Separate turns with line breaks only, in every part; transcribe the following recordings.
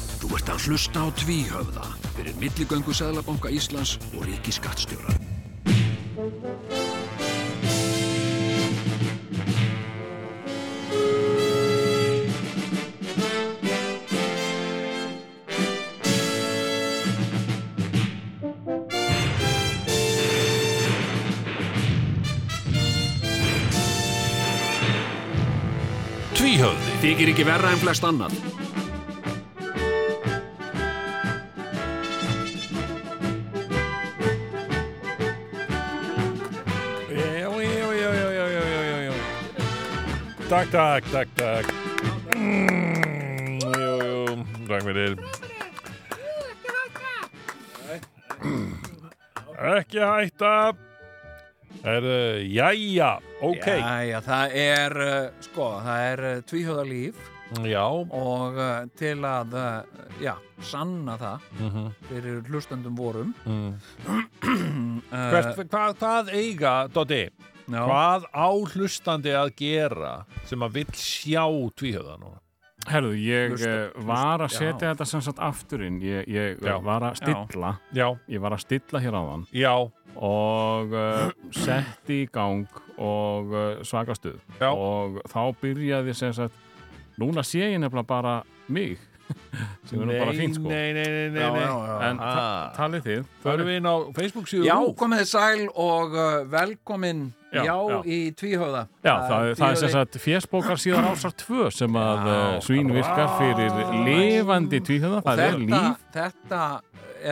hægt að hlusta á tvíhöfða fyrir milligöngu Sæðlabanka Íslands og Ríkiskattstjóra.
Tvíhöfði
Þykir ekki verra en flest annan.
Já, já, já, já, já, já, já, já, já. Takk, takk, takk, takk. Mm, jú, jú, takk fyrir. Ekki hætta. Er, uh, jæja, ok.
Jæja, það er, uh, sko, það er uh, tvíhjóða líf
Já,
og uh, til að, uh, já, sanna það
mhm,
fyrir hlustendum vorum.
Mm.
Uh,
Hvert, hvað, hvað eiga, Doddi,
já,
hvað á hlustandi að gera sem að vill sjá tvíhöða núna?
Herðu, ég
Hlusta-
eh, var að
hlusta-
setja
já.
þetta sem sagt aftur inn Ég, ég eh,
Já.
var að stilla
Já,
Ég var að stilla hér áðan
já,
og uh, setti í gang og uh, svakastuð
Já.
og þá byrjaði sem sagt, núna sé ég nefnilega bara mig sem er nú bara fínt sko
nei, nei, nei, nei,
já,
nei.
já, já.
en ta
Ah.
talið þið
Förum við inn á Facebook síðu
já, komið þið sæl og uh, velkomin, já,
Já, já.
í tvíhjóða.
Já, það, er- það er sem sagt fjersbókar síðan ásar 2 sem að uh, svín virkar fyrir lifandi tvíhjöða, það er
Þetta,
líf
þetta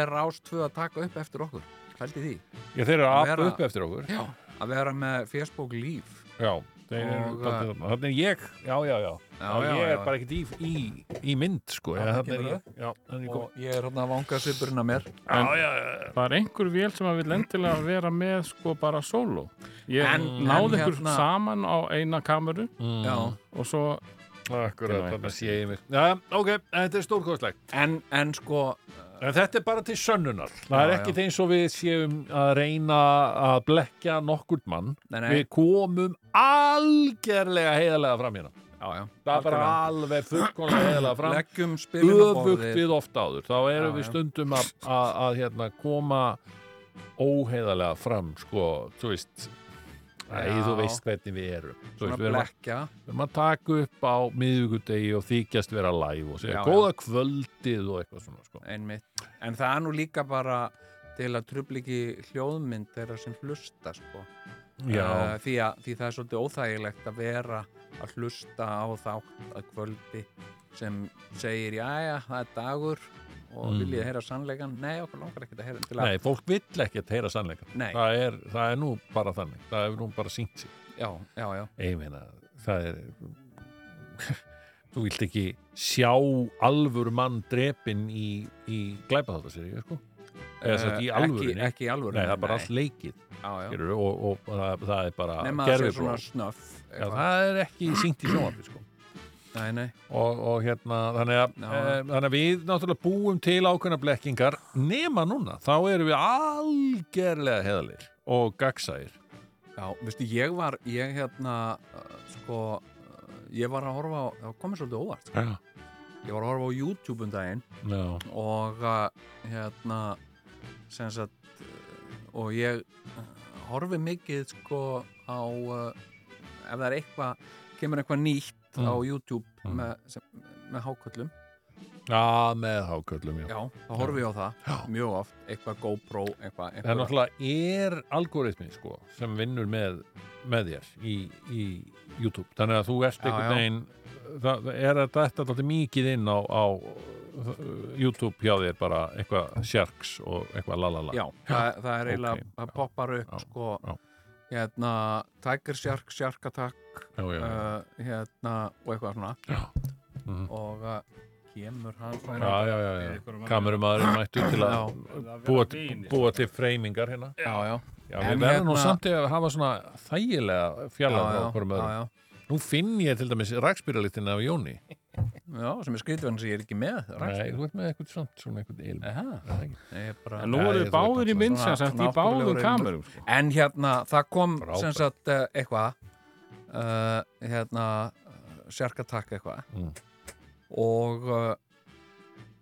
er rástföð að taka upp eftir okkur, hældi því.
Já, þeir eru að apa
Vera-
upp eftir okkur
Já. Að vera með Facebook líf.
Já, þeir eru
Og, uh,
dálítið þarna. Þarna er ég, já, já, já
Já,
Já,
já,
Ég er
já.
bara ekkert í, í, í mynd, sko Já,
það
þarna er
kemur
ég Já, þarna er ég
Og ég er hérna að vanga svipurinn að mér.
En-
komin Já, já, já
Það er einhver vél sem að vil endilega vera með sko bara sóló. Ég
En-
náði
en
ykkur
hérna-
saman á eina kameru
Já.
og svo
Mm. Akkurat,
Kemur
þarna sé ég mig Já, ok, þetta er stórkostlegt
En, en sko,
En þetta er bara til sönnunar Það er
Já,
ekkert eins og við séum að reyna að blekja nokkurt mann
nei, nei.
Við komum algerlega heiðarlega fram hérna
já, já.
Það er bara
Algjörlega.
alveg fullkomlega heiðarlega fram
leggjum spilin á
öfugt
borðið
við oft áður þá erum
Já,
við
já.
stundum að, að, að hérna, koma óheiðarlega fram sko, þú veist Æ,
Já.
þú veist hvernig við erum Þú
svona
veist, við erum, að,
blekja
við erum að taka upp á miðvikudegi og þykjast vera live og segja
Já, já.
góða kvöldið og eitthvað svona sko.
einmitt en það er nú líka bara til að trubla ekki hljóðmynd þeirra sem hlusta sko. Eh, því, að, því það er svolítið óþægilegt að vera að hlusta á þátt að kvöldi sem segir jæja, það er dagur og
Mm.
viljið heyra sannleikan nei, okkur langar ekkert að heyra til að
Nei, fólk vill ekkert heyra sannleikan
nei,
það er, það er nú bara þannig það er nú bara sínt sig
já, já, já,
ég meina, það er þú vilt ekki sjá alvöru mann drepin í, í glæpa þetta sér sko? eða
Eh,
sem sagt í
ekki,
alvörinni
ekki í alvöru
Nei, það er bara allt leikið
já, já.
gerur, og, og, og það, það er bara
nema að það sé
gerfið
svona
frá
snöff
Já,
eitthvað.
það er ekki syngt í sjónvarpi sko.
nei, nei,
og, og hérna þannig að,
Já.
e, þannig að við náttúrulega búum til ákveðna blekkingar nema núna, þá erum við algerlega heðalir og gagsæðir
Já, veistu, ég var, ég hérna, uh, sko, uh, ég var að horfa á, það komið svolítið óvart,
Já,
ég var að horfa á YouTube um daginn og uh, hérna, sem sagt, uh, og ég uh, horfi mikið, sko, á, uh, ef það er eitthvað, kemur eitthvað nýtt
Mm.
á YouTube
Mm.
með, sem, með háköllum,
Já, með háköllum já.
já, þá horfi ég á það
Já.
mjög oft, eitthvað GoPro, eitthvað,
Það er
eitthvað,
náttúrulega er algoritmi sko, sem vinnur með, með þér í, í YouTube þannig að þú ert
Já, já.
einhvern veginn það það er þetta alltaf mikið inn á, á uh, YouTube hjá þér bara eitthvað sjarks og eitthvað lalala
já, það, það er eiginlega,
ok,
það
já,
poppar upp,
já,
sko,
já.
hérna, Tiger Shark, Shark Attack,
já, já, já.
uh, hérna og eitthvað svona
Já. Mhm.
og uh, kemur hann
já, já, já, já. kamerumæður mættu til
Já.
að búa, búa til freimingar hérna
já, já,
já,
En
við verðum nú
hérna-
samt að hafa svona þægilega fjallar á okkur
já,
maður
já,
nú finn ég til dæmis rækspýralitina af Jóni
já, sem er skrítverðin sem ég er ekki með
Nei, þú ert með eitthvað samt svona eitthvað ilm
Aha,
Það er ekki-
ég er bara...
En nú
Já,
eru
ég-
báðir í mynd sem
Svona-
sagt í
svona
báðum
áttavilegur
kamerum sko.
en hérna, það kom
Frábært.
sem sagt uh, eitthvað eh, uh, hérna sérkatakk eitthvað
Mm.
og uh,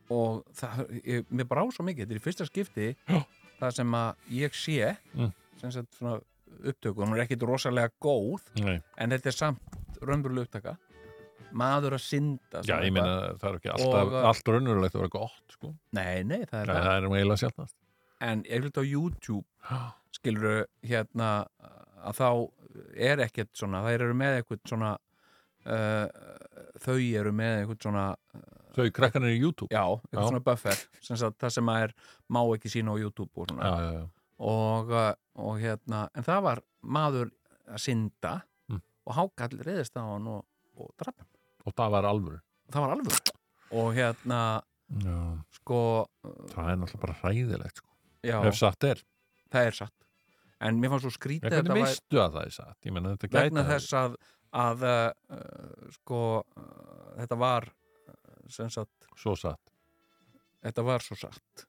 og það, ég, mér brá svo mikið, þetta er í fyrsta skipti
Já.
það sem að ég sé
Mm.
sem sagt svona upptöku, hún er ekkit rosalega góð
Nei.
en þetta er samt raunveruleg upptaka maður að synda
Já, ég
svona eitthvað.
meina það er ekki alltaf,
Og-
allt raunverulegt að vera gott sko.
nei, nei, það er
Nei,
það
það er nú eiginlega sjálfnast
en ég hlut á YouTube skilur hérna að þá er ekkert svona þær eru með eitthvað svona uh, þau eru með eitthvað svona
Þau krakkanir í YouTube
já, eitthvað
Já.
svona buffer sem sagt, það sem að er má ekki sína á YouTube og svona
já, já, já.
og, uh, og hérna en það var maður að synda
Mm.
og hákall reyðist á hann og, og drafn
Og það var alvöru
það var alveg og hérna
já.
sko
Það er náttúrulega bara hræðilegt sko.
já,
Ef satt er
það er satt en mér fannst svo
En
skrítið
hvernig
þetta væri-
veistu að það er satt? Ég meina þetta gæti
vegna
að-
þess að, að uh, sko uh, þetta var uh, sem sagt,
Svo satt
þetta var svo satt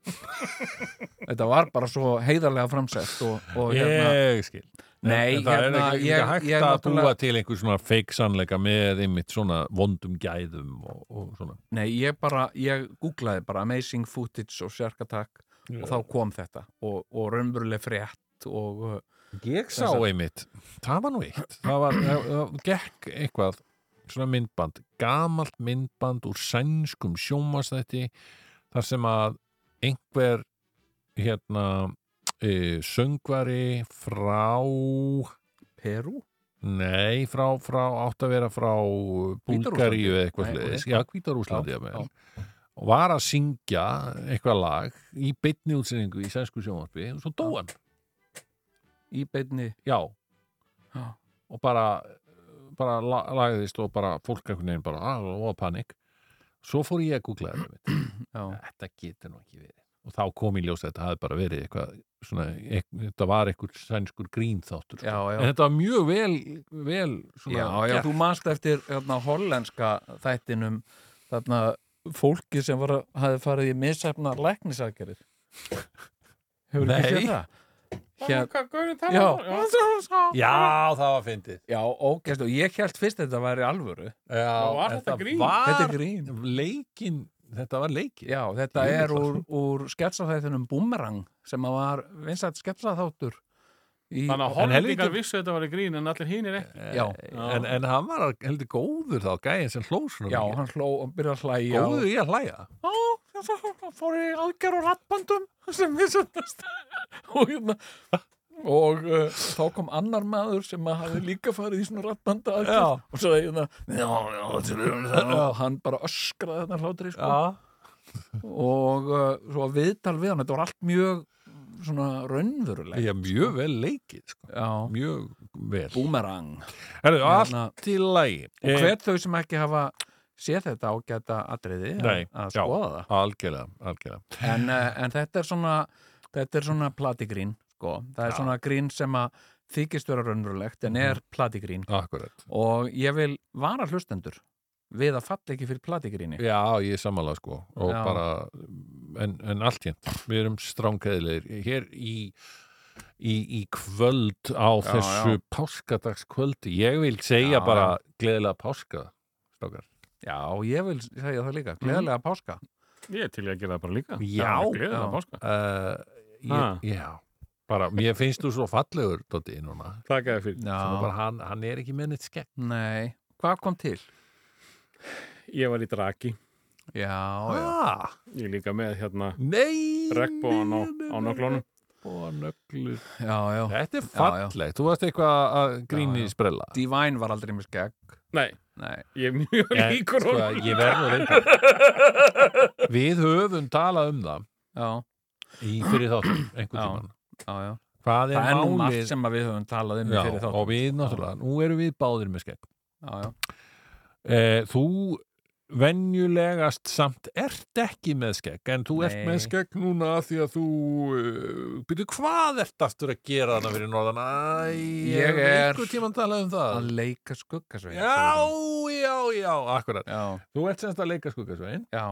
þetta var bara svo heiðarlega framsett og, og hérna,
Ég skil
Nei,
en, en það
hérna,
er ekki,
ég-
ekki hægt
ég
að
náttúrulega-
búa til einhver svona feik sannleika með einmitt svona vondum gæðum og, og svona
nei, ég bara ég googlaði bara amazing footage og shark attack og þá kom þetta og, og raunveruleg frétt og uh,
Ég sá
Þessar-
einmitt, það var nú eitt það var, það, það gekk eitthvað svona myndband, gamalt myndband úr sænskum sjómasnætti þar sem að einhver hérna e, söngvari frá
Peru
nei, frá, frá átt að vera frá Búlgaríu eða eitthvað
Nei,
sliðis,
ok.
já, Hvítarúslandi
Já,
já, já. og var að syngja eitthvað lag í beinni útsendingu í sænsku sjómasbi og svo dó hann,
í beinni
já
já,
og bara, bara la- lagðist og bara fólk einhvern veginn bara "Ah, og panik svo fór ég að googla þetta mitt.
já,
þetta getur nú ekki verið og þá kom í ljós að þetta hafði bara verið eitthvað svona, ek, þetta var eitthvað sænskur grínþáttur
já,
sko.
já.
en þetta var mjög vel, vel svona,
Já, já,
gert.
þú manst eftir hérna, hollenska þættinum þarna fólki sem var, að- hafði farið í missefna læknisaðgerðir Hefur ekki
Nei.
séð það? Hér,
Hvað er
Hérna- Já.
það?
já, það var fyndið
já, ógæst og ég held fyrst að þetta væri alvöru
já,
var
en
þetta
það
grín?
var
Þetta er grín
leikin þetta var leikin
Já, þetta
Ég
er
vil það.
úr, úr sketsaþættinum Boomerang sem að var vinsætt sketsaþáttur í,
Þannig að
En
hollendingar
helvítið-
vissu þetta var í grín en allir hinir ekki.
Já,
en, en hann var heldur góður þá gæðin sem hló svona
já,
mikið.
hann hló og byrjaði að hlæja og-
góður í að hlæja
Já, það fór í aðgerð og rattbandum sem við söndast.
og, hérna, og uh, þá kom annar maður sem að hafði líka farið í svona rappbanda og svo hérna, já, já, til um það og hann bara öskraði þarna hlátri sko. og uh, svo að viðtal við hann, þetta var allt mjög mm, svona raunveruleg
Já, mjög vel leikið sko.
já,
mjög vel
boomerang
Herðu,
Hérna, Eh,
allt í lagi
og hver þau sem ekki hafa séð þetta ágæta atriði að-
Nei,
að
já.
skoða það
Algjörlega, algjörlega
en, eh, en þetta er svona þetta er svona platigrín sko. það
Já.
er
Mhm.
svona grín sem að þykist vera raunverulegt en er platigrín
Akkurat
og ég vil vara hlustendur við að falla ekki fyrir platigríni
Já, ég er sammála sko og
Já.
bara, en, en allt hérna við erum strángæðilegir hér í, í, í kvöld á
Já,
þessu
já.
páskadagskvöldi ég vil segja
Já,
bara gleðilega páska strákar
já, ég vil segja það líka,
Mhm.
gleðilega páska
Ég er til í að gera það bara líka.
Já.
Það er gleðilega
Já.
páska.
uh,
Ha.
ég, Já, bara, mér finnst þú svo fallegur Dótti, núna
Takk eða fyrir.
Svona
já,
bara, hann, hann er ekki með neitt skekk
nei hvað kom til?
Ég var í draki.
já, já,
ah,
Ég er líka með hérna
Nei
regnbóðan á, á nöglunum.
nöglunum
já, já
Þetta er
Já, já.
fallegt, þú varst eitthvað að gríni
Já, já.
í sprella
Divine var aldrei með skegg
Nei,
nei,
ég er mjög
Eh,
En,
líkur
sko,
honum.
ég verð nú reynda Við höfum talað um það
já,
í fyrir þáttum einhvern
Já.
tímann
já, já
Hvað
það
er
er nú margt
málið
sem að við höfum talað um
Já,
fyrir
og
þátt
við náttúrulega, nú erum við báðir með skegg
já, já.
eh, Þú venjulegast samt ert ekki með skegg en þú ert
Nei.
með skegg núna af því að þú uh, byrju hvað ert aftur að gera þarna fyrir norðan Æ,
Ég
hef
er-
einhvern tímann talað um það
að leika skuggasvein
Já, já, já, akkurat
já,
Þú ert semst að leika skuggasveginn
já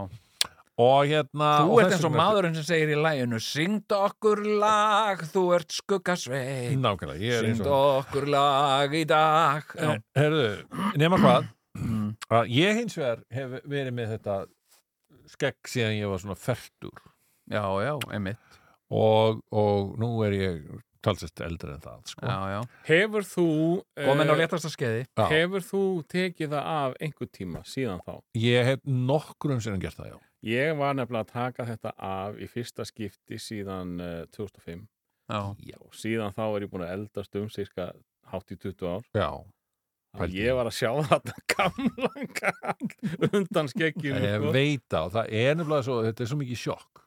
og hérna
þú
og
ert
þess
eins og
vegna-
maðurinn sem segir í læginu syngd okkur lag, þú ert skuggasvein
Nákvæmlega, ég er eins
Synd
og
okkur lag í dag
Eh,
Já,
Mm. Herðu, nema hvað að ég hins vegar hef verið með þetta skegg síðan ég var svona fertur
já, já, einmitt
og, og nú er ég talsist eldri en það sko.
já, já.
Hefur þú
komin á
eh,
léttasta skeiði
Já.
Hefur þú tekið það af einhver tíma síðan þá?
ég hef nokkrum sinni gert það já
Ég var nefnilega að taka þetta af í fyrsta skipti síðan uh, 2005
já,
og síðan þá er ég búin að eldast um sirka hátt í 20 ár
já,
Pældi.
Pældi.
Ég var að sjá þetta gamlan kall undan sko. skekkjum
ég veit það og það er nefnilega svo, þetta er svo mikið sjokk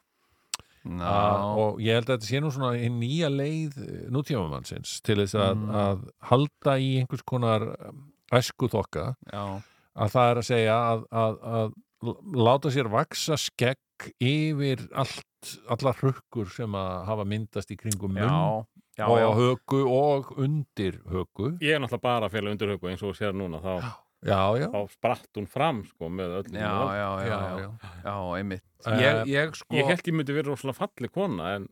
já.
að, og ég held að þetta sé nú svona í nýja leið nútífamannsins til þess að,
Mm.
að halda í einhvers konar æsku þokka
já.
að það er að segja að, að, að láta sér vaksa skegg yfir allt, allar hrukkur sem að hafa myndast í kringum
já,
munn
já,
og
já.
höku og undir höku
Ég er náttúrulega bara að fela undirhauku eins og þú sér núna þá,
Já, já,
þá spratt hún fram sko með öll
Já, já, já, já, já, einmitt ég, ég sko,
Ég held ég myndi vera rosalega falleg kona en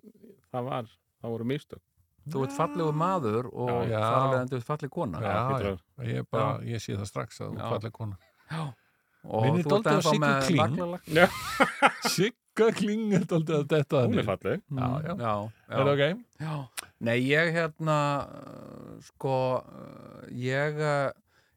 það var, það voru mistök
þú ert fallegu maður og
Já.
þar af leiðandi þú ert falleg kona
Já,
Það
já.
hlýtur að-
Ég, bara, ég sé það strax að þú
Já.
falleg kona
og
Minnir
þú ert
dálítið á
ennþá
Siggu
með
Kling.
naglalakk.
Sigga klingar daldið að þetta
Hún er falleg
Já, já.
já, já.
Er það ok?
Já, nei ég hérna uh, sko uh, ég, uh,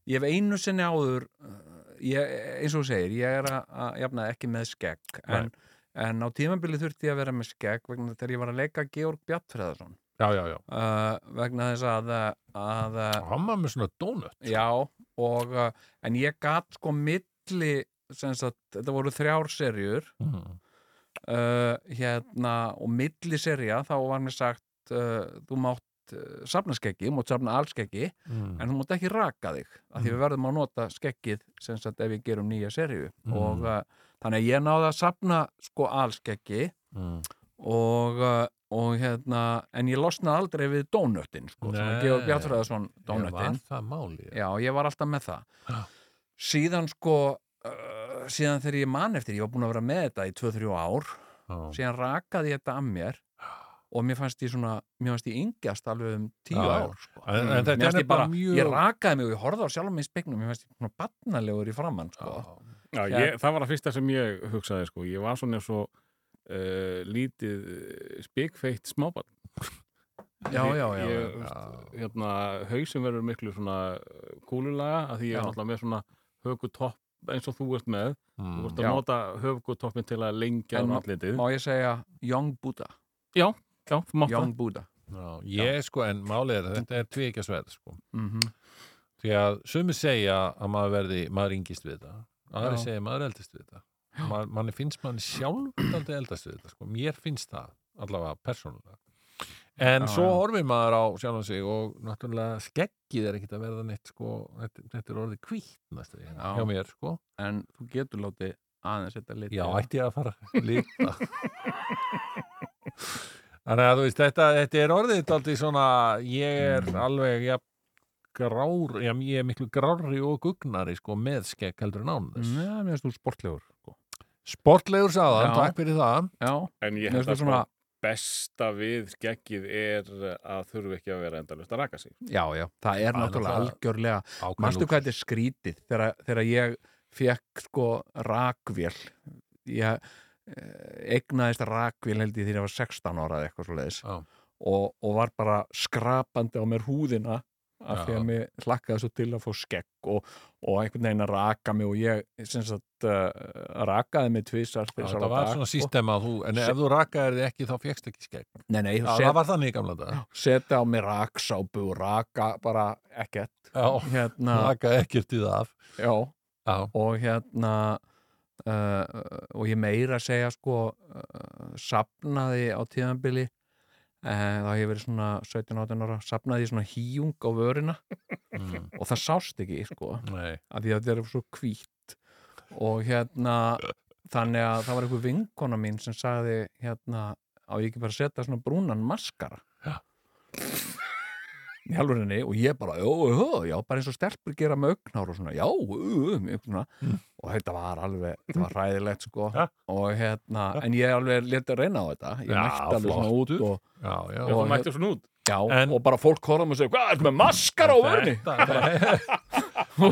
ég hef einu sinni áður uh, ég, eins og þú segir, ég er að, að jafna ekki með skegg en, en á tímabili þurfti ég að vera með skegg vegna þegar ég var að leika Georg Bjartfreðarsson
Já, já, já
uh, vegna þess að, uh, að uh,
Hann var með svona donut
já og, uh, en ég gat sko milli sem sagt, þetta voru þrjár serjur
mm.
uh, hérna og milli serja þá var mér sagt uh, þú mátt uh, safna skeggi, þú mátt safna allskeggi
Mm.
en þú mátt ekki raka þig af því
Mm.
við verðum að nota skeggið sem sagt ef við gerum nýja serju
Mm.
og uh, þannig að ég náði að safna sko allskeggi
Mm.
og, uh, og hérna en ég losnaði aldrei við dónöttin sko, svona
Nei.
Georg Bjartfræðarsson
Ég var
dónöttin
það máli já.
Já, ég var alltaf með það.
Já.
Síðan sko, uh, síðan þegar ég man eftir, ég var búin að vera með þetta í 2-3 ár,
Já.
síðan rakaði ég þetta að mér og mér fannst ég svona, mér fannst ég yngjast alveg um 10
Já, já.
ár. Sko.
En- en
Mm,
þetta
mér fannst
er
ég bara,
bara mjög-
ég rakaði mig og ég horfði á sjálfum mig í spegnum, mér fannst ég svona batnalegur í framann, sko.
Já.
Já,
Já.
ég, það var að fyrsta sem ég hugsaði sko. Ég var svona eins og uh, lítið eh, spikfeitt smábarn.
Já, já, já,
Ég,
já.
ég, veist, hérna, hausum verður miklu svona eh, kúlulaga að því ég
Já.
er náttúrulega með svona högutopp eins og þú ert með. Þú
Mm.
ert að
Já.
nota högutoppin til að lengja
En
en,
má-
allitið.
Má ég segja Young Buddha,
Já, þú mátt það.
Young Buddha.
Já, ég sko, en málið er að þetta er tvíkja sko.
Mm
Því að sumir segja að maður verði, maður yngist við þetta. Aðri
Já.
segja að maður eldist við þetta. Man, manni finnst manni sjálf aldrei eldast við þetta, sko. Mér finnst það, allavega persónulega. En
Já,
svo
já.
horfir maður á sjálfan sig og náttúrulega skeggið er ekkit að verða neitt, sko, þetta, þetta er orðið kvítt næstu því,
Já.
hjá mér, sko.
En þú getur látið aðeins þetta litið.
Já, ætti ég að fara að líta Þannig að þú veist, þetta, þetta er orðið daldið svona, ég er alveg ja, grár, já, ég er miklu grári og gugnari sko með skekk heldur en án þess.
Já, mér finnst þú sportlegur, sko.
Sportlegur sagðan,
Já.
takk fyrir það.
Já,
En ég
mér
held
finnst þú
að svona...
svona,
besta við skeggið er eh, að þurfi ekki að vera endalust að raka sig.
já, já, það er
Það er
náttúrulega
náttúrulega-
algjörlega
Ákveðin
Manstu
lúxus.
hvað þetta er skrítið þegar, þegar ég fekk sko rakvél ég eh, eignaðist rakvél held ég þegar ég var 16 ára eða eitthvað svo leiðis
Já.
og, og var bara skrapandi á mér húðina af
Já.
því að mér hlakkaði svo til að fá skegg og, og einhvern veginn að raka mig og ég sem sagt uh, rakaði mig tvisar
Já, þetta var
sko.
svona sístema að þú, en
Se-
ef þú rakaðir þig ekki þá fékkst ekki skegg.
Nei, nei,
Já,
set,
það var þannig í gamla dag.
setja á mig raksápu og raka bara ekkert
Já,
hérna,
rakaði ekkert í það af.
já
Já,
og hérna uh, og ég meira að segja sko uh, sapnaði á tíðanbili uh, þá hefur verið svona 17-18 ára sapnaði ég svona híjung á vörina
mm,
og það sást ekki sko
nei.
af því að þetta er svo hvítt og hérna þannig að það var einhver vinkona mín sem sagði hérna á ég ekki bara að setja svona brúnan maskara
Já.
í halvurinni og ég bara jó, jó, já, bara eins og stelpur gera með augnár og svona, já, ö, ö, ö, svona.
Mm.
og þetta var alveg, þetta var ræðilegt sko,
Ja.
og hérna en ég alveg leti að reyna á þetta ég
Já,
mætti alveg svona út
flottur.
og,
Já, já.
Og
Og
þú mættir svona út.
já,
En-
og bara fólk horfum og segja, hvað, ertu með maskara á vörni?
Þetta-
og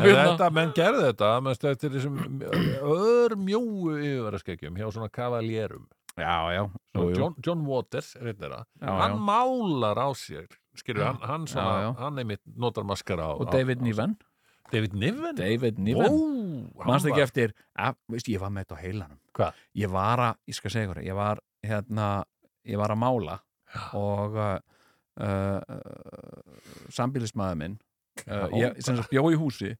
En
hérna,
þetta, menn gerði þetta mennst eftir þessum örmjóu yfirverðarskekkjum hjá svona kavaljerum
já, já, jú, jú.
John, John Waters er einn þeirra
Já,
hann
já.
málar á sér skilur, hann, hann, svona,
Já, já.
hann einmitt notar maskara á,
og
á-
David
á-
Niven
David Niven,
David
Ó,
Niven
hann
mannst ekki
var-
eftir að, veist, ég var með þetta á heilanum
Hvað?
ég var að, ég skal segja ykkur ég var, hérna, ég var að mála og uh, uh, sambýlismæður minn uh, ég sem sagt bjó í húsi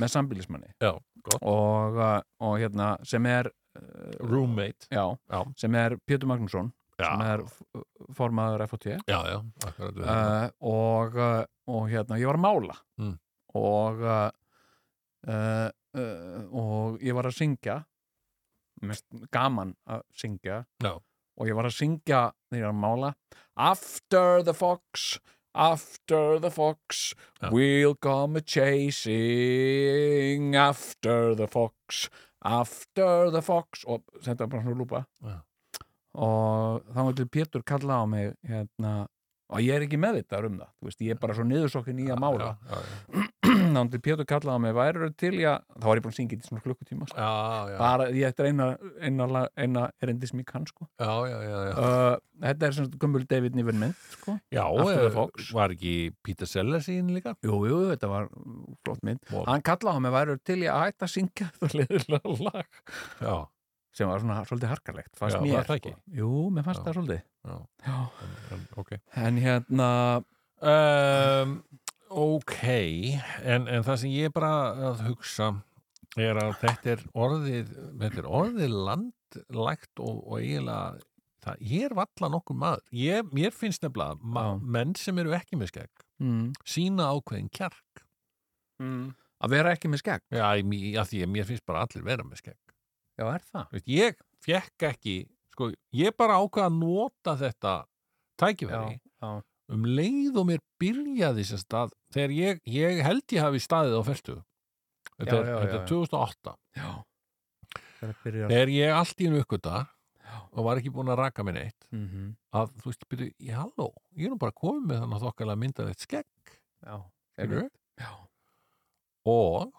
með sambýlismanni
já, gott,
og, uh, og hérna, sem er uh,
roommate
já,
Já.
sem er Pétur Magnússon sem
já,
er f- formaður FOT
já, já, akkurat við þetta.
uh, og, uh, og hérna, ég var að mála
Mm.
og uh, uh, uh, og ég var að syngja mest gaman að syngja
Já.
og ég var að syngja þegar ég var að mála After the fox After the fox
Já.
We'll come chasing After the fox After the fox og þetta var bara svona lúpa
Já.
og þá var til Pétur kalla á mig hérna og ég er ekki með þetta um það, þú veist, ég er bara svo niðursokkin í að mála
já, já, já.
þá til Pétur kallaði á mig, væri til í að þá var ég búin að syngja þetta í svona klukkutíma sko.
Já, já,
bara, ég þetta er eina, eina, lag- eina erindi sem ég kann sko.
já, já, já, já.
uh, þetta er sem sagt gömul David Niven mynd sko.
Já,
After the
eh,
Fox.
var ekki Peter Sellers í hinn líka?
jú, jú, þetta var mm, flott mynd
Wow.
hann kallaði á mig, væri til í að hætta að syngja þetta leðilega lag
Já,
sem var svona svolítið harkalegt,
Já,
fannst mér sko.
var það ekki?
jú, mér fannst
Já.
það svolítið
Já.
Já.
en, en, ok.
en hérna,
Um, ok, en, en það sem ég er bara að hugsa er að þetta er orðið, þetta er orðið landlægt og, og eiginlega, það, ég er valla nokkur maður. Ég, mér finnst nefnilega ma,
Já.
menn sem eru ekki með skegg
mm,
sína ákveðin kjark.
mm. að vera ekki með skegg
Já, ég- að því að mér finnst bara allir vera með skegg.
já, er það?
Veist, ég fekk ekki, sko, ég bara ákveð að nota þetta tækifæri.
já,
um leið og mér byrjaði sem stað, þegar ég, ég held ég hafi staðið á feltu þetta,
Já,
er,
já, já,
þetta
já.
er 2008
já. það er að byrja
þegar ég allt í einu uppgöta og var ekki búin að raka minn eitt
mm -hmm.
að þú veist, byrju, halló, ég er nú bara komið með þannig að þokkalega mynda þetta skegg
já,
skilurðu?
já.
og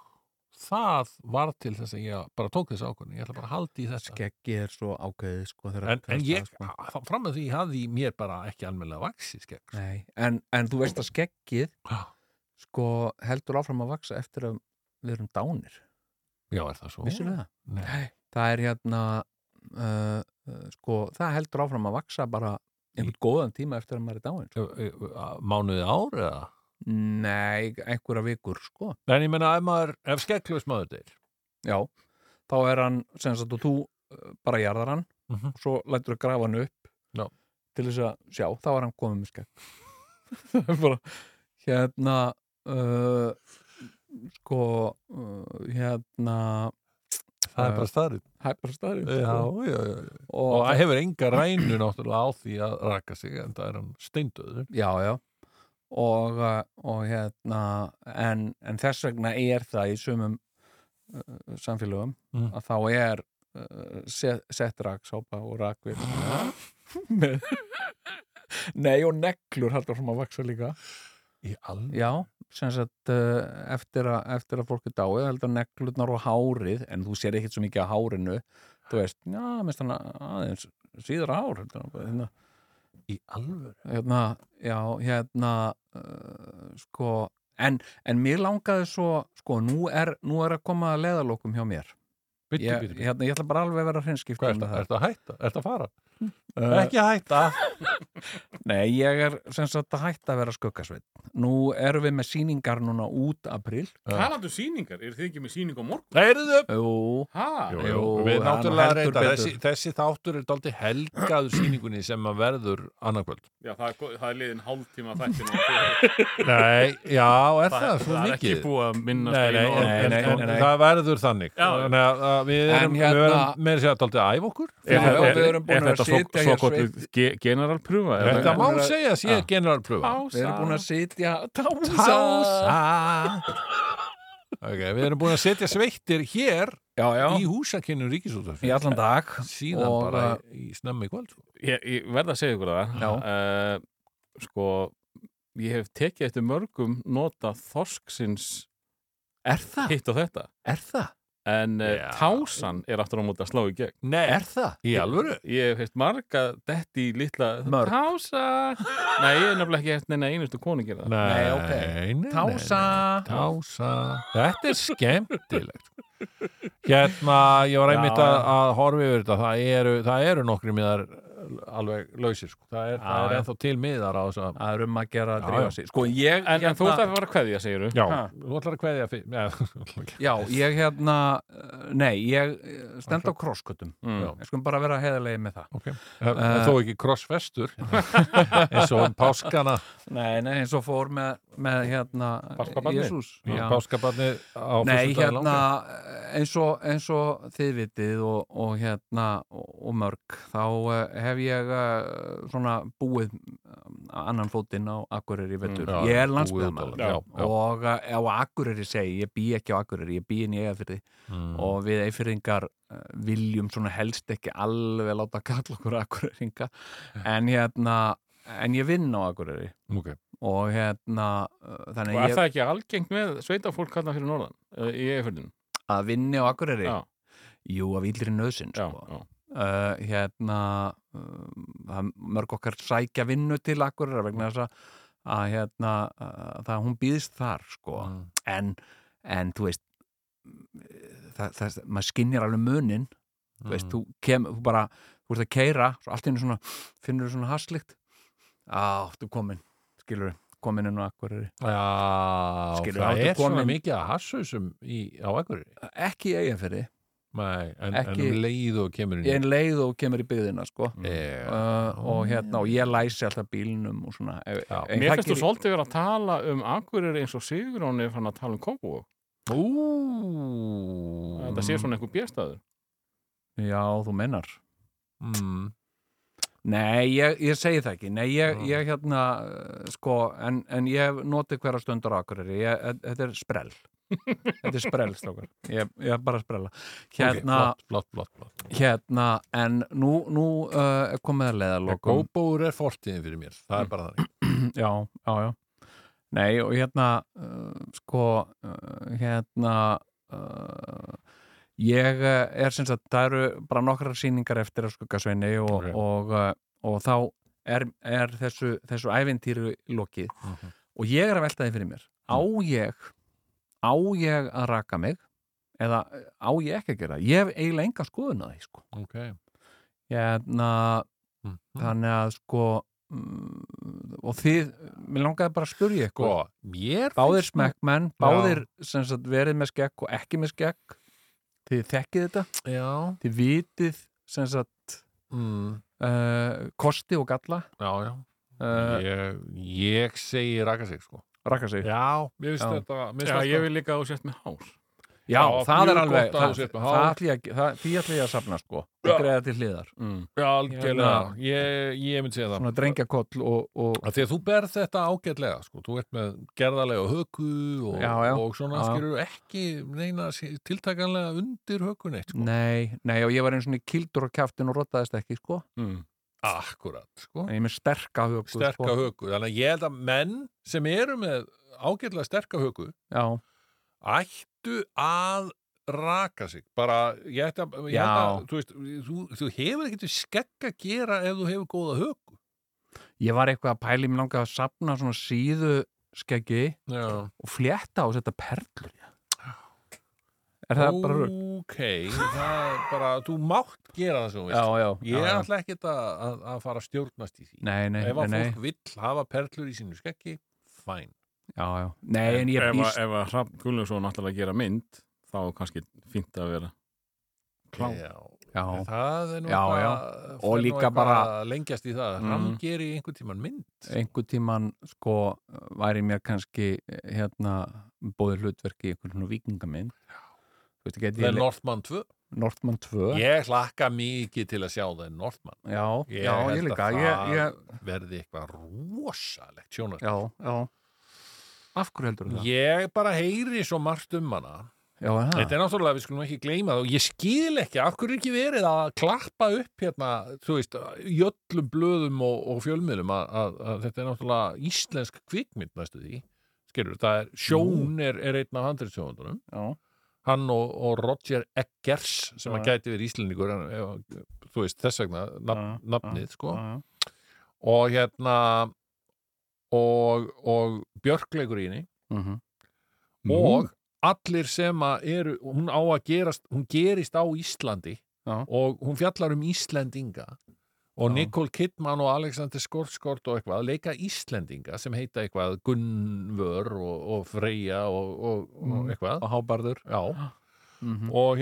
það var til þess að ég bara tók þessu ákvörðin ég ætla bara að haldi í þetta
skeggið er svo ágæðið sko, þegar
en,
að
en
kasta
ég,
það,
þá- fram með því hafði ég mér bara ekki almennilega vaksi skegg sko.
Nei, en, en þú veist að skeggið
já,
sko, heldur áfram að vaksa eftir að við erum dánir
er það svo?
vissir við það?
Nei.
það er hérna uh, uh, sko, það heldur áfram að vaksa bara einhvern góðan tíma eftir að maður er dáin sko.
Ö, ö, ö, mánuði ár eða?
nei, einhverja vikur sko.
En ég meina ef maður, ef skegglaus maður deyr
já, þá er hann sem sagt og þú uh, bara jarðar hann
Mhm.
og svo lætur að grafa hann upp
Já.
til þess að sjá, þá er hann komið með skegg Það er bara, hérna uh, sko uh, hérna
Það
Já.
er bara staðrið
hæpar staðrið
já, já, já.
og,
Og það hefur enga rænu náttúrulega á því að raka sig en það er hann steindöður
já, já og, uh, og hérna en, en þess vegna er það í sumum uh, samfélögum
Mm.
að þá er uh, set, sett raksápa og rakvið með Nei og neglur heldur frá að vaksa líka
Í alveg
Já, sem sagt uh, eftir, að, eftir að fólk er dáið heldur neglurnar og hárið en þú sér ekkert svo mikið að hárinu þú veist, já, minnst hann aðeins síðra hár heldur, hann bara, hérna,
Í alveg
hérna, já, hérna uh, sko en, en mér langaði svo sko, nú er, nú er að koma að leiðalokum hjá mér
Bittu,
ég,
bittu, bittu
hérna, ég ætla bara alveg að vera hreinskipt
Hvað er um það? Er það að hætta? Er það að fara?
Uh,
Ekki að hætta
nei, ég er sem sagt að hætta að vera skuggasveit Nú erum við með sýningar núna út april
talandu um sýningar, eru þið ekki með sýning á morgun?
Heyrðu
Jú,
Ha?
Jú,
Jú,
jú, við
hann
náttúrulega
heldur
reynda
betur.
þessi, þessi þáttur er daldi helgaður sýningunni sem að verður annarkvöld
Já, það er, go- það er liðin hálftíma þættin
Nei, já, er það, svo
er ekki
mikið
búið að minna
Nei, nei, nei, nei, nei, nei. það verður þannig
Já.
Þannig að- að við
En
erum,
hérna-
við erum meira að segja dálítið að æfa okkur
Er,
Já,
er,
við
er,
erum búin
er
að
þetta svo,
sitja
svo
hér
gott ge generalpröfa? Er
Þetta
það-
má
Já.
segja að sé
Já.
generalpröfa
við erum búin að sitja Tása, Ah.
Tása Ok, við erum búin að setja sveittir hér
Já, já,
í húsakinnum Ríkisútaf
í allan dag
síðan
Og, uh,
bara í, í snemmi í kvöld sko.
ég, ég verð að segja ykkur það
Já.
Eh, sko ég hef tekið eftir mörgum nota þorsksins
Er það?
hitt og þetta
Er það?
en yeah.
Já.
tásan er aftur á móti að slá í gegn
Nei. Er það? Í alvöru?
ég hef heilt marga detti í litla
Mörg.
tása nei, ég hef nefnilega ekki heilt neina einustu konu gera það
Nei, ok.
nei, nei,
Tása.
nei. Tása. Þetta er skemmtilegt. Hérna, ég var einmitt
Já,
að,
já.
að horfa yfir þetta. Það eru, það eru nokkri miðar alveg lausir. Sko. Það, er, það
Já,
er
já.
ennþá til miðar á þess að...
Það er um að gera að
Já,
drífa
já.
sig. Sko, ég...
en, en þú ert að fara að kveðja, segir
Já,
Ha.
þú ætlar að kveðja fyrir... Já,
Já, ég hérna... eh, Nei, ég eh, stend á krosskötum.
mm.
Já.
Ég skulum bara vera heðalegi með það.
ok. Uh,
Eh,
Þó ekki krossvestur, eins og um páskana.
Nei, nei, eins og fór með, með hérna...
Páskabarnið?
Jésús.
Mm.
Já.
Páskabarni á
Nei,
föstudaginn
hérna,
langa.
eins og, eins og þið vitið og, og hérna og, og mörg, þá eh, hef ég eh, svona búið eh, annan fótinn á Akureyri í vetur.
Mm, Já,
ég er
búið
landsbyðamæður
út á- já, já.
og eh, á Akureyri segi, ég bý ekki á Akureyri, ég bý inn í Egafyrði
Mm.
og við eifyrringar viljum svona helst ekki alveg láta kalla okkur Akureyringa en hérna, en ég vinn á Akureyri
Mm, Ok.
og hérna, eh,
og
þannig
er
að ég
það ekki algengt með sveitafólk kallan fyrir norðan eh, í eiföldin
að vinni á Akureyri
já,
Jú, af íldri nöðsinn
já,
sko.
já.
uh, hérna um, það mörg okkar sækja vinnu til akkurir vegna þess að- að hérna, uh, það hún býðist þar sko.
Mm.
en, en þú veist eh, það, það, maður skinnir alveg munin þú
Mm.
veist, þú kem, þú bara þú ert að keira, svo allt í einu svona finnur þú svona haslikt á, þú komin, skilur við komin inn á akkurir,
Já,
Skilur,
það
áttu
er svona
komin-
mikið að hasshausum í, á ekkurri.
ekki eiga fyrir
Nei, en, en
Ekki-
um leið og kemur inn í- Eh,
en leið og kemur í byggðina sko.
Já,
uh, og hérna, og ég læsi alltaf bílnum og svona ef,
Já.
en
Mér
það
finnst þú
gerir-
svolítið vera að tala um Akureyri eins og Sigurón er fann að tala um Kópavog.
Ú,
Þetta sé svona einhver björnstæður.
Já, þú mennar.
mm,
Nei, ég, ég segi það ekki. Nei, ég,
Já.
ég hérna, uh, sko, en, en ég hef notið hverja stundur akureyri. Ég, e- þetta er sprell. þetta er sprell, strókar. Ég, ég er bara að sprella. Hérna,
ok, flott, flott, flott, flott.
hérna, en nú, nú uh, er komið að leiða lokum. Mm.
Góbóur Eh, er fortíðin fyrir mér, það er bara þannig
Já, já, já. Nei, og hérna, uh, sko, uh, hérna, uh, ég uh, er sem sagt, það eru bara nokkrar sýningar eftir að skuggasveini og,
Ok.
og, uh, og þá er, er þessu, þessu ævintýru lokið
Mhm. Mm.
og ég er að velta því fyrir mér. Á ég, á ég að raka mig eða á ég ekki að gera? það? Ég hef eiginlega enga skoðun að því, sko.
Ok
Hérna,
Mhm.
þannig að sko mm, og þið, mér langaði bara að spyrja
Sko,
ykkur
mér
báðir
finnst nú-
smekkmenn, báðir sem sagt, verið með skekk og ekki með skekk þið þekkið þetta,
Já,
þið vitið sem sagt
mm,
uh, kosti og galla
já, já
uh,
ég, ég segi raka sig, sko
rakka sig já,
Já, mér finnst
Já.
þetta mér
Já,
finnst
ég
þetta-
vil líka að þú sért með hár.
Já,
það er
mjög
alveg
gott að
það,
þú sért með
það,
hár.
ætla ég, að- það, því ætla ég að safna sko og greiða til hliðar,
Mm.
Já, algjörlega, ég, ég mynd segja það
svona drengjakoll og, og
að því að þú berð þetta ágætlega sko. þú ert með gerðalega höku og,
Já, já.
og svona
Já.
skilur ekki neina sí- tiltakanlega undir hökunni sko.
nei, nei, og ég var einu svona kildur á kjaftin og rottaðist ekki sko,
Mm.
akkurat sko.
en ég er með sterka höku
sterka
sko.
höku, þannig að ég held að menn sem eru með ágætlega sterka höku
já,
ættu að raka sig, bara ég ætti að, ég ætti að
Já.
þú, veist, þú, þú hefur ekkert við skegg að gera ef þú hefur góða höku
Ég var eitthvað að pæli, mér langaði að sapna svona síðu skeggi
já,
og flétta og setja perlur í það. Er það bara rugg?
ok það er bara, þú mátt gera það sem þú veist
Já, já.
Ég
já, já.
ætla ekkert að, að, að fara að stjórnast í því.
Nei, nei,
ef
nei,
að
nei.
fólk vill hafa perlur í sínu skeggi, fæn.
Já, já. Nei, en ég
ef, að-
býst.
ef að Hrafn Gulljónsson ætlar að gera mynd, þá er kannski fínt að vera. Klá.
Já.
Já,
En Það er nú
Já,
eitthvað,
já.
fer
Og
nú
líka
eitthvað
bara- Mhm.
að lengjast í það. Mm. Hann
Mm.
gerir einhvern tíman mynd.
einhver tíman sko væri mér kannski eh, hérna bóðið hlutverki í einhvern svona vikingamind. Þú veist, geti
Það er
ég
Northman 2.
Nortmann 2.
Ég hlakka mikið til að sjá það er Northman.
Já,
Ég
já,
held
ég
að
líka.
það-
Ég, ég,
Verði eitthvað rosalegt sjónar.
já, já. Af hverju heldur það?
Ég bara heyri svo margt um hana.
Já, er það.
Þetta er náttúrulega, við skulum ekki gleyma það og ég skil ekki, af hverju er ekki verið að klappa upp hérna, þú veist, í öllum blöðum og, og fjölmiðlum að, að, að þetta er náttúrulega íslensk kvikmynd næstu því skilur, það er, Sjón er, er einn af handriðsjóðundunum
já,
hann og, og Roger Eggers sem hann
Já.
gæti verið íslendingur en, ef, þú veist, þess vegna nafn,
Já,
nafnið, sko
já, já.
og hérna og, og Björkleikur í henni
Mhm.
og allir sem að eru hún á að gerast, hún gerist á Íslandi
Já.
og hún fjallar um Íslendinga og
Já.
Nicole Kidman og Alexander Skorskort og eitthvað leika Íslendinga sem heita eitthvað Gunnvör og, og Freyja og, og, og
Mm.
eitthvað
Mhm. og hábarður
Já,
Mhm.
og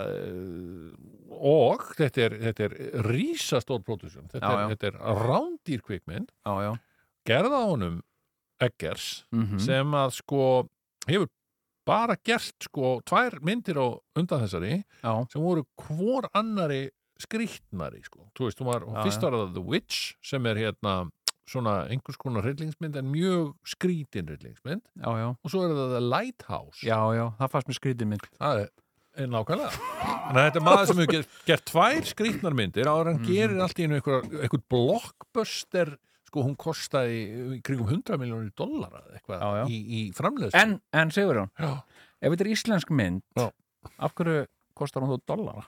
hérna eh, og þetta er, þetta er rísastór pródusjón, þetta,
Já,
er-
já.
þetta er rándýr kvikmynd,
já, já,
gerða honum Eggers
Mhm.
sem að sko hefur bara gert sko tvær myndir á undan þessari
já,
sem voru hvor annari skrýtnari sko, þú veist, hún var
Já,
fyrst
já.
var það The Witch sem er hérna svona einhvers konar hryllingsmynd en mjög skrýtin hryllingsmynd
já, já,
og svo er það The Lighthouse
já, já það fannst mér skrítið mynd
það er, er nákvæmlega þannig að þetta er maður sem hefur gert, gert tvær skrýtnar myndir áður en hann
Mhm.
gerir allt í einu einhver, einhver blockbuster sko hún kostaði í kringum 100 miljónir dollara eða
Já,
eitthvað
já.
í, í framleiðslu
en, en Sigurjón,
já.
ef þetta er íslensk mynd
Já.
af hverju kostar hún þú dollara?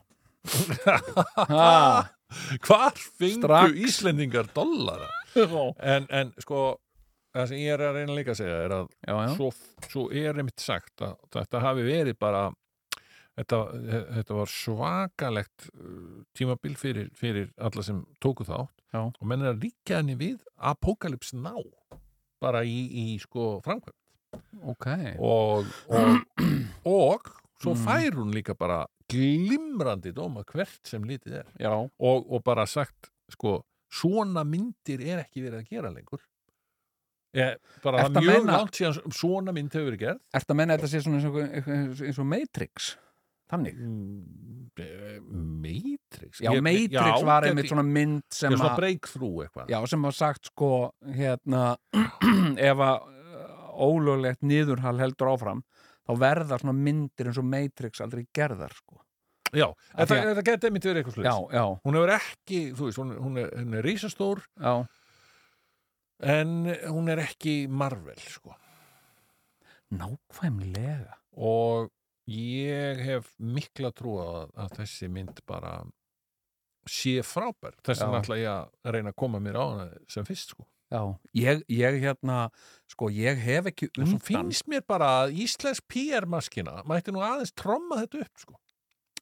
ha,
Hvar fengu
Strax.
Íslendingar dollara?
já,
En, en sko, það sem ég er að reyna líka að segja er að
já,
svo, svo er einmitt sagt að þetta hafi verið bara þetta, þetta var svakalegt uh, tímabil fyrir, fyrir alla sem tóku þátt
Já.
og menn er að líka henni við Apocalypse Now bara í, í sko framkvæm
ok
og, og, og svo
Mm.
fær hún líka bara glimrandi dóma hvert sem litið er
já,
og, og bara sagt sko, svona myndir er ekki verið að gera lengur ég, bara
Ertu
það
að
er mjög
meina-
langt síðan svona mynd hefur verið gerð
Ertu að menna þetta sé svona eins og, eins og- eins og Matrix? Þannig?
Mm, eh, Matrix
Já,
Ég-
Matrix
já,
var
gæti-
einmitt svona mynd sem
já, svona
að
breakthrough eitthvað
Já, sem að sagt sko hérna, ef að uh, ólöglegt niðurhal heldur áfram þá verða svona myndir eins og Matrix aldrei gerðar sko
já
Af
þetta,
því
þetta geti einmitt verið eitthvað
Já,
slúið
já,
hún hefur ekki, þú veist, hún, hún, er, hún er rísastór
já
en hún er ekki Marvel sko.
Nákvæmlega
og ég hef mikla trú að, að þessi mynd bara sé frábær þess
Já.
vegna ætla ég að reyna að koma mér á hana sem fyrst sko.
Já, ég, ég hérna sko, ég hef ekki
og svo
undan
finnst mér bara að Íslensk PR-maskina mætti nú aðeins tromma þetta upp sko.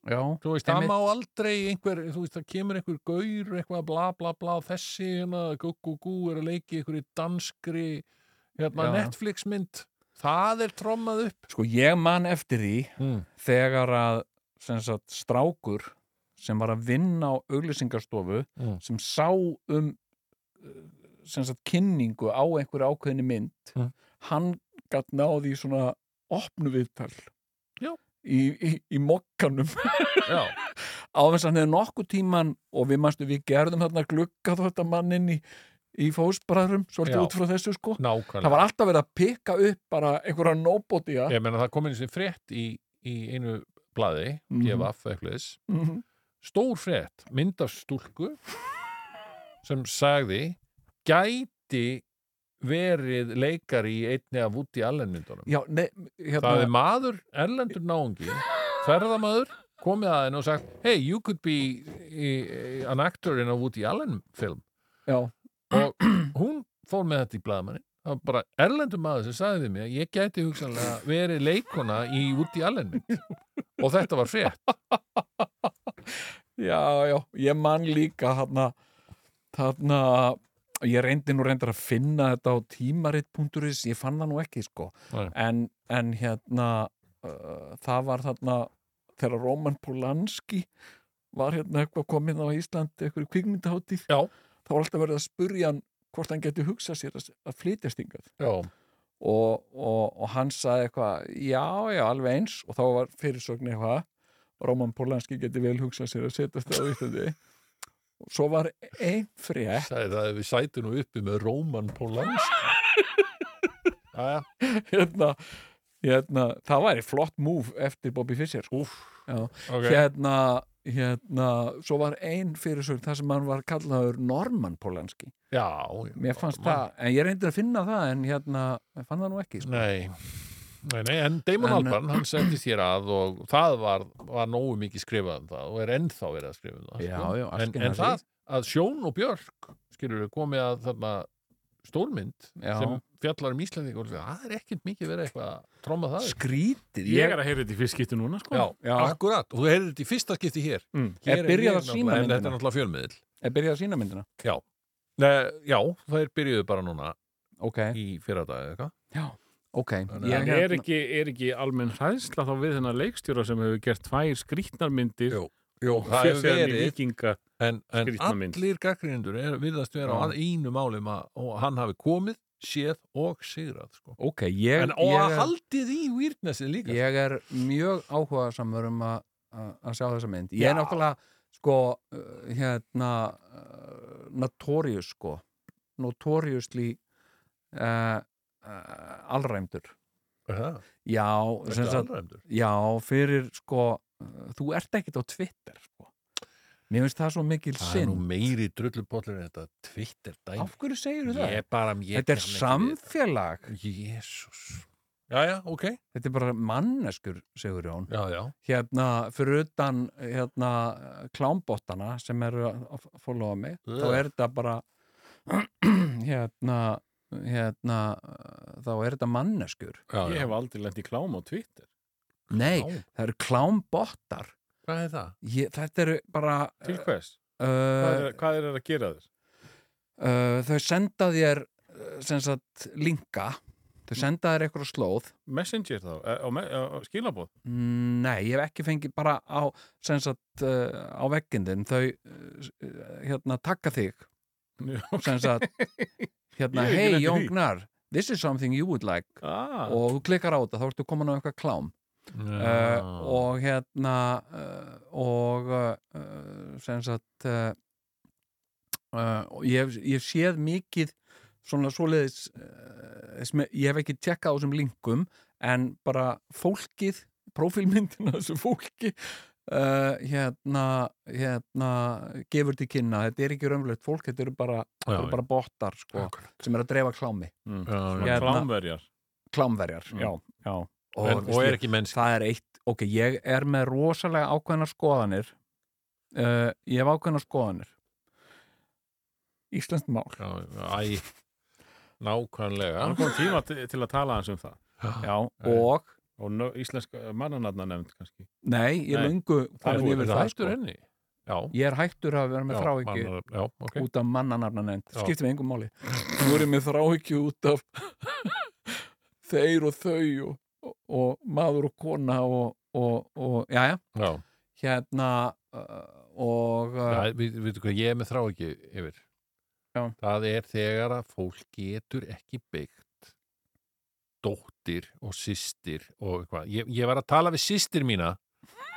Já,
þú veist, það
Einmitt.
má aldrei einhver, þú veist, það kemur einhver gaur eitthvað bla bla bla þessi hérna, gú gú gú er að leiki einhverju danskri hérna,
Já.
Netflix-mynd það er trommað upp
sko ég man eftir því
mm.
þegar að sem sagt, strákur sem var að vinna á auglýsingastofu
Mm.
sem sá um uh, sem sagt, kynningu á einhverju ákveðinni mynd
Mm.
hann gatt náði í svona opnu viðtal
Já.
í, í, í mokkanum
já,
á þess að hann hefði nokkuð tíman og við manstu við gerðum þarna glugga þetta mannin í, í fósbræðrum svolítið
Já.
út frá þessu sko það
nákvæmlega
var alltaf verið að pikka upp bara einhverja nóbóti
ég meina það kom einu sem frétt í, í einu blaði,
Mhm.
GFF eitthvað þess,
mm,
stór frétt mynd af stúlku sem sagði gæti verið leikari í einni af Woody Allen myndunum
já, nei, hérna,
það er maður, erlendur náungi ferðamaður, komið að henni og sagt hey, you could be eh, an actor in a Woody Allen film
já,
og hún fór með þetta í blaðmanni það var bara erlendur maður sem sagði við mig að ég gæti hugsanlega verið leikona í Woody Allen mynd og þetta var frétt
Já, já, ég man líka þarna, þarna ég reyndi nú reyndar að finna þetta á tímarit.is, ég fann það nú ekki sko,
Nei.
en, en hérna uh, það var þarna þegar Roman Polanski var hérna eitthvað komið á Ísland eitthvað kvikmyndahátíð,
Já.
þá var alltaf verið að spurja hann hvort hann geti hugsað sér að, að flytjast hingað
já,
og, og, og hann saði eitthvað já, já, alveg eins og þá var fyrirsögn eitthvað Róman Pólanski geti vel hugsað sér að setja þetta á Íslandi og svo var einn frétt
sagði það ef við sætum nú uppi með Róman Polanski Jæja,
hérna, hérna, það væri flott múf eftir Bobby Fischer sko.
úf
Já.
okay.
hérna, hérna, svo var ein fyrirsögn þar sem hann var kallaður Norman Polanski
já,
mér fannst það, en ég reyndi að finna það en hérna, ég fann það nú ekki sko.
Nei, nei, nei en Damon
En- uh,
Albarn, hann settist hér að og það var, var nógu mikið skrifað um það og er ennþá verið að skrifa um það.
Já,
sko.
já, allt
en,
gengur
en
að
það að Sjón og Björk, skilur við, komið að þarna stórmynd
Já.
sem fjallar um Íslanding og það er ekkert mikið verið eitthvað að tromma það. upp.
skrítið
Ég er að heyra þetta í fyrst skipti núna, sko.
Já,
Já.
akkurat, og þú heyrðir þetta í fyrsta skipti hér.
Mm.
hér
Er byrjað
ég
að sýna
náttúrulega- En
myndina?
þetta er náttúrulega fjölmiðil.
er byrjað að sína myndina
Nei, já, það er byrjuðu bara núna
ok,
í fyrradag eða eitthvað.
ok
En
ég,
En er ekki, er ekki almenn hræðsla þá við þennan leikstjóra sem hefur gert tvær skrítnarmyndir
Jú, jú, það
fyrir
hefur
sig hann í
verið
vikinga
en, en
Skrýtna mynd.
allir gaggrindur er, virðast vera á
Já.
að einu málum að og hann hafi komið, séð og sigrað sko.
ok, ég,
en, og
ég,
að
er,
haldið í výrnessin líka
ég er mjög áhuga samur um að að- að sjá þessa mynd ég
Já.
er náttúrulega sko uh, hérna uh, notorious sko notoriously uh, uh, allræmdur
það,
já, sem
sko. þetta
sagt
alræmdur
Já, fyrir sko uh, þú ert ekkit á Twitter sko. Mér finnst það svo mikil
það er nú
sinn
meiri drullupollur en þetta Twitter dæmi
Af hverju segirðu það?
ég bara, ég
þetta er samfélag
Jésús já, já, ok
Þetta er bara manneskur, segur Jón
já, já.
Hérna, fyrir utan hérna, klámbottana sem eru að fólóa mig þá
Ugh.
er þetta bara hérna, hérna uh, þá er þetta manneskur
Já, já.
Ég hef aldrei lent í klám á Twitter
Nei,
Já,
það eru klámbottar
hvað er það?
Ég, Þetta eru bara
Til
Eh,
hvers? Hvað
uh,
er, hvað er að gera þér?
uh, þau senda þér uh, sem sagt linka þau
Mm.
senda þér eitthvað slóð
Messenger þá? Eh, Á, me- á, á skilabóð?
nei, ég hef ekki fengið bara á sem sagt uh, á veggindin þau uh, hérna takka þig sem sagt hérna,
Ég hef ekki
hey
lent í
Jón
því."
Gnar this is something you would like
Ah,
og þú klikkar á þetta, þá ertu komin á eitthvað klám uh, og hérna uh, og uh, uh, sem sagt uh, uh, og ég, hef- ég hef séð mikið svona svoleiðis uh, sem ég hef ekki tjekkað á þessum linkum en bara fólkið prófílmyndina þessu fólki uh, hérna hérna gefur til kynna, þetta er ekki raunverulegt fólk, þetta eru bara,
já,
eru bara bottar sko,
Akkurat.
sem eru að dreifa klámi
mm.
já, já.
Hérna.
klámverjar
klámverjar,
Mm.
já, já
En, og er ekki mennsk
það er eitt, ok, ég er með rosalega ákveðnar skoðanir uh, ég hef ákveðnar skoðanir Íslands mál
já, æ, nákvæmlega
Það kom tíma til, til að tala hans um það
já, og,
og nö, íslensk mannanatna nefnd kannski
nei, ég
Nei,
er löngu
það
farin
er
yfir
það
það,
hættur
sko
henni já,
ég er hættur að vera með
já,
þráhyggju
mannar- já, ok
út af mannanarna nefnd,
Já.
skiptir mig engum máli nú er ég með þráhyggju út af þeir og þau og, og maður og kona og, og, og já, já,
já,
hérna uh, og uh,
Já, við, við, hvað, ég er með þrá ekki yfir
Já.
það er þegar að fólk getur ekki byggt dóttir og systir og eitthvað, ég, ég var að tala við systir mína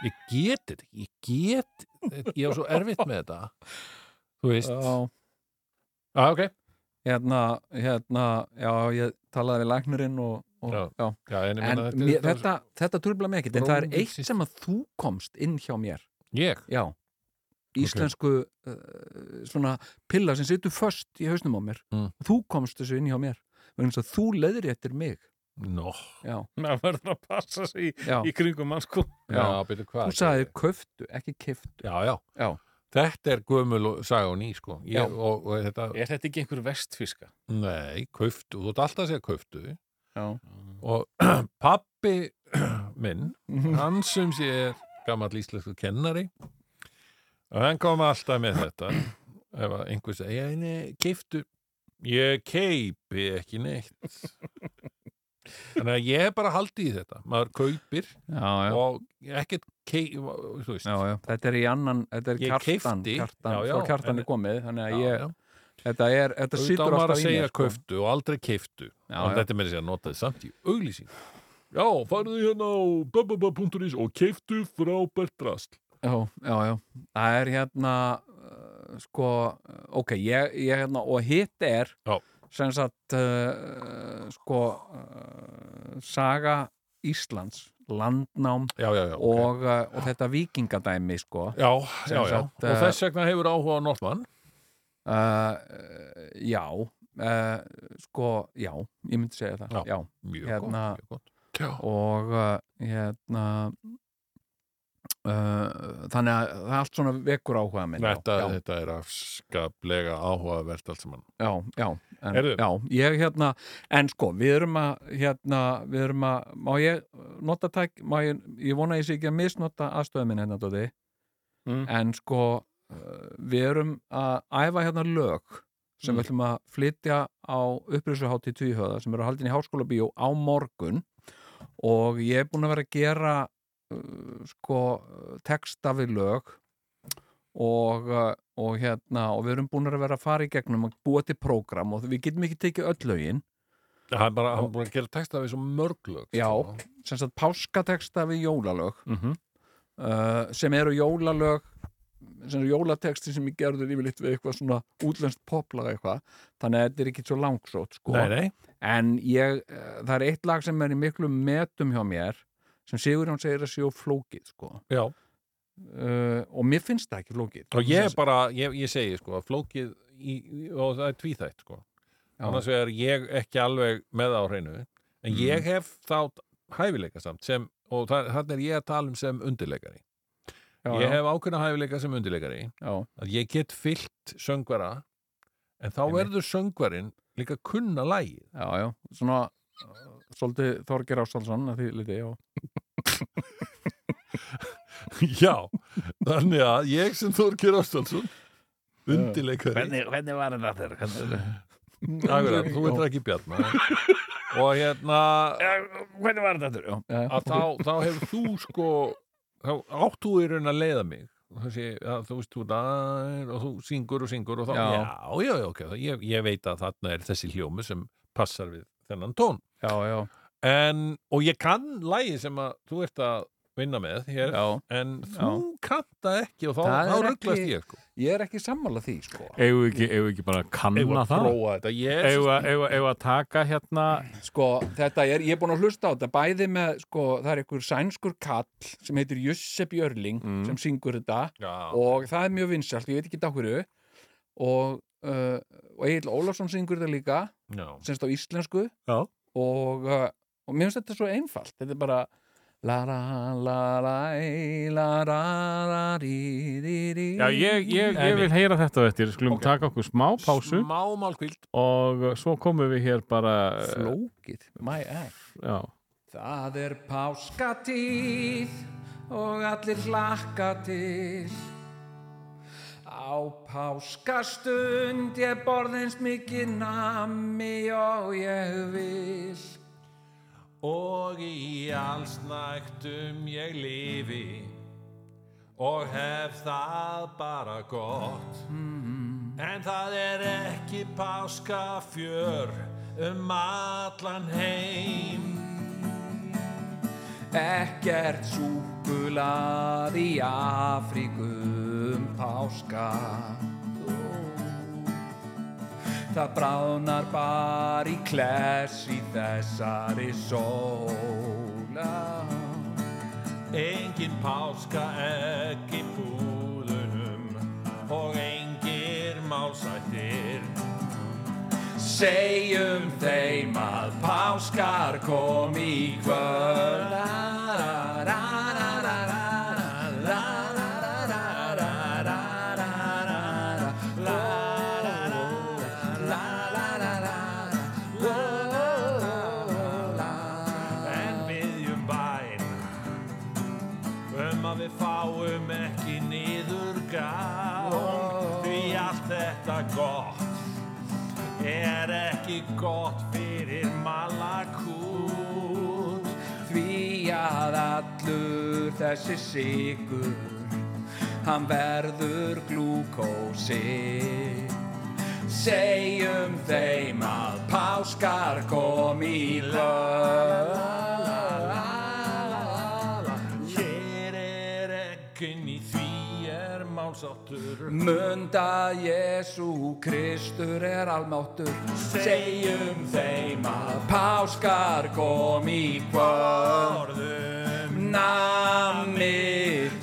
ég get þetta ekki, ég get ég er svo erfitt með þetta þú veist
já,
ah, ok,
hérna, hérna, já, ég talaði við læknirinn og, og
Já,
já.
já, en ég
en
meina
mér, þetta, þetta trubla mig ekkert, en það er
Bróðir
eitt
systir.
sem að þú komst inn hjá mér,
ég,
já íslensku uh, svona pilla sem situr föst í hausnum á mér
Mm.
þú komst þessu inn hjá mér vegna þess að þú leðir eftir mig
nó,
já,
maður verður að passa sig í,
já,
í kringum mann sko
já, já byrju hvað
þú sagði köftu, ekki kiftu
já, já,
Já.
þetta er gömul og saga og ný sko ég,
Já.
og, og þetta,
Er þetta ekki einhver vestfiska?
nei, kauftu þú ert alltaf að segja kauftu
já,
og pappi minn,
Mhm.
hann sem sé er gammal íslensku kennari og hann kom alltaf með þetta ef að einhver segi ég nei, keiftu ég keipi ekki neitt þannig að ég er bara haldið í þetta maður kaupir
já, já.
og ekkert keip þú veist
Já, já. Þetta er í annan, þetta er
Ég
kjartan,
keypti,
kjartan,
já, já,
svo kjartan
en-
er komið, þannig að
Já,
ég,
já.
þetta er, þetta
Auðvitað
situr
á maður að
alltaf í
segja
mér.
sko. kauftu og aldrei keiftu
Já,
og
já.
þetta með þess að nota þið samt í auglýsing Já, farðu hérna á bababa.is og keiftu frábært drast
Já, já, já. Það er hérna, uh, sko, uh, ok, ég, ég hérna, og hitt er,
Já.
sem sagt, uh, uh, sko, uh, saga Íslands landnám
já, já, já, ok.
og, uh, og þetta vikingadæmi sko uh,
já, já,
Sem
já. og
sagt, eh,
þess vegna hefur áhuga á Nortmann
uh, já uh, sko, já, ég myndi segja það
Já.
já.
mjög
Hérna-
gott, mjög gott. Já,
og uh, hérna uh, þannig að það allt svona vekur áhuga minn já,
þetta,
já,
þetta er afskaplega áhugavert allt saman
já, já, en,
Heyrðu.
já, ég hérna en sko, við erum að hérna, við erum að, má ég nota tæk, má ég, ég vona að ég sé ekki að misnota aðstöðu minn hérna, Dóti
Mm.
en sko uh, við erum að æfa hérna lög sem við ætlum að flytja á upprýsuhátti tvíhöða sem eru haldin í háskóla bíó á morgun og ég er búin að vera að gera uh, sko uh, texta við lög og, uh, og hérna og við erum búin að vera að fara í gegnum að búa til prógram og við getum ekki tekið öll lögin
hann er bara hann er búin að gera texta við svo mörglög
Já.
sko.
sem sagt páskateksta við jólalög
Mhm.
uh, sem eru jólalög sem eru jólatexti sem ég gerður yfirleitt við eitthvað svona útlenskt poplag eitthvað þannig að þetta er ekki svo langsótt sko.
nei, nei,
en ég, uh, það er eitt lag sem er í miklu metum hjá mér sem Sigurjón segir að séu flókið sko.
já
uh, og mér finnst það ekki flókið
og ég bara, ég, ég segi sko að flókið í, og það er tvíþætt sko
Já.
annars er ég ekki alveg með á hreinu en
Mhm.
ég hef þá hæfileika samt sem, og þannig er ég að tala um sem undirleikari
já,
ég
já,
hef ákveðna hæfileika sem undirleikari
já,
að ég get fyllt söngvara en þá
Einmitt.
verður söngvarin líka að kunna lægið
já, já, svona uh, svolítið Þorger Ástálsson að því liti, já,
Já, þannig að ég sem Þorkir Ástálsson undirleikari
hvernig var þetta þér?
Akkurat, þú veitir ekki bjarna og hérna
Hvernig var þetta þér? Já.
já,
að þá, þá hefur þú sko þá áttu í raun að leiða mig Þessi, að, þú veist, þú dær og þú syngur og syngur og þá,
Já.
já, já, já ok, þá- ég, ég veit að þarna er þessi hljómi sem passar við þennan tón
já, já,
en, og ég kann lægi sem að þú ert að vinna með hér,
já
en þú kannt það ekki og þá,
Það
þá
er
rugglast
ekki-
ég sko.
ég er ekki sammála því, sko
Eigum við ekki, eigum við ekki bara að
Eigum
kanna
að
það?
prófa þetta, ég
Eigum við- eigum við eigum við að taka hérna
Sko, þetta er, ég er búin að hlusta á þetta bæði með, sko, það er einhver sænskur kall sem heitir Jusse Björling
Mm.
sem syngur þetta
já,
og það er mjög vinsalt, ég veit ekki þetta hverju og, uh, og Egil Ólafsson syngur þetta líka,
já,
semst á íslensku
Já.
og, uh, og mér finnst þetta svo einfalt, þetta er bara la ra la la la ra ra ri ri ri
Já, ég, ég, ég vil heyra þetta á eftir, skulum
Ok.
taka okkur smá pásu
smá málkvíld
og svo komum við hér bara eh,
flókið, my ass
já,
Það er páskatíð og allir hlakka til Á páskastund ég borðins mikið nami og ég vil
Og í allsnægtum ég lifi Og hef það bara gott En það er ekki páskafjör Um allan heim
Ekkert súkulað í Afríkum páska Það bráðnar bara í kless í þessari sóla
Engin páska ekki búðunum Og engir málsættir
Segjum þeim að páskar kom í kvöld La, ra, ra, ra, ra, ra, la, ra, ra, ra, ra, ra, ra, ra, ra, la, ra, ra, la, la, ra, ra, la, la, la.
En byggjum bæn Um að við fáum ekki niður Því allt þetta gott Er ekki gott fyrir malakút
Því að allur þessi sigur Hann verður glúkósi Segjum þeim að páskar kom í lög
Hér er ekkin í því er málsáttur
Munda Jésu Kristur er almáttur Segjum þeim að páskar kom í kvöld
Orður
nami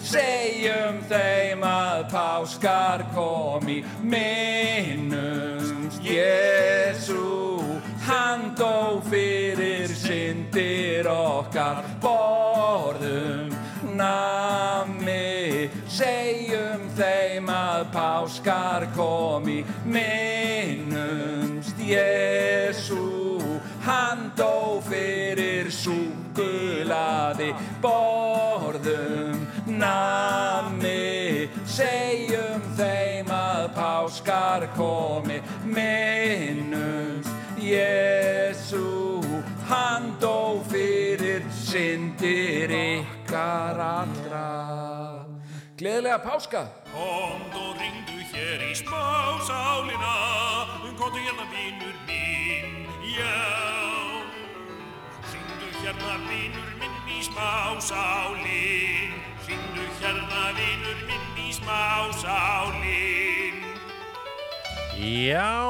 segjum þeim að páskar komi minnumst Jésu hann dó fyrir syndir okkar borðum nami segjum þeim að páskar komi minnumst Jésu hann dó fyrir súkulaði borðum nami segjum þeim að páskar komi minnumst Jésu hann dó fyrir syndir ykkar allra Gleðilega páska!
Komd og ringdu hér í smásálina, komdu hérna vinur minn, já. Ringdu hérna vinur minn í smásálin, ringdu hérna vinur minn í smásálin.
Já,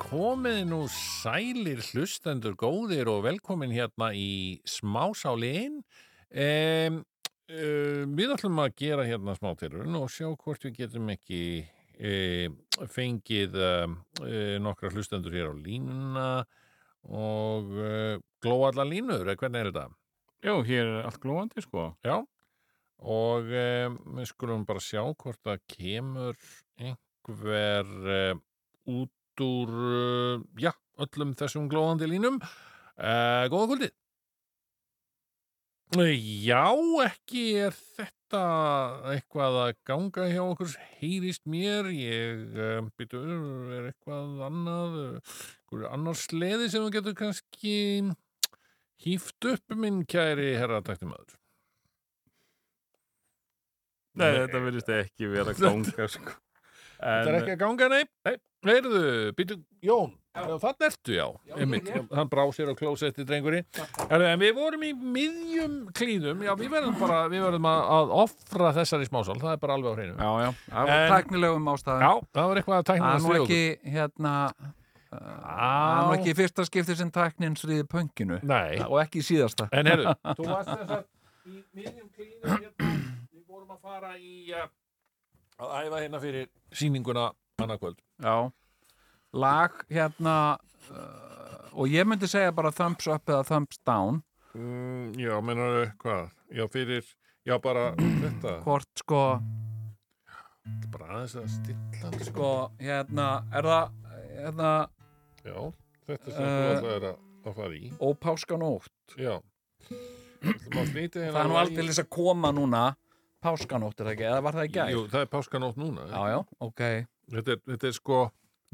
komið nú sælir hlustendur góðir og velkomin hérna í smásálin. Um, um, við ætlum að gera hérna smátilurinn og sjá hvort við getum ekki um, fengið um, um, nokkra hlustendur hér á línuna og uh, glóa allar línur, eða hvernig er þetta?
Jó, hér er allt glóandi sko.
Já, og um, við skulum bara sjá hvort það kemur einhver um, út úr, um, já, öllum þessum glóðandi línum. Uh, góða kvöldið. Eh, Já, ekki er þetta eitthvað að ganga hjá okkur, heyrist mér, ég um, býtu, er eitthvað annað, einhver annar sleði sem þú getur kannski hýft upp minn kæri herra taktimaður.
Nei, þetta verðist ekki vera að ganga sko.
Það
eh,
er ekki að ganga, nei. Nei, heyrðu, býtu, Jón, þannig ertu, já, einmitt. Hann brá sér á klósetti, drengurinn. Heyrðu, en við vorum í miðjum klíðum, já, við verðum bara, við verðum að, að offra þessari smásál, það er bara alveg á hreinu.
Já, já.
Af
En-
tæknilegum ástæðum
Já, það var eitthvað að tækna
Það er nú
við
ekki, hérna, það er nú ekki í fyrsta skipti sem tæknin sriði pönginu
Nei,
og ekki í síðasta.
en heyrðu, þú varst þess að í miðjum klíðum hérna, við vorum að fara í uh, að æfa hérna fyrir sýninguna annarkvöld.
Já. Lag, hérna, uh, og ég myndi segja bara thumbs up eða thumbs down,
Mm, já, mennaðu, hvað? Já, fyrir, já, bara þetta,
hvort sko,
bara aðeins að stilla hann,
sko, hérna, er það, hérna,
Já, þetta sem
Eh,
þú alltaf er að, að fara í.
ópáskanótt.
Já. Það
Það er nú aldrei að koma núna, páskanótt er það ekki, eða var það í gæð?
Jú, það er páskanótt núna.
Já, já, ok.
Þetta, er, þetta er sko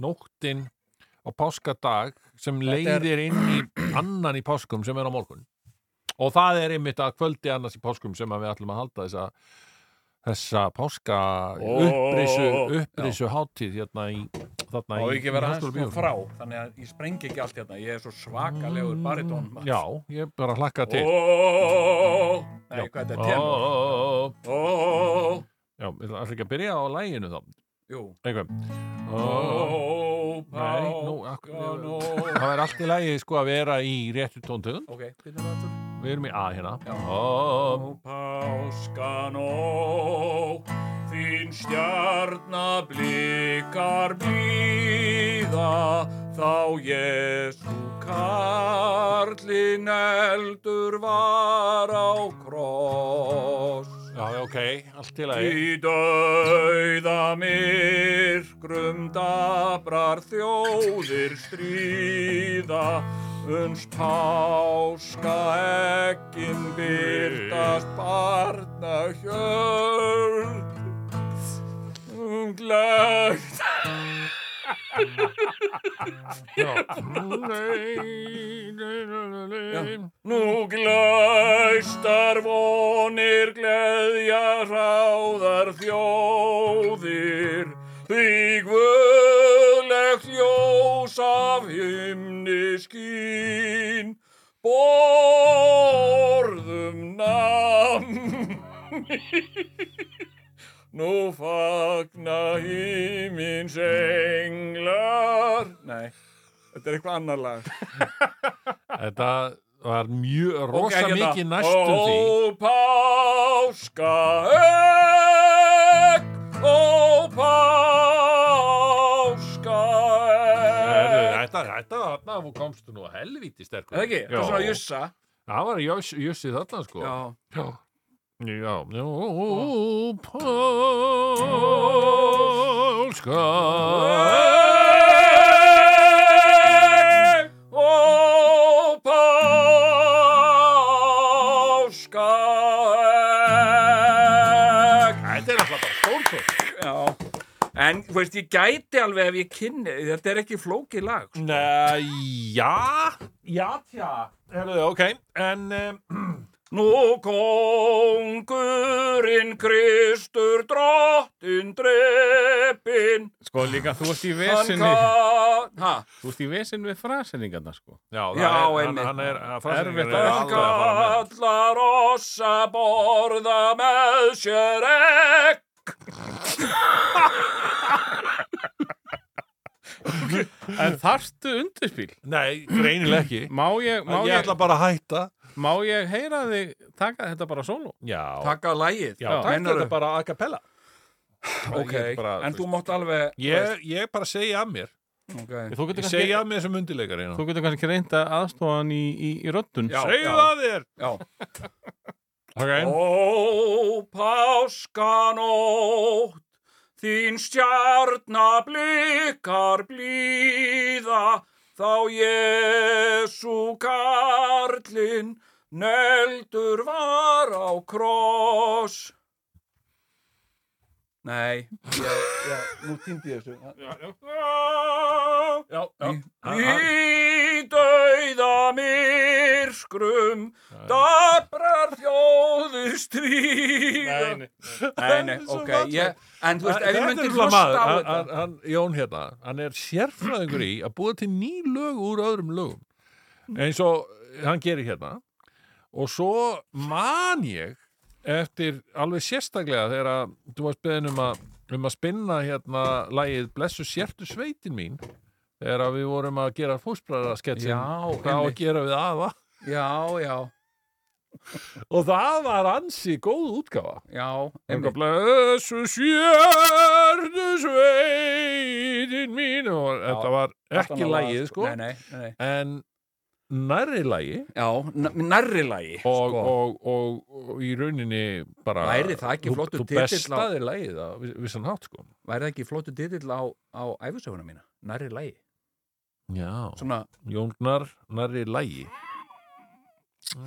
nóttin á páskadag sem
Þetta er-
leiðir inn í annan í páskum sem er á morgun. Og það er einmitt að kvöldi annars í páskum sem að við ætlum að halda þessa þessa páska
Ó.
upprisu, upprisu hátíð hérna í þarna
Má
í,
ekki vera
í
aðeins
Háskólabíói.
nú frá, þannig að ég sprengi ekki allt hérna, ég er svo svakalegur baritón. maður.
Mm. Já, ég bara hlakka til
Ó,
Nei, hvað
Ó,
er þetta,
ó,
tenor?
ó.
ó,
Já, við ætlum ekki að byrja á læginu þá
Jú.
Eitthvað
ó,
Nei, nú, akkur, það er allt í lagi sko að vera í réttu tóntöðun
Ok, hvernig var þetta?
Við erum í A hérna
Já.
Ó,
Á páskanótt þín stjarnablikar blíða þá Jésu karlinn eldur var á kross
Já, já, ok, allt í lagi
Í dauða myrkrum dabrar þjóðir stríða uns páska ekkin byrtast barna hjörn um glögt
eh,
Nú glæstar vonir, gleðja ráðar þjóðir, því guðlegt ljós af himni skín, borðum namn. Nú fagna himins englar. Nei, þetta er eitthvað annar lag.
Þetta var mjög, rosa
Ok, hérna.
mikið næstum því
Ó, páska egg, ó, páska
Herðu,
egg.
Þetta, þetta, þarna komstu nú að helvíti sterkur.
Það ekki, það er
Já.
svona jussa
Það var jöss- jussið þarna, sko.
Já,
Já. Já. Jú, Pálska.
Egg, ó, páska egg.
Þetta er alltaf bara stórkvöld.
já En, þú veist, ég gæti alveg ef ég kynni Þetta er ekki flókið lag sko.
Nei, já. Já, tja. Herðu, ok. En, um,
Nú kongurinn Kristur drottin dreppin
Sko líka, þú ert í
Hann
vesinni
kann
Ha,
Þú ert í vesinni við frasendingarna, sko
já, það
Já,
er, hann,
einmitt.
hann er, frásögnin
Erfitt
er
að
alveg
elska.
að fara með.
kallar oss að borða með sér ekk
En þarftu undirspil?
Nei, greinileg ekki.
Má ég, má
Ég
ég,
ætla bara að hætta.
má ég heyra þig taka þetta bara sóló?
Já.
taka lagið
Já, takk
Meinarðu?
þetta bara a cappella.
Ok,
Ég bara-
en þú mátt alveg
Ég, ég bara segja að mér
okay.
Þú
Ég
getur kannski,
segja að mér sem undirleikar
þú getur kannski reynda aðstofan í, í, í röddun
Já.
Segðu að þér
Já,
okay.
Ó, páskanótt, þín stjarna blikar blíða, þá Jésu karlinn neldur var á kross.
nei ég, ég, Nú týndi ég þessu
Já,
já.
Í dauða myrskrum, dabrar þjóður stríða.
Nei, nei, ok ég, En þú veist, ef ég myndi hlusta
maður,
á
hann,
þetta
hann, hann, Jón hérna, hann er sérfræðingur í að búa til ný lög úr öðrum lögum eins og hann gerir hérna og svo man ég eftir alveg sérstaklega þegar að þú varst beðin um að, um að spinna hérna lægið Blessu sértu sveitin mín þegar að við vorum að gera fósbræðasketsin
Já,
hvað á að
einmitt.
gera við aða
Já, já,
og það var ansi góð útgáfa
já
Enga
einmitt.
blessu sjörnu sveitin mín og þetta var
Allt
ekki
annað lag,
lægið sko
Nei, nei, nei, nei.
en nærri lægi
Já, n- nærri lagi
og,
sko.
og, og, og í rauninni bara
Væri það ekki
þú-
flottur
þú
titill á-
bestaði lægið á viss- vissan hátt sko
væri það ekki flottu ditill á, á æfisöguna mína, nærri lægi
Já,
svona,
Jóngnar nærri lægi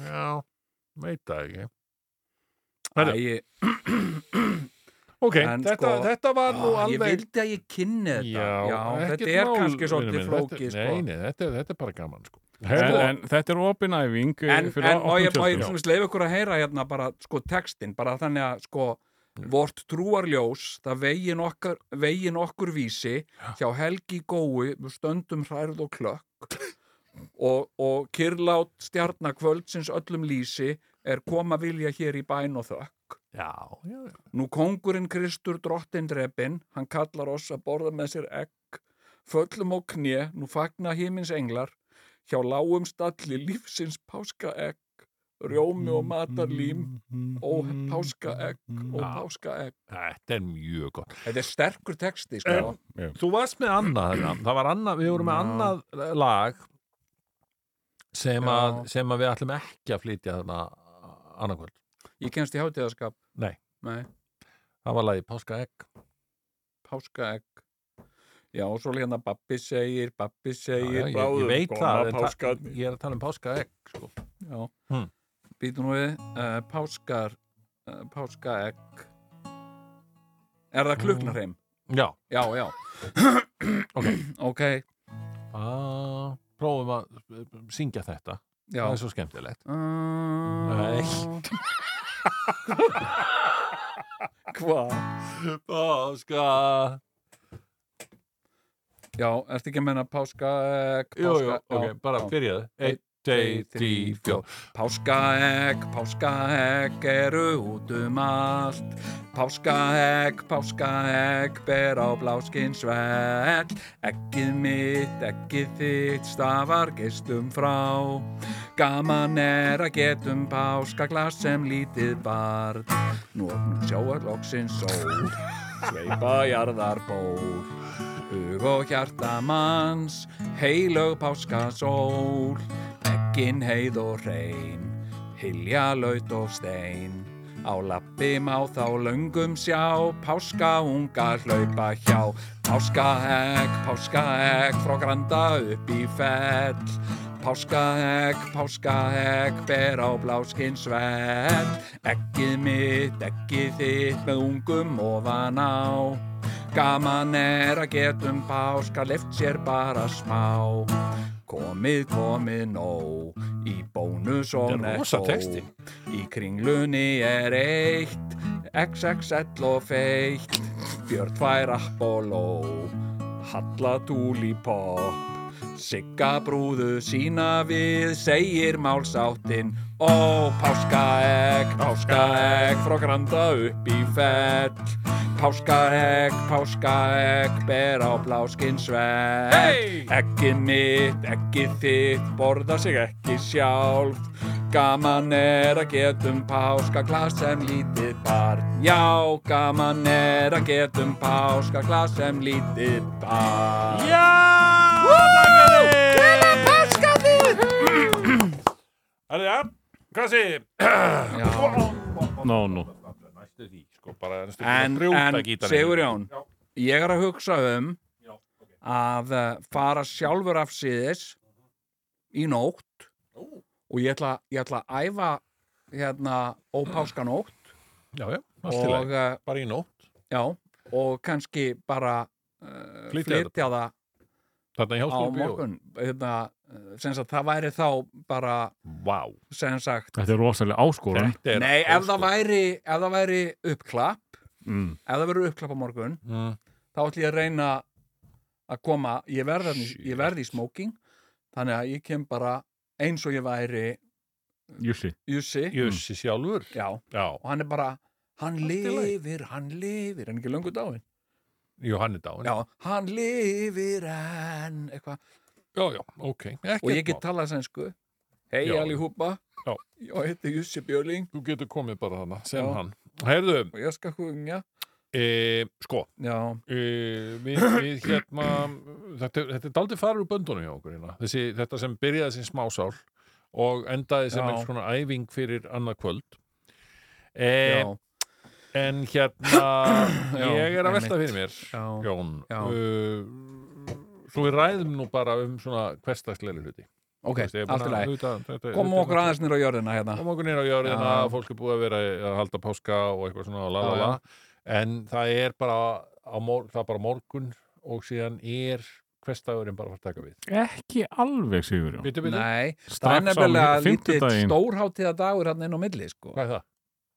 Já, veit það ekki Herru,
æ,
Ok,
En
þetta,
sko-
þetta var nú
á, ég
alveg
vildi að ég kynni þetta þetta
ekkert
er
mál,
kannski
vinur
svolítið
minn,
flókið
þetta-
sko.
Nei, nei, þetta, er- þetta er bara gaman sko.
En,
Sko,
en þetta er opin æfing eh,
en,
fyrir
en má ég,
opnum
má ég
tjöldum.
svona leifa ykkur að heyra hérna bara sko textin, bara þannig að sko Vort trúarljós, það vegin okkur, vegin okkur vísi hjá Helgi Gói, við stöndum hrærð og klökk og, og kyrlát stjarnakvöldsins öllum lýsi er koma vilja hér í bæn og þökk
já, já, já.
Nú kongurinn Kristur drottin drepin, hann kallar oss að borða með sér egg, föllum á kné, nú fagna himins englar, hjá lágum stalli lífsins páska egg, rjómi og matarlím, ó páska egg, ó
Já.
páska egg.
Þetta er mjög gott
Þetta er sterkur texti, sko.
Þú varst með annað hérna Það var annað, við vorum með
Já.
annað lag sem
Já.
að, sem að við ætlum ekki að flytja þarna annarkvöld
Ég kennst í hátíðaskap.
Nei.
Nei,
Það var lagið Páska Egg
páska egg. Já, og svo hérna babbi segir, babbi segir,
ég,
bráðum
ég veit það,
koma
en
páska-
það ég er að tala um Páska Egg sko.
Já.
Hmm.
Býtu nú við, uh, páskar, uh, páskaegg. Er það kluknarheim?
um- Já,
Já, já.
ok
Ok,
ah, Prófum að eh, syngja þetta
já. Ah.
Það er svo skemmtilegt
Nei. Hvað?
Páska
Já, ertu ekki að menna páskaegg, páska...
Jú, jú,
já,
ok, bara
já.
byrjaðu Einn, tveitri, fjó
Páskaegg, páskaegg eru út um allt Páskaegg, páskaegg ber á bláskin svell Eggið mitt, eggið þitt stafar geistum frá Gaman er að getum páskaglas sem lítið barn Nú opnum sjáar loksins sól Sveipa jarðar ból Hug og hjarta manns Heilög páskasól Eggin heið og reyn Hilja laut og stein Á lappi má þá löngum sjá Páska unga hlaupa hjá Páskaegg, páskaegg Frá granda upp í fell Páskaegg, páskaegg Ber á bláskin svell Eggið mitt, eggið þitt Með ungum ofan á Gaman er að getum páska, lift sér bara smá. Komið, komið nóg, í bónus og
Þetta er rosa texti.
Í kringlunni er eitt, XXL og feitt, Björn fær Apollo, Halla Dúlipopp, Sigga brúðu sína við, segir málsáttinn, Ó, páskaegg, páskaegg, frá granda upp í fell, Páskaegg, páskaegg, ber á bláskin svell. Hey! Eggið mitt, eggið þitt, borða sig ekki sjálf. Gaman er að getum páska, glas sem lítið barn. Já, gaman er að getum páska, glas sem lítið barn.
Það er það, hvað segir
Nó, nú.
Næstu því, sko, bara næstu því
En,
að brjóta
en
gítarinn.
Sigurjón, ég er að hugsa um að eh, fara sjálfur af síðis í nótt og ég ætla, ég ætla að æfa hérna ópáskanótt
Já, já, allt til
og,
að
eh,
bara í nótt
já, og kannski bara uh,
Flytja
flytja það
Þarna í
á
háskóla bíó
morgun hérna, eh, sem sagt, það væri þá bara
Vá,
sem sagt
Þetta er rosalega áskoran.
þetta er
Nei, ef það væri, ef það væri uppklapp
Mm.
ef það verður uppklapp á morgun
Mm.
þá ætlum ég að reyna að koma ég verð, þarna- ég verð í smoking þannig að ég kem bara eins og ég væri
Jussi.
Jussi
Jussi sjálfur
já, og
Já,
hann er bara hann
Allt í lagi.
lifir, hann lifir en ekki löngu dáin
jú, hann er dáin
já, hann lifir en eitthvað
já, já, ok Ekkert
og ég get
mál.
talað sænsku hei
Já.
allihúpa
Já.
ég heiti Jussi Björling
Þú getur komið bara þarna, sem
Já.
hann Herðu,
og ég skal hugja
e, sko
já,
e, við, við hérna þetta, er- þetta er daldið farið úr böndunum hjá okkur hérna. Þessi, Þetta sem byrjaði sem smásál og endaði sem
Já.
eins konar æfing fyrir annað kvöld e,
já,
En hérna,
Já,
ég er að velta
einmitt.
fyrir mér,
já.
Jón,
Já.
Uh, svo við ræðum nú bara um svona hverstagsleiri hluti.
ok,
Þú veist, ég er búin
allt í lagi
auðvitað- þetta- um
komum
þetta er
okkur aðeins nýra á jörðina hérna
Koma okkur nýra á jörðina,
Já.
fólk er búið að vera að halda páska og eitthvað svona, la la
Já,
la,
já.
en það er bara, á mor, það er bara morgun og síðan er hverstagurinn bara að fara að taka við.
Ekki alveg, Sigurjón.
Bitu, bitu,
nei, það er
Strax á
nefnilega lítið
fimmtudaginn,
stórháttíða dagur hann inn á milli sko.
hvað er það?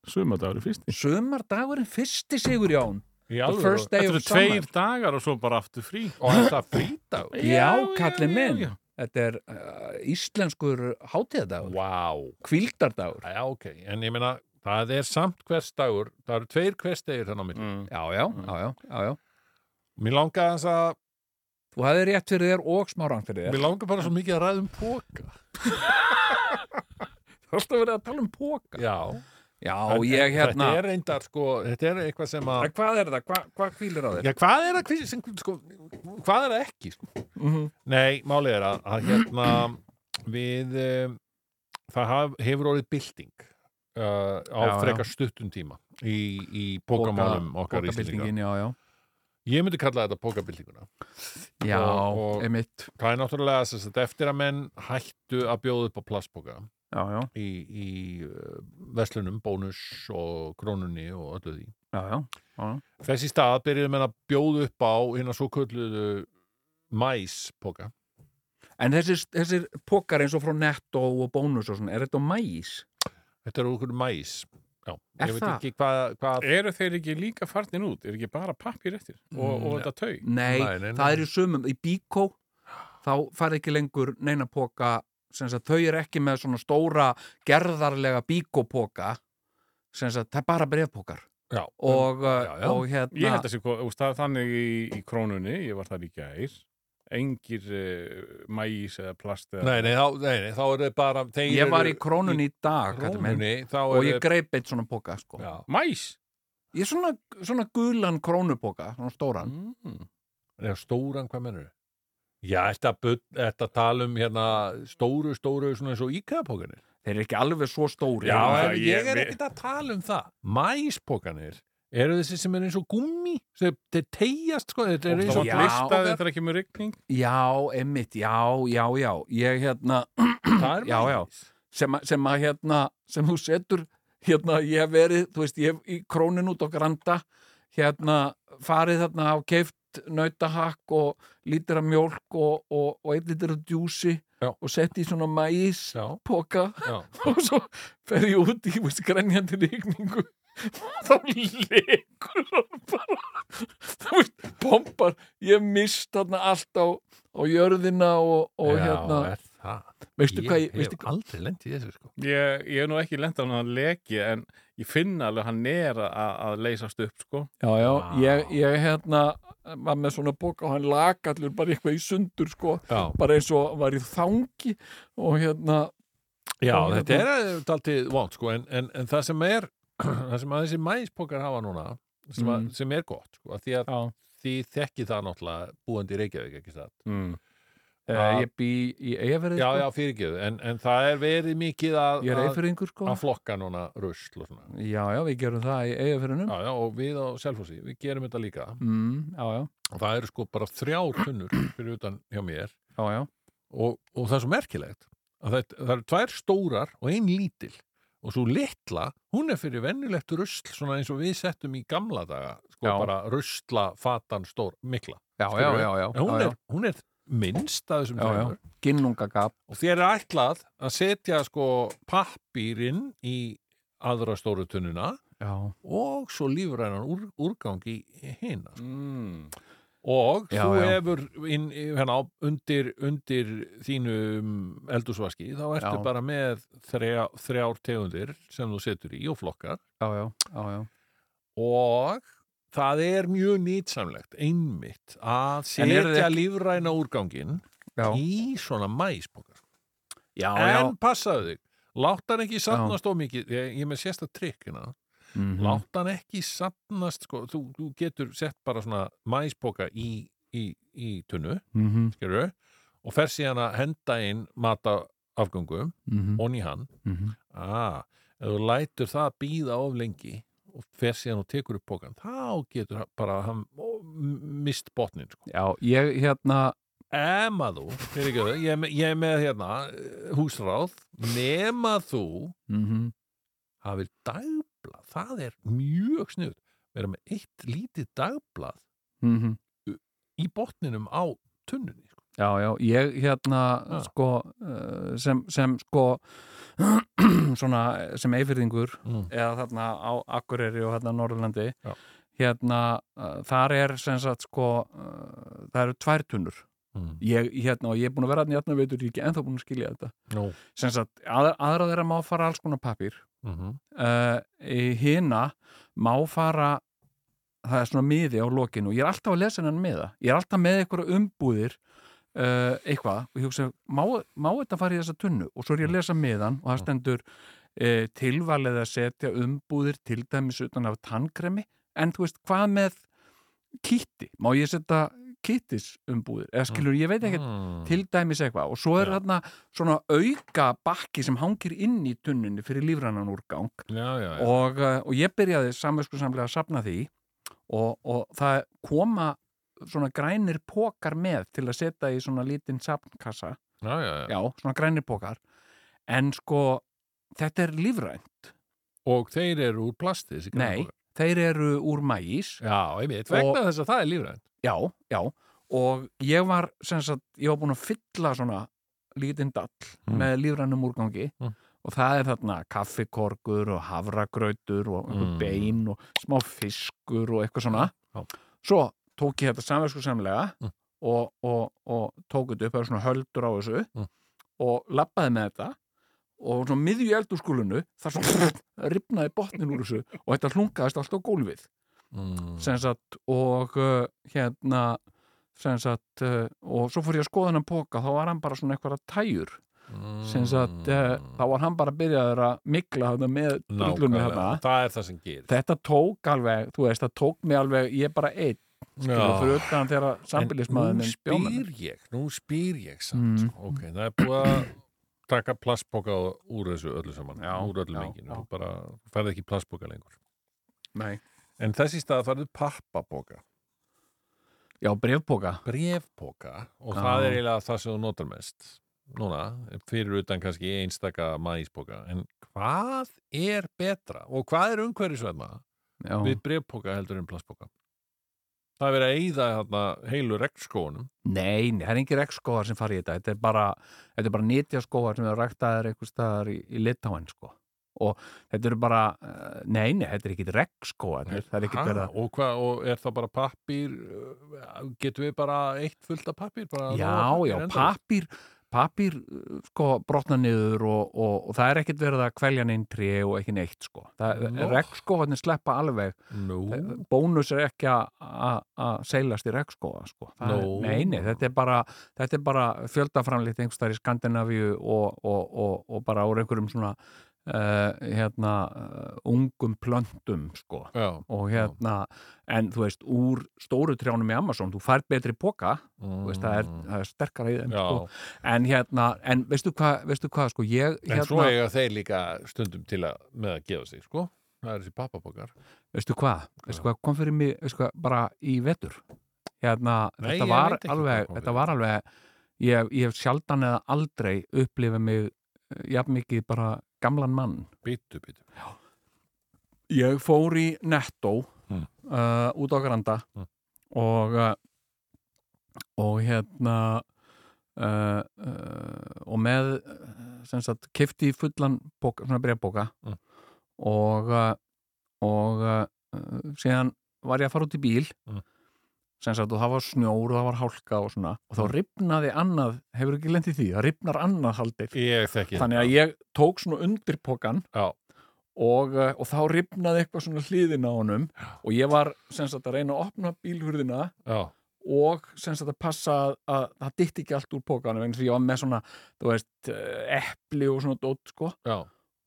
sumadagur í fyrsti.
sumardagurinn fyrsti sigur Jón
Í
the
alvöru?
first day
Þetta
of
eru
summer
tveir dagar og svo bara aftur frí.
Og er það frítagur?
já,
já,
kallið
já,
minn
já.
þetta er uh, íslenskur hátíðadagur
Vá.
kvildardagur
Já, ok, en ég meina, það er samt hverstagur, það eru tveir hverstagir þannig á milli.
Mm.
já, já, já, já, já, já.
Mér langar þess að
þú hefði rétt fyrir þér og smá rangt fyrir þér
Mér langar bara svo mikið að ræða um póka
þú ætti að vera að tala um póka já,
Já en- en
ég hérna
Þetta er reyndar sko, þetta er eitthvað sem að
En hvað er það, hvað, hvað kvílir á þér
Já, hvað er það sem, sko, hvað er það ekki sko? Nei, málið er að, að hérna við um, það haf, hefur orðið bylting uh, á
Já, já.
frekar stuttum tíma í, í pókamálum okkar íslendinga
pókabildingin, já, já,
Ég myndi kalla þetta pókabyltinguna
já,
Og- og-
emitt
Það er náttúrulega þess að eftir að menn hættu að bjóða upp á plastpóka
já, já,
í, í uh, verslunum, bónus og krónunni og öllu því
já, já,
Þess í stað byrjuðum en að bjóða upp á hérna svo kölluðu mæspoka.
en þessir, þessir pókar eins og frá netto og bónus og svona, er þetta mæs?
Þetta eru okkur mæs. Já,
Er
ég veit
það?
ekki hvað... hvað
Eru þeir ekki líka farnir út? Er ekki bara pappir eftir? Og, og
Mm.
þetta tau?
Nei,
Nei, nei, nei.
það er í sumum, í bíkó þá fari ekki lengur neina póka sem sagt, þau eru ekki með svona stóra gerðarlega bíkópoka sem sagt, það er bara brefpokar
já,
og,
Um, já, já.
og hérna
Ég held að sé, hvað- úst, það, þannig í, í krónunni, ég var það í gær, engir uh, mæs eða plast eða...
nei, nei, þá, nei, nei, þá er þau bara þeir
ég var
eru
í krónunni í dag kallar minn,
krónunni þá
og
eru-
ég greip eitt svona poka sko.
já,
Mæs?
ég er svona, svona gulan krónupoka svona stóran
Mm.
Eða stóran, hvað mennur þau? Já, þetta, bull- þetta tala um hérna stóru, stóru, svona eins og íkæðapókanir.
þeir eru ekki alveg svo stóri
Já,
en
það-
ég,
ég-
er
mér-
ekkert að tala um það. Mæspókanir eru þessi sem er eins og gummi, sem þeir tegjast, sko, þetta er
Og
eins og
svona
Já.
listaði þetta er ekki með rigning?
já, emmitt, já, já, já ég hérna
það er
Já, já. sem, að- sem að hérna sem þú setur hérna ég hef verið, þú veist, ég hef í krónin út á granda hérna farið þarna á keift nautahakk og lítra mjólk og, og, og eitt lítra djúsi
Já.
og sett í svona mæs
Já,
poka
já.
og svo fer ég út í þú veist, grenjandi rigningu þá leikur hann bara þú veist, pompar ég mist þarna allt á, á jörðina og, og
já,
hérna
er það.
veistu hvað ég,
ég hef
veistu hvað
aldrei lendið þessu, sko.
Ég, ég hef nú ekki lent á hann leki, en ég finn alveg hann er að, að leysast upp, sko.
Já, já,
Vá.
ég, ég hérna var með svona bók og hann lag allur bara eitthvað í sundur sko
Já,
bara eins og var í þangi og hérna
já
Og hérna-
þetta er alltið vant, sko, en, en, en það sem er, það sem að þessi mæspókar hafa núna, sem, að,
Mm.
sem er gott, sko, að því að
Já.
því þekki það náttúrulega búandi í Reykjavík, ekki satt?
Mm.
eh, ég bý í Eifirði
Já,
sko.
já, fyrirgeðu, en, en það er verið mikið að,
ég er Mm.
að,
Eifirðingur sko
að flokka núna rusl og svona.
Já, já, við gerum það í Eifirðinum
Já, já, og við á Selfossi, við gerum þetta líka.
mm, Já, já,
Og það eru sko bara þrjár tunnur fyrir utan hjá mér
já, já
og, og það er svo merkilegt að það, það eru tvær stórar og ein lítil og svo litla, hún er fyrir venjulegt rusl svona eins og við settum í gamla daga, sko
Já.
bara rusla fatan stór, mikla.
Já, já,
Skilurðu?
já, já,
En hún,
já,
Er, hún er minnst að þessum
Já, já.
tveimur.
já. Ginnungagap
Og þér er ætlað að setja sko pappýrin í aðra stóru tunnuna
Já,
og svo lífrænan úr, úrgang í hina.
Mm.
Og
sko. Já,
þú
já.
hefur inn, hérna, á- undir, undir þínum eldúsvaski, þá ertu
Já.
bara með þrjá, þrjár tegundir sem þú setur í og flokkar.
já, já, já, já
Og það er mjög nýtsamlegt, einmitt, að
En eru þið
setja lífræna úrganginn
Já,
í svona mæsbókar.
já,
en passaðu þig látt hann ekki sapnast of mikið ég, ég er með sérsta trikkina mm.
Mhm.
látt hann ekki sapnast sko, þú, þú getur sett bara svona mæspoka í, í, í tunnu
Mhm,
skeru, og fer síðan að henda inn matafgöngum
mhm,
onni hann
mhm.
ah, ef þú lætur það býða of lengi og fer síðan og tekur upp pokan þá getur hann bara hann ó, m- mist botnin sko.
Já, ég hérna
ema þú, fyrirgefðu, ég, er með- ég er með hérna eh, húsráð nema þú
mhm,
hafið dagblað, það er mjög snuð vera með eitt lítið dagblað
mhm
í botninum á tunnunni sko.
Já, já, ég hérna
Ah.
sko eh, sem, sem sko svona sem eifyrðingur
mm.
eða þarna á Akureyri og hérna Norrlandi
Já.
hérna eh, þar er sem sagt sko eh, það eru tvær tunnur
Mm.
ég, hérna, og ég er búin að vera hérna í hérna veitur ég er ekki ennþá búin að skilja þetta
Nú.
sem sagt að, aðra þeirra má fara alls konar pappir
Mm
uh, hina má fara það er svona miði á lokinu ég er alltaf að lesa hennan miða ég er alltaf með einhverja umbúðir uh, eitthvað og ég hugsa, má, má þetta fara í þessa tunnu og svo er ég að lesa miðan og það stendur uh, tilvalið að setja umbúðir til dæmis utan af tannkremi en þú veist, hvað með kitti, má ég setja kittis umbúðir, eða skilur, ég veit ekki
Mm.
til dæmis eitthvað og svo er
Já.
þarna svona auka bakki sem hangir inn í tunnunni fyrir lífrannan úrgang
já, já, já.
og, uh, og ég byrjaði samvöskusamlega að sapna því og, og það koma svona grænir pókar með til að setja í svona lítinn sapnkassa
já, já, já.
já, svona grænir pókar en sko, þetta er lífræn
og þeir eru úr plasti þessi
nei,
grænbókar.
þeir eru úr mæís
já, einmitt, vegna þess að það er lífrænt
já, já og ég var, sem sagt, ég var búin að fylla svona lítinn dall
Mm.
með lífrænum úrgangi
Mm.
og það er þarna kaffikorkur og havragrautur og einhver
Mm.
bein og smá fiskur og eitthvað svona
Já.
svo tók ég þetta samvegsku samlega
Mm.
og, og, og tók þetta upp eða svona höldur á þessu
Mm.
og labbaði með þetta og svona miðju eldurskúlunu þar svo ripnaði botnin úr þessu og þetta hlungaðist allt á gólfið
Mm.
sem sagt og uh, hérna sem sagt uh, og svo fór ég að skoða hann póka þá var hann bara svona eitthvað tæjur sem sagt uh,
Mm.
þá var hann bara byrjaður að mikla þarna með drullunum
Nákvæmlega.
þarna
það er það sem gerir
þetta tók alveg, þú veist, það tók mig alveg ég er bara einn, skilur, fyrir utan þegar sambilismæðin
nú spyr ég, nú spyr ég samt,
Mm.
sko. ok, það er búið að taka plastpoka úr þessu öllu saman
Já,
úr öllu
já,
menginu,
já.
þú bara færði ekki plastpoka lengur
Nei.
en þessi stað færðu pappapoka
Já, brefpoka
brefpoka og
Já.
það er eiginlega það sem þú notar mest núna, fyrir utan kannski einstaka maíspoka, en hvað er betra og hvað er umhverfisvæðna
Já,
við brefpoka heldur en plastpoka það er verið að eyða hérna, heilu regnskóunum
nei, nei, það er engin rekskóðar sem fari í þetta þetta er bara, þetta er bara nýtjaskóðar sem er ræktaðar einhvers staðar í, í Litáin sko. og þetta eru bara eh, nei, nei, þetta er ekkit rekskóðar það er ekkit
Ha,
verið að
og, hva, og er það bara pappír uh, getum við bara eitt fullt af pappír bara
Já,
nóg af pappír
já,
endalaust?
pappír pappír, uh, sko, brotna niður og, og, og það er ekkit verið að kvelja neinn tré og ekki neitt, sko
Nó.
rekskóðarnir sleppa alveg
Nú,
bónus er ekki að- að að seilast í rekskóa sko. Það er-
Nú.
nei, nei, þetta er bara, þetta er bara fjöldaframlít einhvers þar í Skandinavíu og, og, og, og bara úr einhverjum svona uh, hérna uh, ungum plöntum sko.
já,
og hérna en þú veist, úr stóru trjánum í Amazon þú fær betri póka, þú veist, það er, það er sterkara í þeim
Mm. já,
sko. en hérna, en veistu hvað veistu hvað, sko, ég
en svo
hérna,
eiga þeir líka stundum til að með að gefa sig, sko það er þessi pappapokar
veistu hvað, veistu hvað kom fyrir mig, veistu hvað, bara í vetur hérna,
Nei,
þetta
ég
var
veit ekki hvað
alveg
kom
þetta
fyrir.
var alveg, ég, ég hef sjaldan eða aldrei upplifað mig eh, jafn mikið bara gamlan mann
bitu, bitu
ég fór í Netto
Mm.
uh, út á Granda
Mm.
og uh, og hérna uh, uh, og með uh, sem sagt, kefti fullan bóka, svona brefbóka
Mm.
og uh, og uh, síðan var ég að fara út í bíl
Mm.
sem sagt, og það var snjór og það var hálka og svona og þá
Mm.
ripnaði annað, hefur ekki lendið því það ripnar annað haldið
ég þekki
þannig að ég tók svona undir pokan
Já.
og, uh, og þá ripnaði eitthvað svona hliðin á honum og ég var sem sagt að reyna að opna bílhurðina
já,
og sem sagt að passa að, að það ditti ekki allt úr pokanum eins og ég var með svona, þú veist, eh, epli og svona dót sko
já,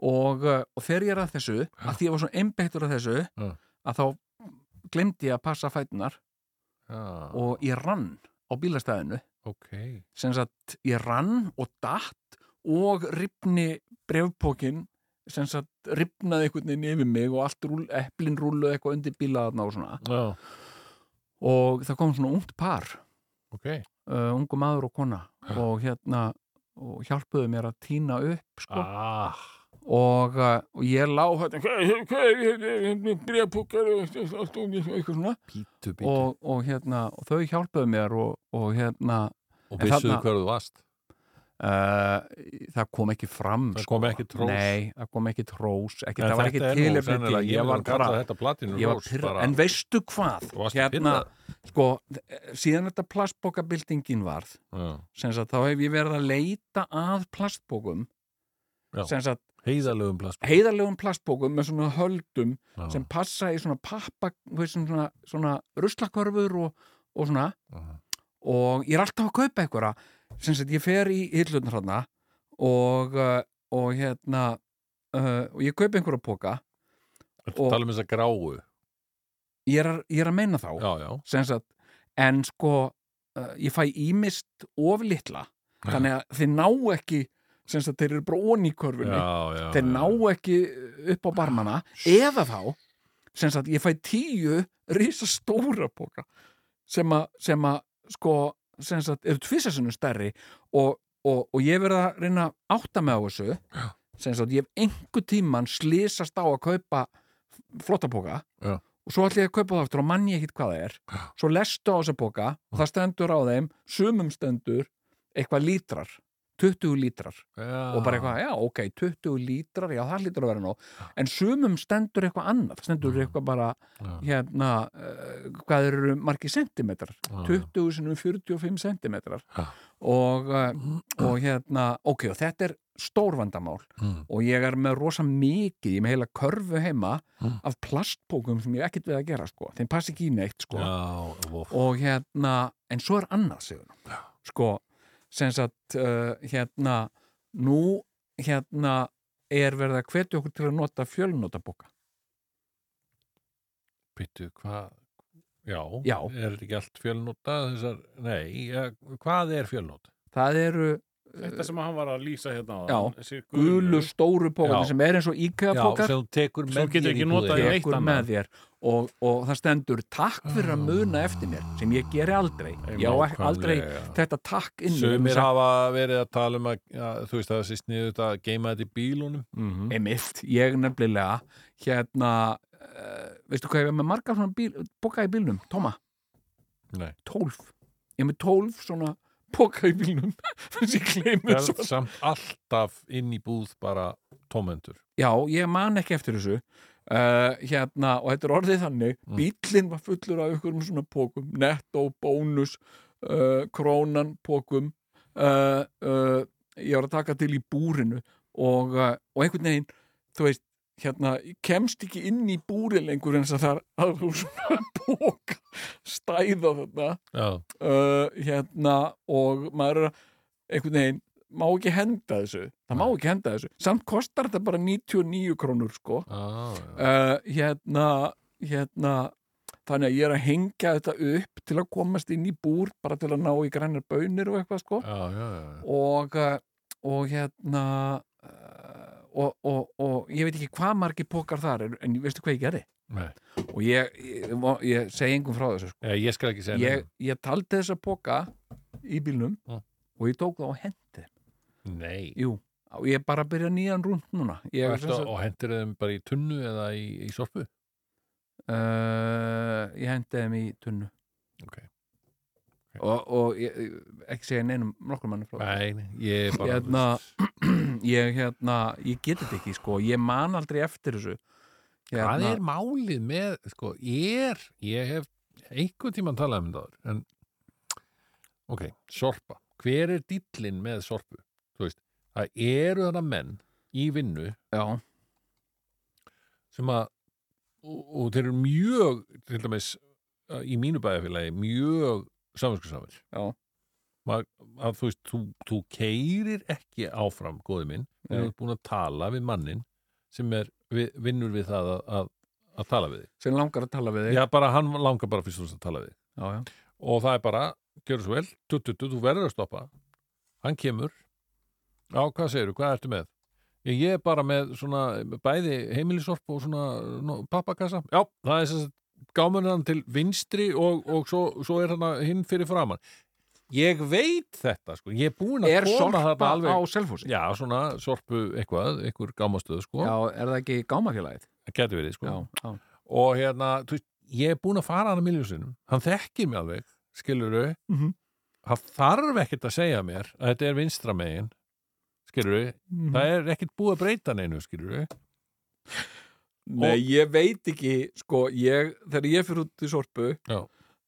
og, uh, og þegar ég er að þessu, að því ég var svona einbeittur að þessu,
Já.
að þá glemdi ég að passa fætunar
já
og ég rann á bílastæðinu
ok,
sem sagt ég rann og datt og ripni brefpókin sem sagt ripnaði einhvern veginn yfir mig og allt rúl, eplin rúluði eitthvað undir bílaðarna og svona
já,
og það kom svona ungt par
ok
uh, ungu maður og kona og hérna og hjálpuðu mér að týna upp sko.
ah,
og, uh, og ég lá hérna, hvað er- hvað er hérna brefpókar og eitthvað svona
bitu, bitu og,
og, og hérna og þau hjálpuðu mér og, og hérna
og
en
vissuðu
þarna-
hverju þú varst
Uh, það kom ekki fram
það
sko.
kom ekki trós
Nei, það kom ekki trós ekki,
En
það var
þetta
ekki
er nú
tilefni til
sennilega-
ég
myndi
var
nú kalla
bara,
þetta platinu
ég var
rós
pyrra,
bara-
en veistu hvað
Þú varst
hérna,
pirraður.
sko eh, síðan þetta plastbókabildingin varð
Já.
sem sagt, þá hef ég verið að leita að plastbókum
Já.
sem sagt,
heiðalögum plast
heiðarlegum plastbókum með svona höldum
Já.
sem passa í svona pappa, þú veist, svona, svona ruslakörfur og, og svona
Já.
og ég er alltaf að kaupa einhverja sem sagt ég fer í hillutnar hana og, uh, og hérna uh, og ég kaupa einhverja póka
Ertu að
og-
tala um þess að gráu
ég er, að- ég er að meina þá
já, já,
sem sagt, en sko uh, ég fæ ímist of litla þannig að þeir ná ekki sem sagt þeir eru bara ón í körfunni
já, já,
þeir
já.
ná ekki upp á barmana eða þá sem sagt ég fæ tíu risastóra póka sem að sem að sko sem sagt eru tvisasinu stærri og, og, og ég hef verið að reyna að átta með á þessu sem sagt ég hef einhver tíman slísast á að kaupa flotta póka
Já.
og svo ætla ég að kaupa það aftur og mann ég ekkit hvað það er
Já.
svo lestu á þessa póka og það stendur á þeim sumum stendur eitthvað lítrar 20 lítrar
já.
og bara eitthvað, já, ok, 20 lítrar já, það lítur að vera nóg, en sumum stendur eitthvað annað, stendur eitthvað bara
Já.
hérna, uh, hvað eru margi sentimetrar,
Já.
20 sinum 45 sentimetrar
Já.
og, eh, og hérna, ok, og þetta er stór vandamál
Mm.
og ég er með rosa mikið, ég er með heila körfu heima
Mm.
af plastbókum sem ég hef ekkert við að gera sko, þeim passi ekki í neitt sko
Já, vof.
og hérna, en svo er annað sigur sko, sem sagt uh, hérna, nú hérna er verið að hvetja okkur til að nota fjölnotabóka
Býttu, hvað Já,
Já.
er þetta ekki allt fjölnota þessar, nei, ja, hvað er fjölnota?
það eru
Þetta sem hann var að lýsa hérna á
Já.
þessi
gulu stóru bókar
Já.
sem er eins og IKEA-bókar
sem þú tekur
Svo
með þér
getur
í
ekki
búðina.
notað í neitt
tekur
annað.
með þér og, og það stendur takk fyrir að muna eftir mér sem ég geri aldrei ég á ek- aldrei
Nákvæmlega.
þetta takk inn í um
Sumir
þessa-
hafa verið að tala um að, að þú veist að það sé sniðut að geima þetta í bílunum
einmitt, ég nefnilega hérna uh, veistu hvað ég er með marga svona bíl, bóka í bílnum, Tóma
Nei.
tólf, ég er með tólf svona bóka í bílnum þessi gleymur
Berð
svo
samt alltaf inn í búð bara tómendur
já, ég man ekki eftir þessu Uh, hérna, og þetta er orðið þannig mm. bíllinn var fullur af ykkur um svona pókum netto, bónus uh, krónan, pókum uh, uh, ég var að taka til í búrinu og, uh, og einhvern veginn, þú veist hérna, ég kemst ekki inn í búri lengur eins að það er að þú svona póka stæða þarna
Já,
uh, hérna og maður er að- einhvern veginn má ekki henda þessu það má ekki henda þessu, samt kostar þetta bara 99 krónur sko
ah, já.
uh, hérna, hérna þannig að ég er að hengja þetta upp til að komast inn í búr bara til að ná í grænar bönir og eitthvað sko
Já, já, já.
og, uh, og hérna uh, og, og, og ég veit ekki hvað margir pókar þar eru, en veistu hvað ég gerði
Nei.
og ég, ég, ég segi engum frá þessu sko.
Eh, Ég skal ekki segja
ég, ég taldi þessa póka í bílnum
Mm.
og ég tók það á hendi
neinum. Nei
jú, og ég er bara að byrja nýjan rúnd núna ég er
Ertu, og hendur þeim bara í tunnu eða í, í sorpu?
Uh, ég hendi þeim í tunnu
Ok.
og, og ég, ekki segja neinum nokkur manni frá þessu.
Nei, ég er bara
Hérna, ég, hérna, ég geti þetta ekki sko, ég man aldrei eftir þessu Hérna,
Hvað er málið með, sko, er, ég hef einhvern tímann talað um það, en, ok, sorpa. Hver er dýllinn með sorpu? Þú veist, það eru þarna menn í vinnu
já,
sem að, og, og þeir eru mjög, til dæmis, uh, í mínu bæjarfélagi, mjög samvinskusamir.
Já.
Að, að þú veist, þú, þú keirir ekki áfram, góði minn, við
Nei.
erum búin að tala við mannin sem er, við, vinnur við það að, að, að tala við þig.
sem langar að tala við þig
Já, bara hann langar bara fyrst og fremst að tala við
já, já.
og það er bara, gjörðu svo vel, tuttutu, þú verður að stoppa hann kemur á, hvað segirðu, hvað ertu með? Ég ég er bara með svona bæði heimilisorp og svona no, pappakassa já, það er sem sagt gámurinn hann til vinstri og, og svo, svo er hann hinn fyrir framann ég veit þetta, sko, ég er búin að
er
koma
sorpa
þarna
á
alveg
selfhúsi
já, svona sorpu eitthvað, einhver gámastöð sko,
Já, er það ekki gámafélagið
það geti verið, sko
já, já,
og hérna, þú veist, ég er búin að fara hann miljónsinnum, hann þekkir mig alveg skilurðu,
Mhm.
hann þarf ekkert að segja mér að þetta er vinstra megin skilurðu, það er ekkert búið að breyta neinu, skilurðu
Nei, ég veit ekki, sko, ég, þegar ég fyrir út í sorpu,
Já.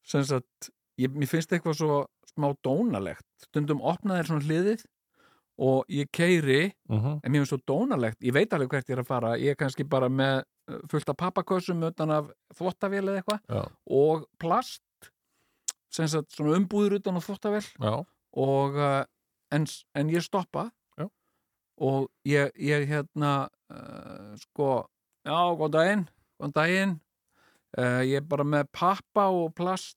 sem sagt, ég, mér finnst eitthvað svo smá dónalegt. Stundum opna þér svona hliðið og ég keiri,
uh -huh.
en mér finnst svo dónalegt, ég veit alveg hvert ég er að fara, ég er kannski bara með eh, fullt af pappakössum utan af þvottavél eða eitthvað
já,
og plast, sem sagt, svona umbúður utan á þvottavél
já,
og uh, en, en ég stoppa
Já.
og ég, ég hérna uh, sko já, góðan daginn, góðan daginn uh, ég er bara með pappa og plast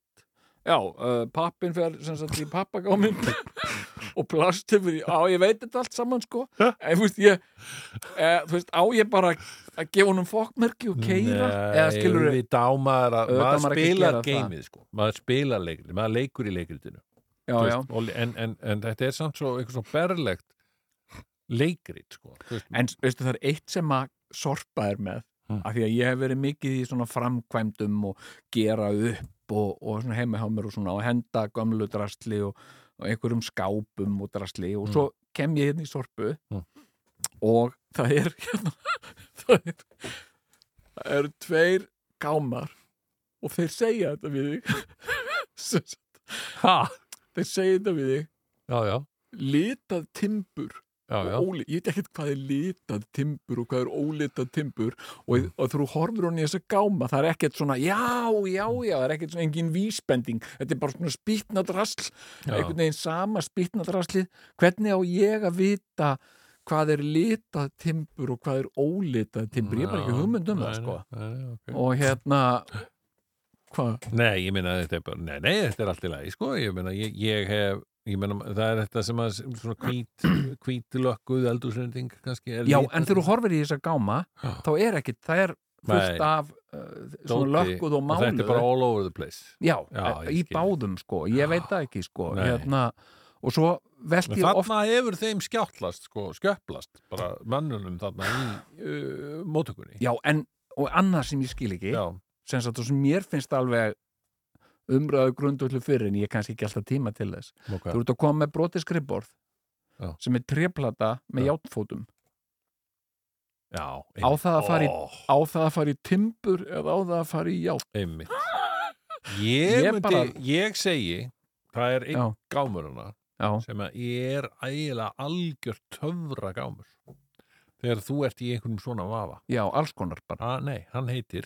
já, uh, pappin fer sem sagt í pappagámin og plast hefur í, á, ég veit þetta allt saman sko en þú veist, ég uh, þú veist, á ég bara að gefa honum fokkmerki og keira eða skilur
við dámaður að
Auðvitað á
maður
maður ekki að
spilar
gera það.
geimið, sko maður spilar leikrit, maður leikur í leikritinu
já,
þú
já,
veist, og, en, en, en þetta er samt svo eitthvað svo berlegt leikrit, sko þú veist,
En veistu það er eitt sem að sorpa er með
Mm.
af því að ég hef verið mikið í svona framkvæmdum og gera upp og, og svona heima hjá mér og svona og henda gömlu drasli og, og einhverjum skápum og drasli og
Mm.
svo kem ég hérna í sorpu
Mm.
og það er hérna það er það eru tveir gámar og þeir segja þetta við þig Sem sagt,
ha,
þeir segja þetta við þig
já, já,
litað timbur
já, já.
og óli, ég veit ekkert hvað er litað timbur og hvað er ólitað timbur og, og þú horfir hún í þessa gáma það er ekkert svona, já, já, já það er ekkert svona engin vísbending þetta er bara svona spýtnadrasl
Já.
einhvern veginn sama spýtnadraslið hvernig á ég að vita hvað er litað timbur og hvað er ólitað timbur, ég er bara ekki
Já,
hugmynd um
nei,
það sko
nei, nei, ok.
og hérna hvað,
Nei, ég meina þetta er bara, nei, nei, þetta er allt í lagi, sko, ég meina, ég, ég hef, ég meina, það er þetta sem að, svona hvít, hvítlökkuð eldúsrending, kannski, er
já,
lítið-
en þegar þú horfir í þessa gáma
Já.
þá er ekkert, það er fullt
Nei.
af uh, svona
Dóti,
lökkuð og máluð
Þetta er bara all over the place.
Já,
Já,
í
ég skil.
báðum sko, ég veit það ekki sko
Nei.
hérna, og svo
En
velti ég
þarna
oft
hefur þeim skjáttlast, sko, skjöpplast, bara mönnunum þarna í uh, mótökunni.
Já, en, og annað sem ég skil ekki
Já,
sem sagt og sem mér finnst alveg umræðu grundvöldu fyrir en ég hef kannski ekki alltaf tíma til þess
ok.
Þú ert að koma með brotið skrifborð
Já.
sem er treplata með
Já.
játfótum
Já,
á það að fara í,
Ó,
á það að fara í timbur eða á það að fara í ját
einmitt. Ég,
Ég
myndi,
bara-
ég segi, það er einn
Já.
gámuruna
Já,
sem að er ægilega algjör töfra gámur þegar þú ert í einhverjum svona vafa
já, alls konar bara
ha, nei, hann heitir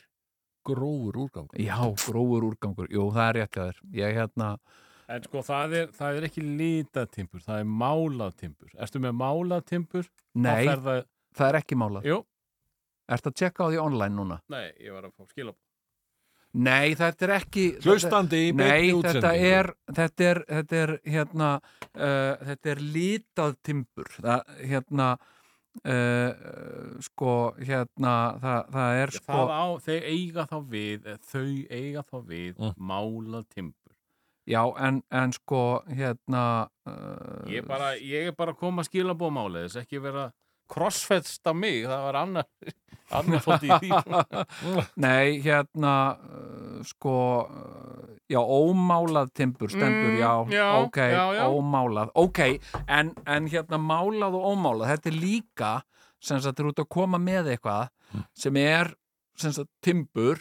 grófur úrgangur
Já, grófur úrgangur, jú, það er rétt að þér Ég hérna,
En sko, það er, það er ekki litatimpur, það er málatimpur. Erstu með málatimpur?
nei,
Það það,
það er ekki málað
jú,
Ertu að tjekka á því online núna?
nei, ég var að fá skilabóð.
Nei, þetta er ekki
hlustandi í
Nei,
beinni
þetta
útsendingu.
er, þetta er, þetta er, hérna, uh, þetta er lítað timbur, það, hérna, uh, sko, hérna, það, það er sko,
það á, þeir eiga þá við, eh, þau eiga þá við
Mm.
málatimpur.
já, en, en sko, hérna, uh,
Ég, bara, ég er bara að koma að skilabóð málið, þess ekki vera crossfetst á mig, það var annar, annar þótt í því.
nei, hérna, uh, sko, uh, já, ómálað timbur stendur,
Mm,
já,
já,
ok,
já, já.
ómálað, ok, en, en hérna, málað og ómálað, þetta er líka, sem sagt, er út að koma með eitthvað,
Mm.
sem er sem sagt, timbur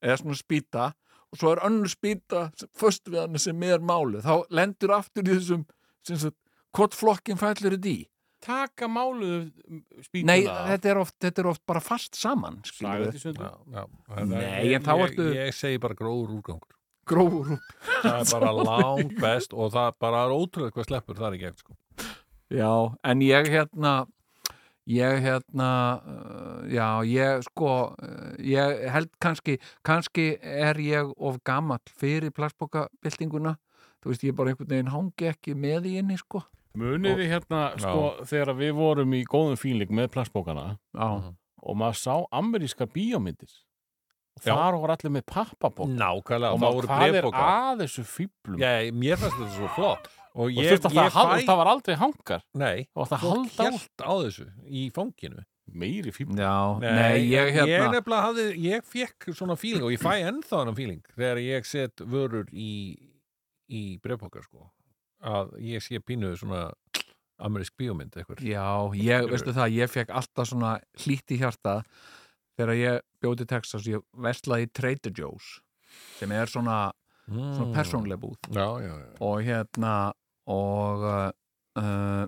eða svona spýta og svo er önnur spýta först við hann sem er málu þá lendur aftur í þessum sem sagt, hvort flokkin fællur þetta í
Taka máluðu spýtuna.
nei, þetta er, oft, þetta er oft bara fast saman
Saga
skilurðu.
þetta í sundur.
Já, já, það-
Nei,
ég-
en þá
ég-
ertu-
ég segi bara grófur úrgangur
grófur úr
það er bara lang best og það bara er ótrúlega hvað sleppur það er ekki eftir sko
já, en ég hérna ég hérna uh, já, ég sko uh, ég held kannski kannski er ég of gamall fyrir plassbókabildinguna þú veist, ég bara einhvern veginn hangi ekki með í inni sko
Munið þið hérna, sko, þegar við vorum í góðum fíling með plassbókana
já,
og maður sá ameríska bíómyndir og
Já.
þar voru allir með
Mm.
pappabók
nákvæmlega,
og
og það
maður,
voru
hvað er
brefbóka
að þessu fýblum
ég, mér fannst þetta svo flott og
og
ég,
þurft að það,
ég
fæ... það var aldrei hangar
nei,
og það
fólk
halda á
hjælt á þessu í fanginu
meiri fýblum
Já, nei, ég hérna
ég nefnilega hafði, ég fekk svona fíling og ég fæ ennþá hennan fíling þegar ég set vörur í í brefpokkar sko að ég sé pínuð svona amerísk bíómynd eitthvað
Já, ég, veistu það, ég fekk alltaf svona hlýtt í hjarta þegar ég bjóti Texas, ég veslaði í Trader Joe's sem er svona, svona
mm.
persónlega búð
já, já, já,
og hérna og uh,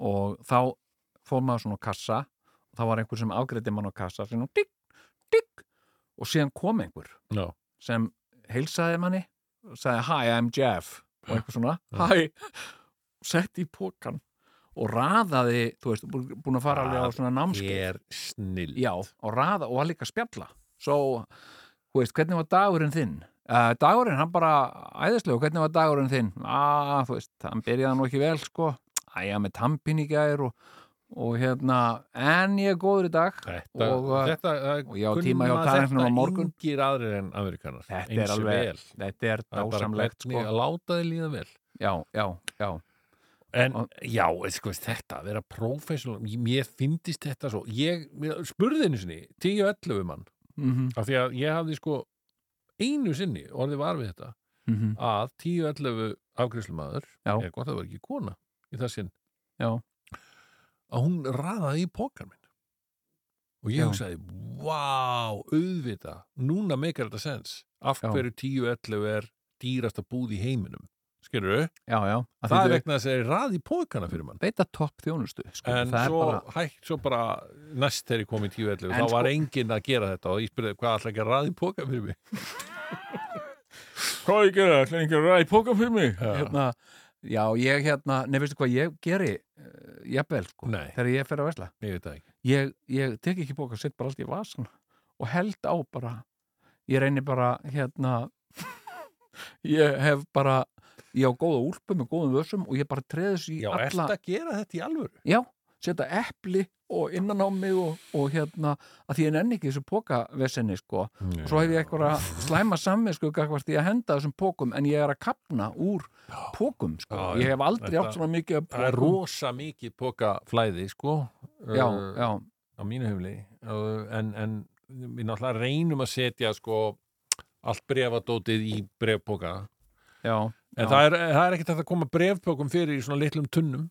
og þá fór maður svona á kassa og þá var einhver sem afgreiti mann á kassa sem nú digg, digg og síðan kom einhver
Já.
sem heilsaði manni og sagði hi, I'm Jeff og einhver svona, hi sett í pokan og raðaði, þú veist, bú- búin að fara alveg á svona námskeið
er snill
Já, og raða og var líka að spjalla Svo, hú veist, hvernig var dagurinn þinn? Uh, dagurinn, hann bara æðislega, hvernig var dagurinn þinn? Ah, þú veist, hann byrjaði nú ekki vel, sko Æja, með tampin í gær og, og hérna, en ég er góður í dag
Þetta,
og, uh,
þetta, það
og ég á
kunna
tíma hjá tannlæknum á morgun.
Þetta yngir aðrir en amerikanar
Þetta er
eins
alveg
vel. Það
Þetta er
er bara
dásamlegt,
hvernig
sko
að láta þið líða vel
Já, já, já
En
Og-
já, sko, þetta að vera professional, ég- mér fyndist þetta svo ég, mér- spurði einu sinni 10-11 mann,
mm -hmm,
af því að ég hafði sko einu sinni orðið var við þetta að 10-11 afgriðslumadur
Já.
er gott að það var ekki kona í það sinn
Já.
að hún raðaði í pókar minn og ég
Já.
hugsaði vá, auðvita, núna meikar þetta sens af
Já.
hverju 10-11 er dýrasta búð í heiminum skilur við,
já, já, af því
það er
þau
vegna þess að það er raði í póðkana fyrir mann
veita topp þjónustu sko.
en
það
svo
er bara
hægt svo bara næst þegar ég kom í 10.11
En
þá var
sko-
enginn að gera þetta og ég spurði hvað ætla ekki að raði í póðkana fyrir mig
Hvað ég gera? Það er ekki að ræði póka fyrir mig.
hérna, já, ég hérna, nefnir veistu hvað ég geri uh, jafnvel, sko,
Nei.
þegar ég fer að vesla
ég veit það ekki
ég, ég tek ekki bók og sitt bara allt í vasan og held á bara ég reynir bara hérna ég hef bara ég á góða úlpu með góðum vössum og ég bara treði þessu í
já,
alla
ertu að gera þetta í alvöru?
já, setja epli og innan á mig og, og hérna að því ég nenni ekki þessu pókavesenni sko og svo hef ég eitthvað slæma samvisku gagvart í að henda þessum pókum en ég er að kapna úr pókum sko.
Já, já.
ég hef aldrei
Þetta-
átt svona mikið af
það er
pókum.
rosa mikið pókaflæði sko
já,
Uh,
já,
á mínu hefli Uh, en, en við náttúrulega reynum að setja sko allt brefadótið í brefpóka
já
en
Já.
það er, það er ekkert hægt að koma brefpókum fyrir í svona litlum tunnum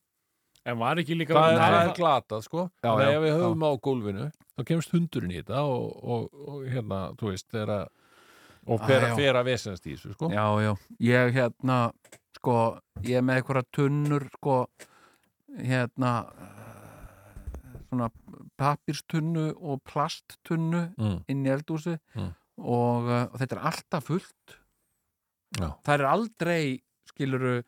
En var ekki líka...
það er, það er
það
glatað sko
Já,
þannig að
já,
ef við höfum á gólfinu þá kemst hundurinn í þetta og, og, og hérna, þú veist, þeirra og
Ah,
ber
já.
að fera vesennast í þessu sko
Já, já, ég hérna sko, ég er með einhverja tunnur sko, hérna eh, svona pappirstunnu og plasttunnu
mm.
inn í eldhúsi
Mm.
og, eh, og þetta er alltaf fullt
Já.
það er aldrei skiluru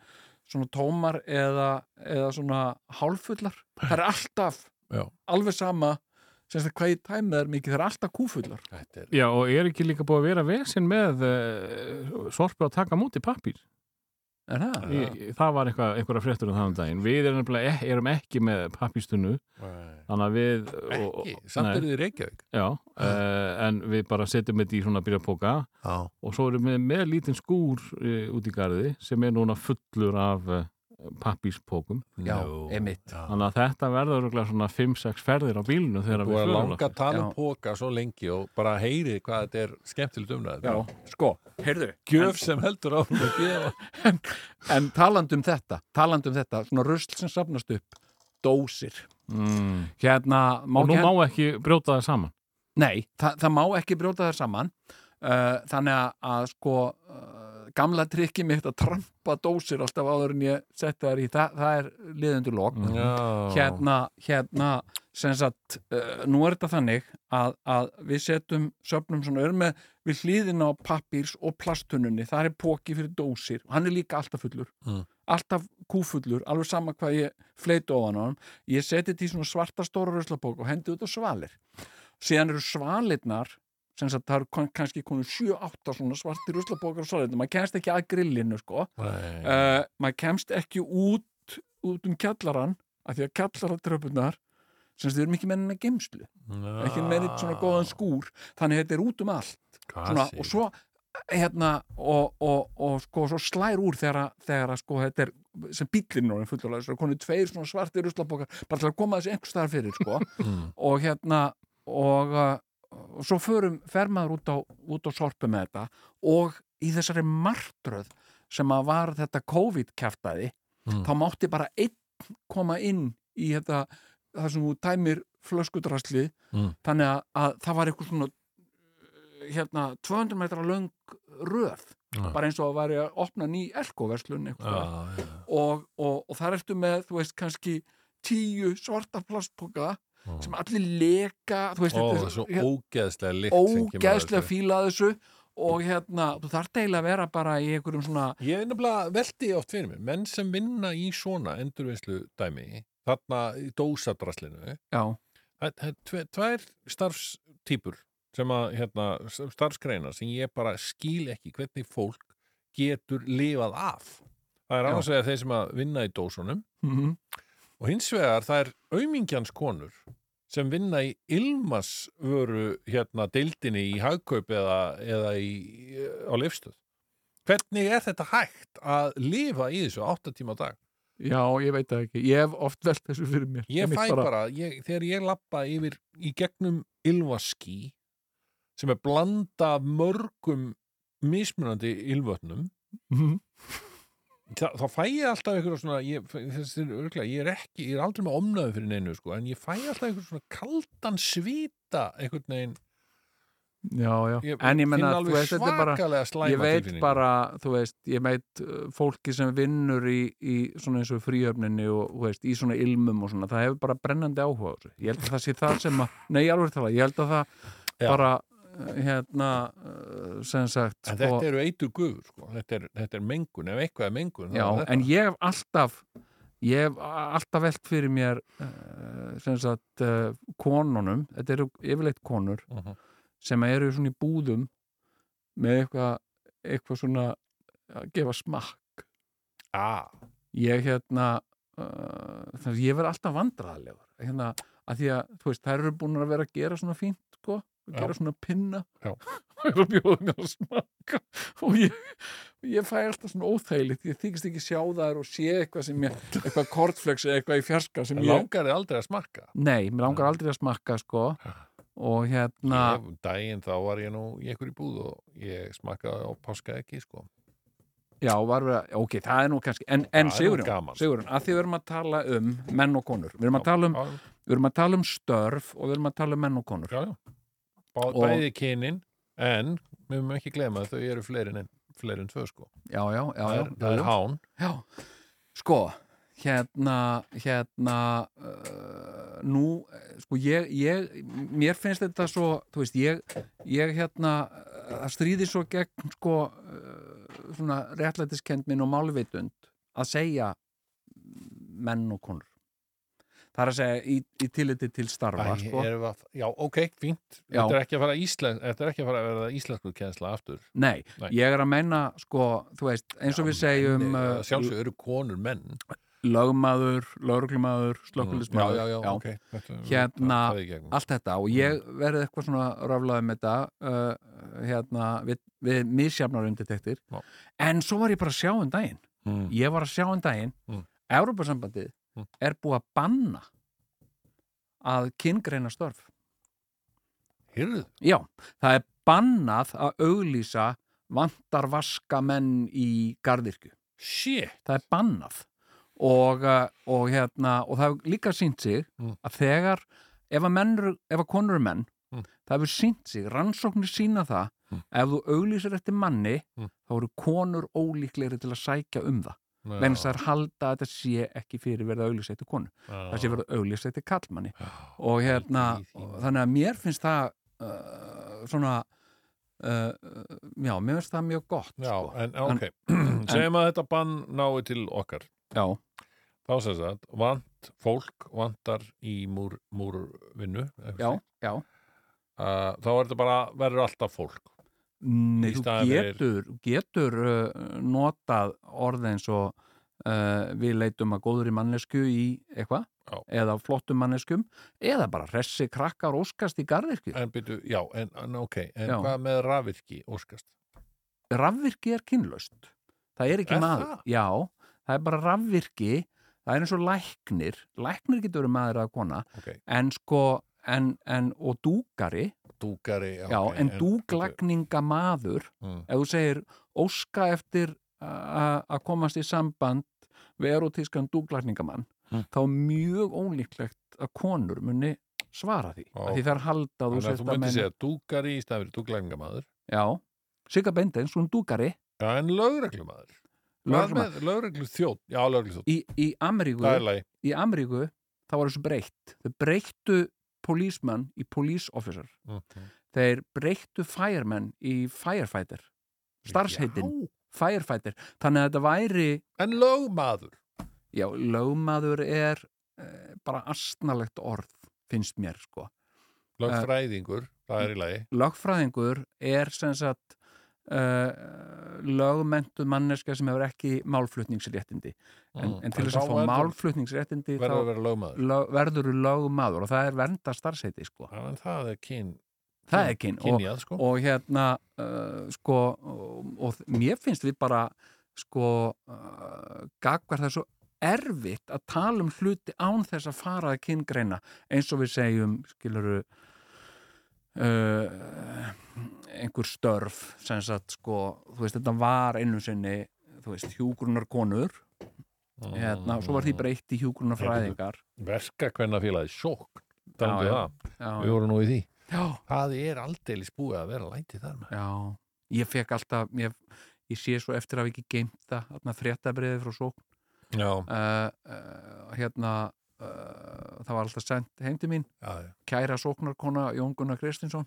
svona tómar eða, eða svona hálffullar, það er alltaf
Já.
alveg sama sem sagt hvað ég tæmið er mikið, það er alltaf kúfullar
Þetta er-
Já, og er ekki líka búið að vera vesinn með uh, sorpu að taka múti pappir.
er það?
Í- það var eitthvað, einhverja fréttur um það um daginn við erum, nefnilega ek, erum ekki með pappístunnu þannig að við og-
ekki, samt
nei,
eru þið í Reykjavík
já, uh, en við bara setjum þetta í svona byrjapóka
Já,
og svo erum við með lítinn skúr uh, út í garði sem er núna fullur af uh, pappíspókum
Já,
Nú.
einmitt.
Já.
þannig að þetta verður örugglega svona 5-6 ferðir á bílinu þegar
Búið
við
að
förum
langa að tala um
Já.
póka svo lengi og bara heyrið hvað þetta er skemmtilegt umræðið.
sko, heyrðu
Gjöf sem heldur á að gefa.
En talandum þetta, talandum þetta, svona rusl sem safnast upp, dósir.
mm.
Hérna, má
og nú
ekki...
má ekki brjóta það saman
Nei, það, það má ekki brjóta þær saman. Uh, þannig að, að sko, uh, gamla trikki mitt að trampa dósir alltaf áður en ég setja þær í, það, það er liðundur
Mhm.
lok. Hérna, hérna, sem sagt, uh, nú er þetta þannig að, að við setjum söfnum svona örme við hlýðina á pappírs og plasttununni, það er póki fyrir dósir og hann er líka alltaf fullur. alltaf kúfullur, alveg sama hvað ég fleiti ofan á hann, ég seti þetta í svona svarta stóra ruslapók og hendi út á svalir síðan eru svalirnar sem sagt það eru kon- kannski konum 7-8 svona svarti ruslapókar og svalirnar maður kemst ekki að grillinu sko
Nei.
uh, maður kemst ekki út út um kjallaran, af því að kjallaratröpunar sem sagt við erum ekki með henni geimslu, ekki með henni
Ah.
svona góðan skúr, þannig þetta er út um allt svona, og svo hérna, og, og, og sko, svo slær úr þegar, að- þegar að, sko, þetta er sem bíllinn er fullur þessu, konu tveir svona svartir ruslapokar, bara til að koma þessi einhvers staðar fyrir, sko,
Mm.
og hérna og, uh, og svo förum fer maður út á, út á sorpu með þetta og í þessari martröð sem að var þetta COVID-kjaftaði,
Mm.
þá mátti bara einn koma inn í þetta, það sem þú tæmir flöskudraslið,
Mm.
þannig að, að það var eitthvað svona hérna 200 metra löng röð,
Ja.
bara eins og að væri að opna ný elkoverslun
Já,
eitthvað og, og, og þar ertu með, þú veist, kannski tíu svarta plastpoka
Mm.
sem allir leka þú veist,
Ó, það
þetta
er svo
hér-
ógeðslega lykt sem kemur af þessu.
ógeðslega fíla að þessu og hérna, þú þarft eiginlega að vera bara í einhverjum svona
Ég er nefnilega veldi oft fyrir mér, menn sem vinna í svona endurvinnslu dæmi, þarna í dósadraslinu,
já,
það það er tve- tvær starfstýpur sem að, hérna, starfskreinar sem ég bara skil ekki hvernig fólk getur lifað af. Það er
Já.
annars vegar þeir sem að vinna í dósunum
mm
og hins vegar það er aumingjans konur sem vinna í Ilmas vöru hérna deildinni í hagkaup eða, eða í, á lifstöð. Hvernig er þetta hægt að lifa í þessu átta tíma á dag?
já, ég veit það ekki ég hef oft velt þessu fyrir mér
Ég
Einmitt
fæ bara, ég, þegar ég lappa yfir í gegnum Ilvaský sem er blanda af mörgum mismunandi Ilvötnum
Mhm.
Þa, þá fæ ég alltaf einhverja svona ég, þessi, örgulega, ég er ekki, ég er aldrei með omnöðu fyrir neinu sko, en ég fæ alltaf einhverja svona kaldan svita einhvern veginn
já, já.
Ég
en ég menna, þú
alveg
veist, þetta er bara
svakalega slæma
ég veit
tilfinningu.
bara, þú veist, ég veit uh, fólki sem vinnur í, í svona eins og fríöfninni og, þú veist, í svona ilmum og svona, það hefur bara brennandi áhuga á þessu. ég held að það sé það sem að, nei, alveg tala ég held að það
Já.
bara uh, hérna, uh, sem sagt
En
sko,
þetta eru eitur guður, sko. þetta, er, þetta er mengun, ef eitthvað er mengun þá
já,
er þetta.
en ég hef alltaf ég hef a- alltaf velt fyrir mér uh, sem sagt uh, konunum, þetta eru yfirleitt konur
Mhm.
sem eru svona í búðum með eitthvað eitthvað svona að gefa smakk
Ah,
ég hérna uh, þannig að ég verð alltaf vandræðilegur hérna, að því að, þú veist, þær eru búin að vera að gera svona fínt, sko, að
Já.
gera svona pinna
Já.
og eru að bjóða mér að smaka og ég, ég fæ alltaf svona óþægilegt ég þykist ekki sjá þær og sé eitthvað sem ég eitthvað kortflöks eða eitthvað í fjarska sem ég,
langar þið aldrei að smakka
nei, mér langar aldrei að smakka, sko og hérna
ég, um Daginn þá var ég nú í einhverju búð og ég smakkaði og páskaði ekki sko.
Já, var við að, ok, það er nú kannski En,
Það er
en
nú
Sigurjón,
gaman.
Sigurjón, að því við erum að tala um menn og konur, við erum að tala um
Já,
við erum að tala um störf og við erum að tala um menn og konur
já, já. Bá,
Og-
Bæði kynin en við mögum ekki glema að þau eru fleiri en, fleiri en tvö sko.
já, já, já,
það,
já,
er, það
já,
er hán
já. sko hérna, hérna uh, nú eh, sko ég, ég, mér finnst þetta svo þú veist, ég, ég hérna eh, það stríði svo gegn sko uh, svona réttlætiskend minn og málvitund að segja menn og konur það er að segja í, í tilliti til starfa
Æ,
sko.
erum við að, Já, ok, fínt
Já.
Þetta er ekki að fara, íslen, þetta er ekki að fara að verða íslensku kjensla aftur
nei,
Nei.
ég er að menna sko, þú veist, eins og við segjum
um,
eh,
Sjálfsög eru konur menn
lögmaður, lögreglumaður,
Já,
slökkulismadur
já, já, ok þetta,
Hérna-
það er í gegnum.
allt þetta og ég
Mm.
verði eitthvað svona raflaði með þetta uh, hérna, við, við misjafnar undirtektir
Já.
en svo var ég bara að sjá um daginn
Mm.
ég var að sjá um daginn
Mm.
Evrópusambandið
Mm.
er búið að banna að kyngreina störf
Heyrðu,
já, það er bannað að auglýsa vantar vaskamenn í gardirkju
shit
það er bannað og, uh, og, hérna, og það hefur líka sínt sig
Mm.
að þegar ef að, menn, eru- ef að konur eru menn
Mm.
það hefur sínt sig, rannsóknir sína það
Mm.
ef þú auglýsir eftir manni
Mm.
þá eru konur ólíklegri til að sækja um það
Já,
vegna þess að þær halda að þetta sé ekki fyrir verið að auglýsa eftir konu það sé
já.
verið að auglýsa eftir kallmanni
Já.
og hérna,
Í því.
þannig að mér finnst það uh, svona uh, já, mér finnst það mjög gott
Já,
sko.
en ok, segjum að þetta bann nái til okkar,
já,
þá sem sagt, vant fólk, vantar í múr, múrvinnu, eitthvað
já,
slíkt.
já
Uh, þá er þetta bara, verður alltaf fólk.
Nei,
Í
Mm, þú
staðinn fyrir-
getur, getur uh, notað orð eins og uh, við leitum að góður í mannesku í eitthvað,
Já.
eða flottum manneskum, eða bara hressi krakkar óskast í garðirkju.
En byrju, já, en, en ok, en
Já.
hvað með rafvirki, óskast?
Rafvirki er kynlaust. Það er ekki
Er
maður.
það?
Já, það er bara rafvirki, það er eins og læknir, læknir getur verið maður eða kona,
Ok,
en sko, en, en, og dúkari,
dúkari, já,
já,
ok,
en dúglagninga maður
Mm.
ef þú segir óska eftir a- a- að komast í samband við erotískan dúglagningamann
Hm.
þá er mjög ólíklegt að konur muni svara því
Ó.
Ó. því þær halda að þú
Þannig að þú
sért að
myndir
menn
segja dúkari í staðan fyrir dúklæringamaður,
já, Sigga Bendeins, hún dúkari
já, en lögreglumaður. Hvað
lögreglumaður.
með lögreglu þjótt? Já, lögreglu þjótt,
í, í, Ameríku,
það er lagi.
í Ameríku þá var þessu breytt þau breyttu polísmann í police officer
Mhm.
þeir breyttu fireman í firefighter starfsheitin,
Já,
firefighter þannig að þetta væri
En lögmaður,
Eh. Já, lögmaður er eh, bara astnalegt orð, finnst mér, sko.
lögfræðingur, það er í lagi.
Lögfræðingur er sem sagt eh, lögmentuð manneska sem hefur ekki málflutningsréttindi. En,
Mm.
en til þess
þá
að fá
verður-
málflutningsréttindi
verður að
þá
vera lögmaður
lög, verður þú lögmaður og það er vernda starfsheiti, sko.
Já, en það er kyn,
það er kyn. Og,
kynjað sko
og hérna, eh, sko, og, og mér finnst við bara, sko, uh, gagvar það er svo erfitt að tala um hluti án þess að fara að kyngreina eins og við segjum, skiluru uh, einhver störf sem sagt, sko, þú veist, þetta var einu sinni, þú veist, hjúgrunarkonur hérna, svo var því breytt í hjúgrunarfræðingar
Mm. Verka hvernig að félagi sjók Talandi
Já,
um
já.
það,
Já,
við vorum nú í því
já,
það er aldeilis búið að vera læti þar með
já ég fekk alltaf, ég, ég sé svo eftir að við ekki geimt það, þarna fréttabriði frá sókn
já,
uh, uh, hérna uh, það var alltaf sendt heim til mín
já, já.
kæra sóknarkona Jón Gunnar Kristinsson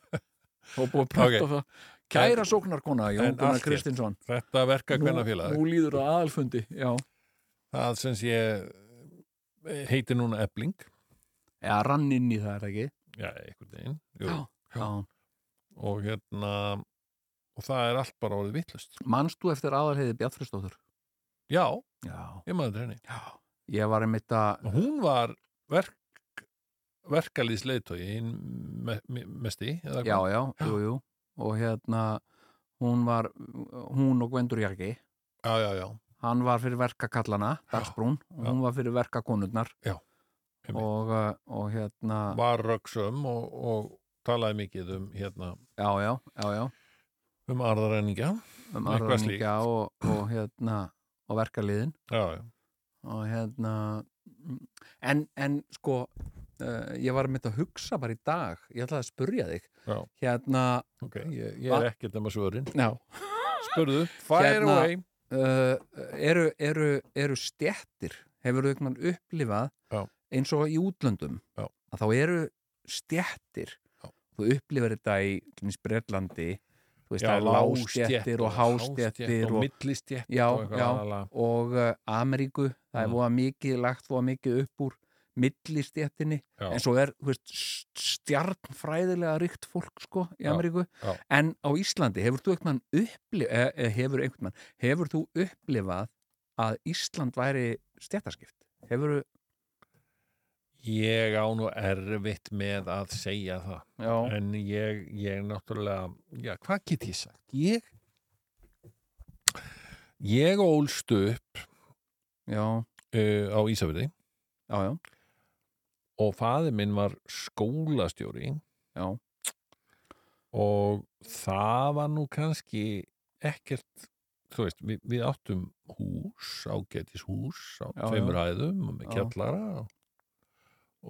og búið að prata
Ok.
það kæra sóknarkona
En
Jón
allt
Gunnar
rétt.
Kristinsson
þetta verka
nú,
hvenna félag
nú líður að aðalfundi já,
það sem sé eh, heitir núna ebling
já rann inn í það er það ekki
já, einhvern veginn jú.
Já. já.
og hérna og það er allt bara orðið vittlust
manst þú eftir aðalheiði Bjartfristóttur
já,
já.
ég maður henni
já, ég var einmitt að
og hún var verk verkalýðsleitói hinn me, me, mesti eða
já,
hvað?
já, jú, jú og hérna, hún var hún og Gvendur Jarki
já, já, já,
hann var fyrir verkakallana, Dagsbrún og hún var fyrir verkakonurnar
Já, einmitt.
og, uh, og hérna
var röksum og, og talaði mikið um hérna
já, já, já, já
um arðaræningja
um
Eitthvað
arðaningja og, og hérna og verkaliðin
já, já,
og hérna mm, en, en sko uh, ég var með að hugsa bara í dag ég ætlaði að spurja þig
Já.
hérna,
ok, ég, ég er ekkert um að svörin
já
spurðu, fire
Hérna-
away
uh, eru, eru, eru stjettir hefur þú einhvern veginn upplifað
Já.
eins og í útlöndum
Já.
að þá eru stjettir
Já.
þú upplifir þetta í til dæmis, Bretlandi þú veist það er lágstjettir og
hástéttir
hástjettir
og
og,
millistjettir
Já,
og eitthvað
já.
aðalega.
og uh, Ameríku það er
Mm.
voða mikið lagt voða mikið upp úr millistjettinni
Já.
en svo er þú veist, s- stjarnfræðilega ríkt fólk sko í
Já,
Ameríku
já.
en á Íslandi hefur þú einhvern upplifað eh, hefur, einhvern mann, hefur þú upplifað að Ísland væri stjættaskipt hefur
ég á nú erfitt með að segja það
já,
en ég, ég náttúrulega já, hvað get ég sagt? Ég ég ólst upp
já,
uh, á Ísafirði
já, já,
og faði minn var skólastjóri
Já.
og það var nú kannski ekkert þú veist, við, við áttum hús ágætis hús á
Já,
tveimur hæðum og með
Já.
kjallara og,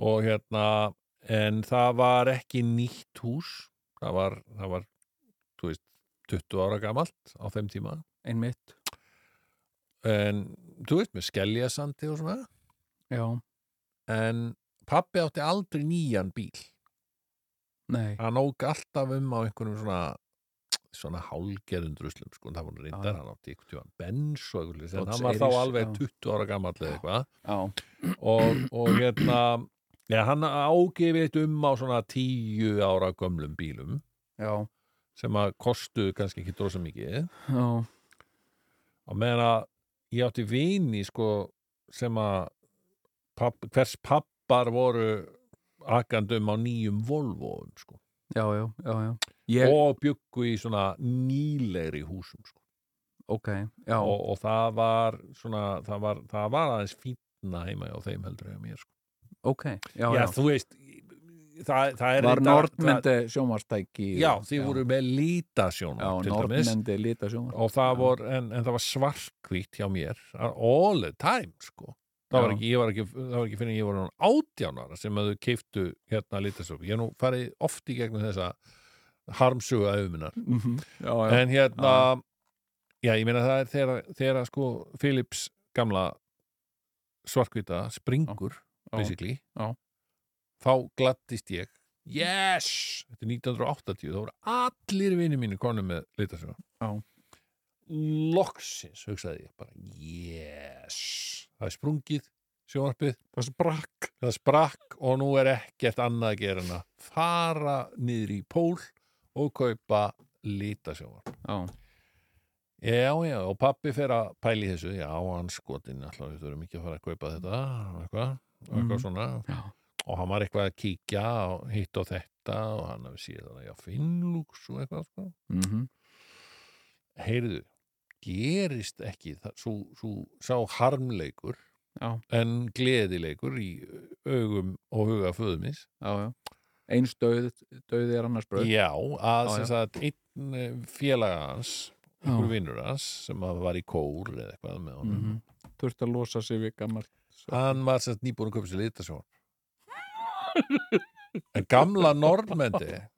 og hérna en það var ekki nýtt hús það var, það var þú veist, 20 ára gamalt á þeim tíma
einmitt
en þú veist, með skelljasandi og svona
já,
en pappi átti aldrei nýjan bíl
nei,
hann óg alltaf um á einhvernum svona svona hálgerðum druslum sko, það var hann reyndar,
Já.
hann átti einhvern tíma bens og einhvern lýs, en
Dodge
hann var þá
Airis,
alveg
já.
20 ára gammal eða eitthvað
já,
og, og hérna ja, hann ágefið eitt um á svona 10 ára gömlum bílum
já,
sem að kostu kannski ekki drosa mikið
já,
og meðan að ég átti vini sko sem að papp, hvers pappar voru akandum á nýjum Volvoum sko
já, já, já, já. Ég,
og byggu í svona nýlegri húsum sko.
ok, já,
og, og það var svona, það var, það var aðeins fínna heima hjá þeim heldur eða mér sko.
ok, já,
já,
já,
þú veist það, það er reyndar-
var
það-
nordmendi sjónvarstæki
já, þið voru með lítasjón
já,
til dæmis
nordmendi lita sjónvarstæki
og það
Já.
vor, en, en það var svartkvít hjá mér all the time sko Það var,
Já.
ekki, ég var ekki, það var ekki fyrir en ég var hann átjánara sem að þau keiftu hérna lítasjók. Ég hef nú farið oft í gegnum þessa harmsuga auðminar.
Mhm, já, já,
en hérna já, ég meina það er þegar, þegar að, sko Philips gamla svarkvita springur
Já.
basically
Já.
þá glattist ég yes, þetta er 1980 þá voru allir vinir mínu konu með litasjóna
Já.
loksins, hugsaði ég bara yes, það er sprungið sjónarpið,
það sprakk
það sprakk og nú er ekkert annað að gera en að fara niður í pól og kaupa litasjónar
já,
Já, já, og pappi fer að pæli þessu, já, hann skotinn alltaf, við þurfum ekki að fara að kaupa þetta og eitthvað, og eitthvað
Mhm.
svona
Já.
og hann var eitthvað að kíkja og hitt og þetta og hann hafi séð þannig að finnlúks og eitthvað sko.
mhm,
heyrðu, gerist ekki það, svo, svo sá harmleikur
Já.
en gleðileikur í augum og huga föðumis
já, já eins döð, döð er annars bröð
Já, að
Já,
sem
já.
sagt einn eh, félaga hans einhver vinnur hans sem að var í kór eða eitthvað með honum
Mhm. þurft að losa sig við gammal
hann var sérst nýbúin að köpa sér litasjón en gamla norðmendi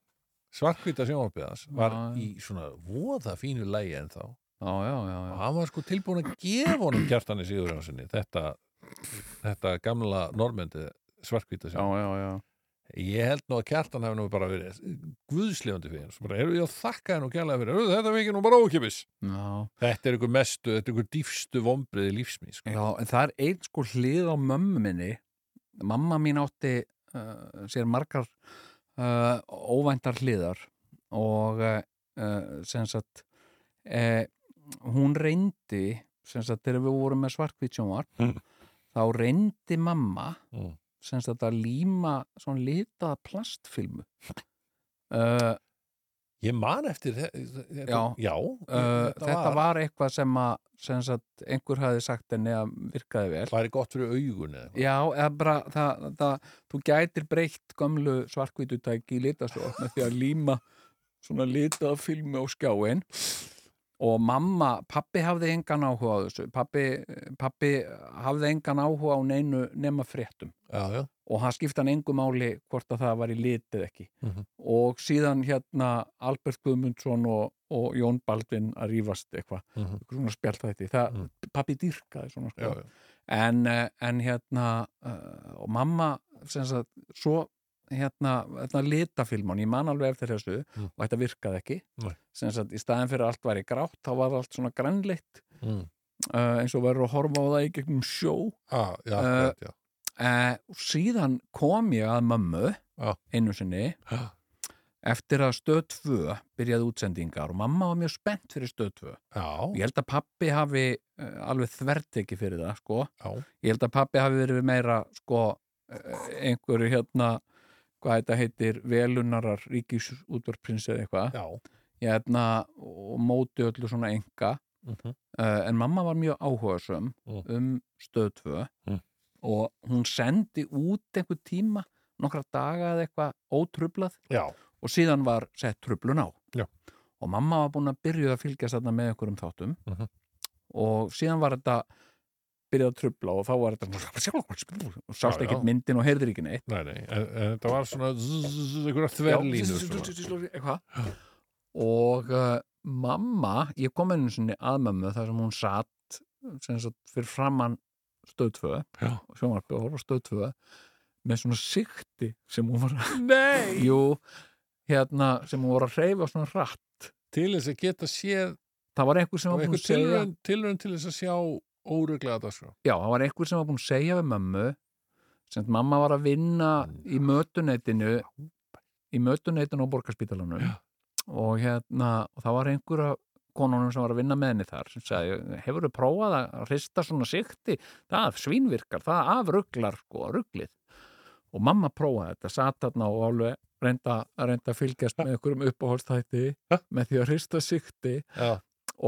svarkvita sjónvarpið hans var
Já, já.
í svona voða fínu lægi en þá og
já, já, já, já.
hann var sko tilbúin að gefa honum kjartani síðurjónsinni þetta, þetta gamla normendi svarkvita
já,
sjónvarpið
já, já.
ég held nú að kjartan hafi nú bara verið guðslefandi fyrir hans bara, "Heyrðu, ég þakka henn og kjærlega fyrir "Heyrðu, þetta fengið nú bara ókipis
Já,
þetta er ykkur mestu, þetta er ykkur dýfstu vombriði lífsmín sko.
já, en það er einn sko hlið á mömmu minni mamma mín átti uh, sér margar uh, óvæntar hliðar og uh, uh, sem sagt uh, hún reyndi sem sagt þegar við vorum með svarkvítsjónvarp
Mm.
þá reyndi mamma
Mm.
sem sagt að líma svona litaða plastfilmu uh,
ég man eftir þe- þe- þetta,
Já.
já
Uh, þetta, var... eitthvað sem að sem sagt, einhver hafi sagt henni að virkaði vel
væri gott fyrir augun eða eitthvað.
já, eða bara það, það, þú gætir breytt gamlu svarkvítutæki í litastóð með því að líma svona litaða filmi á skjáin og mamma, pappi hafði engan áhuga á þessu pappi, pappi hafði engan áhuga á neinu nema fréttum
já, já,
og hann skipti hann engu máli hvort að það var í litið ekki
Mhm.
og síðan hérna Albert Guðmundsson og, og Jón Baldvin að rífast eitthvað,
Mhm.
eitthvað svona spjallþætti það,
Mhm.
pappi dýrkaði svona sko.
já, já.
en, eh, en hérna uh, og mamma sem sagt, svo hérna, hérna litafilman, ég man alveg eftir þessu
Mm.
og þetta virkaði ekki
Nei.
sem sagt, í staðin fyrir að allt væri grátt þá var allt svona grænleitt
Mm.
uh, eins og verður að horfa á það í gegnum sjó
Ah, já,
Eh,
uh, já.
Eh, og síðan kom ég að mömmu
Já.
einu sinni
Já.
eftir að stöð 2 byrjaði útsendingar og mamma var mjög spennt fyrir stöð 2
já,
ég held að pappi hafi eh, alveg þvert ekki fyrir það sko.
Já.
ég held að pappi hafi verið meira sko, eh, einhverju hérna hvað þetta heitir, velunarar ríkisútvarprins eða eitthvað
já.
ég hefna og móti öllu svona enga
Mhm.
uh, en mamma var mjög áhugasum
Mm.
um stöð 2
Mm.
og hún sendi út einhver tíma, nokkra daga eða eitthvað ótruflað
Já.
og síðan var sett truflun á
Já.
og mamma var búin að byrja að fylgjast þarna með einhverjum þáttum
Mhm.
og síðan var þetta byrjað að trufla og þá var þetta og sást
Já, já.
ekkert myndin og heyrðir ekki neitt
Nei, nei, en, en þetta var svona zzz, zzz, einhverja þverlínur svona.
eitthvað og uh, mamma ég kom einu sinni að mömmu þar sem hún satt sem sagt, fyrir framann stöð 2
Já.
sjónvarpi og horfa á stöð 2 með svona sikti sem hún var
Nei!
jú, hérna, sem hún var að hreyfa svona hratt
Til þess að geta séð
það var einhver sem var búin
einhver um-
að segja
tilraun, tilraun til þess að sjá óruglega þetta sko.
já, það var einhver sem var búin að segja við mömmu sem sagt, mamma var að vinna í mötuneytinu í mötuneytinu á borgarspítalanum
Já.
og hérna og það var einhverja konunum sem var að vinna með henni þar sem sagði, hefur þú prófað að hrista svona sikti, það svínvirkar það afruglar sko, ruglið og mamma prófaði þetta, satt þarna og alveg reynda, reynda að fylgjast með einhverjum uppáhaldstætti með því að hrista sikti
Já.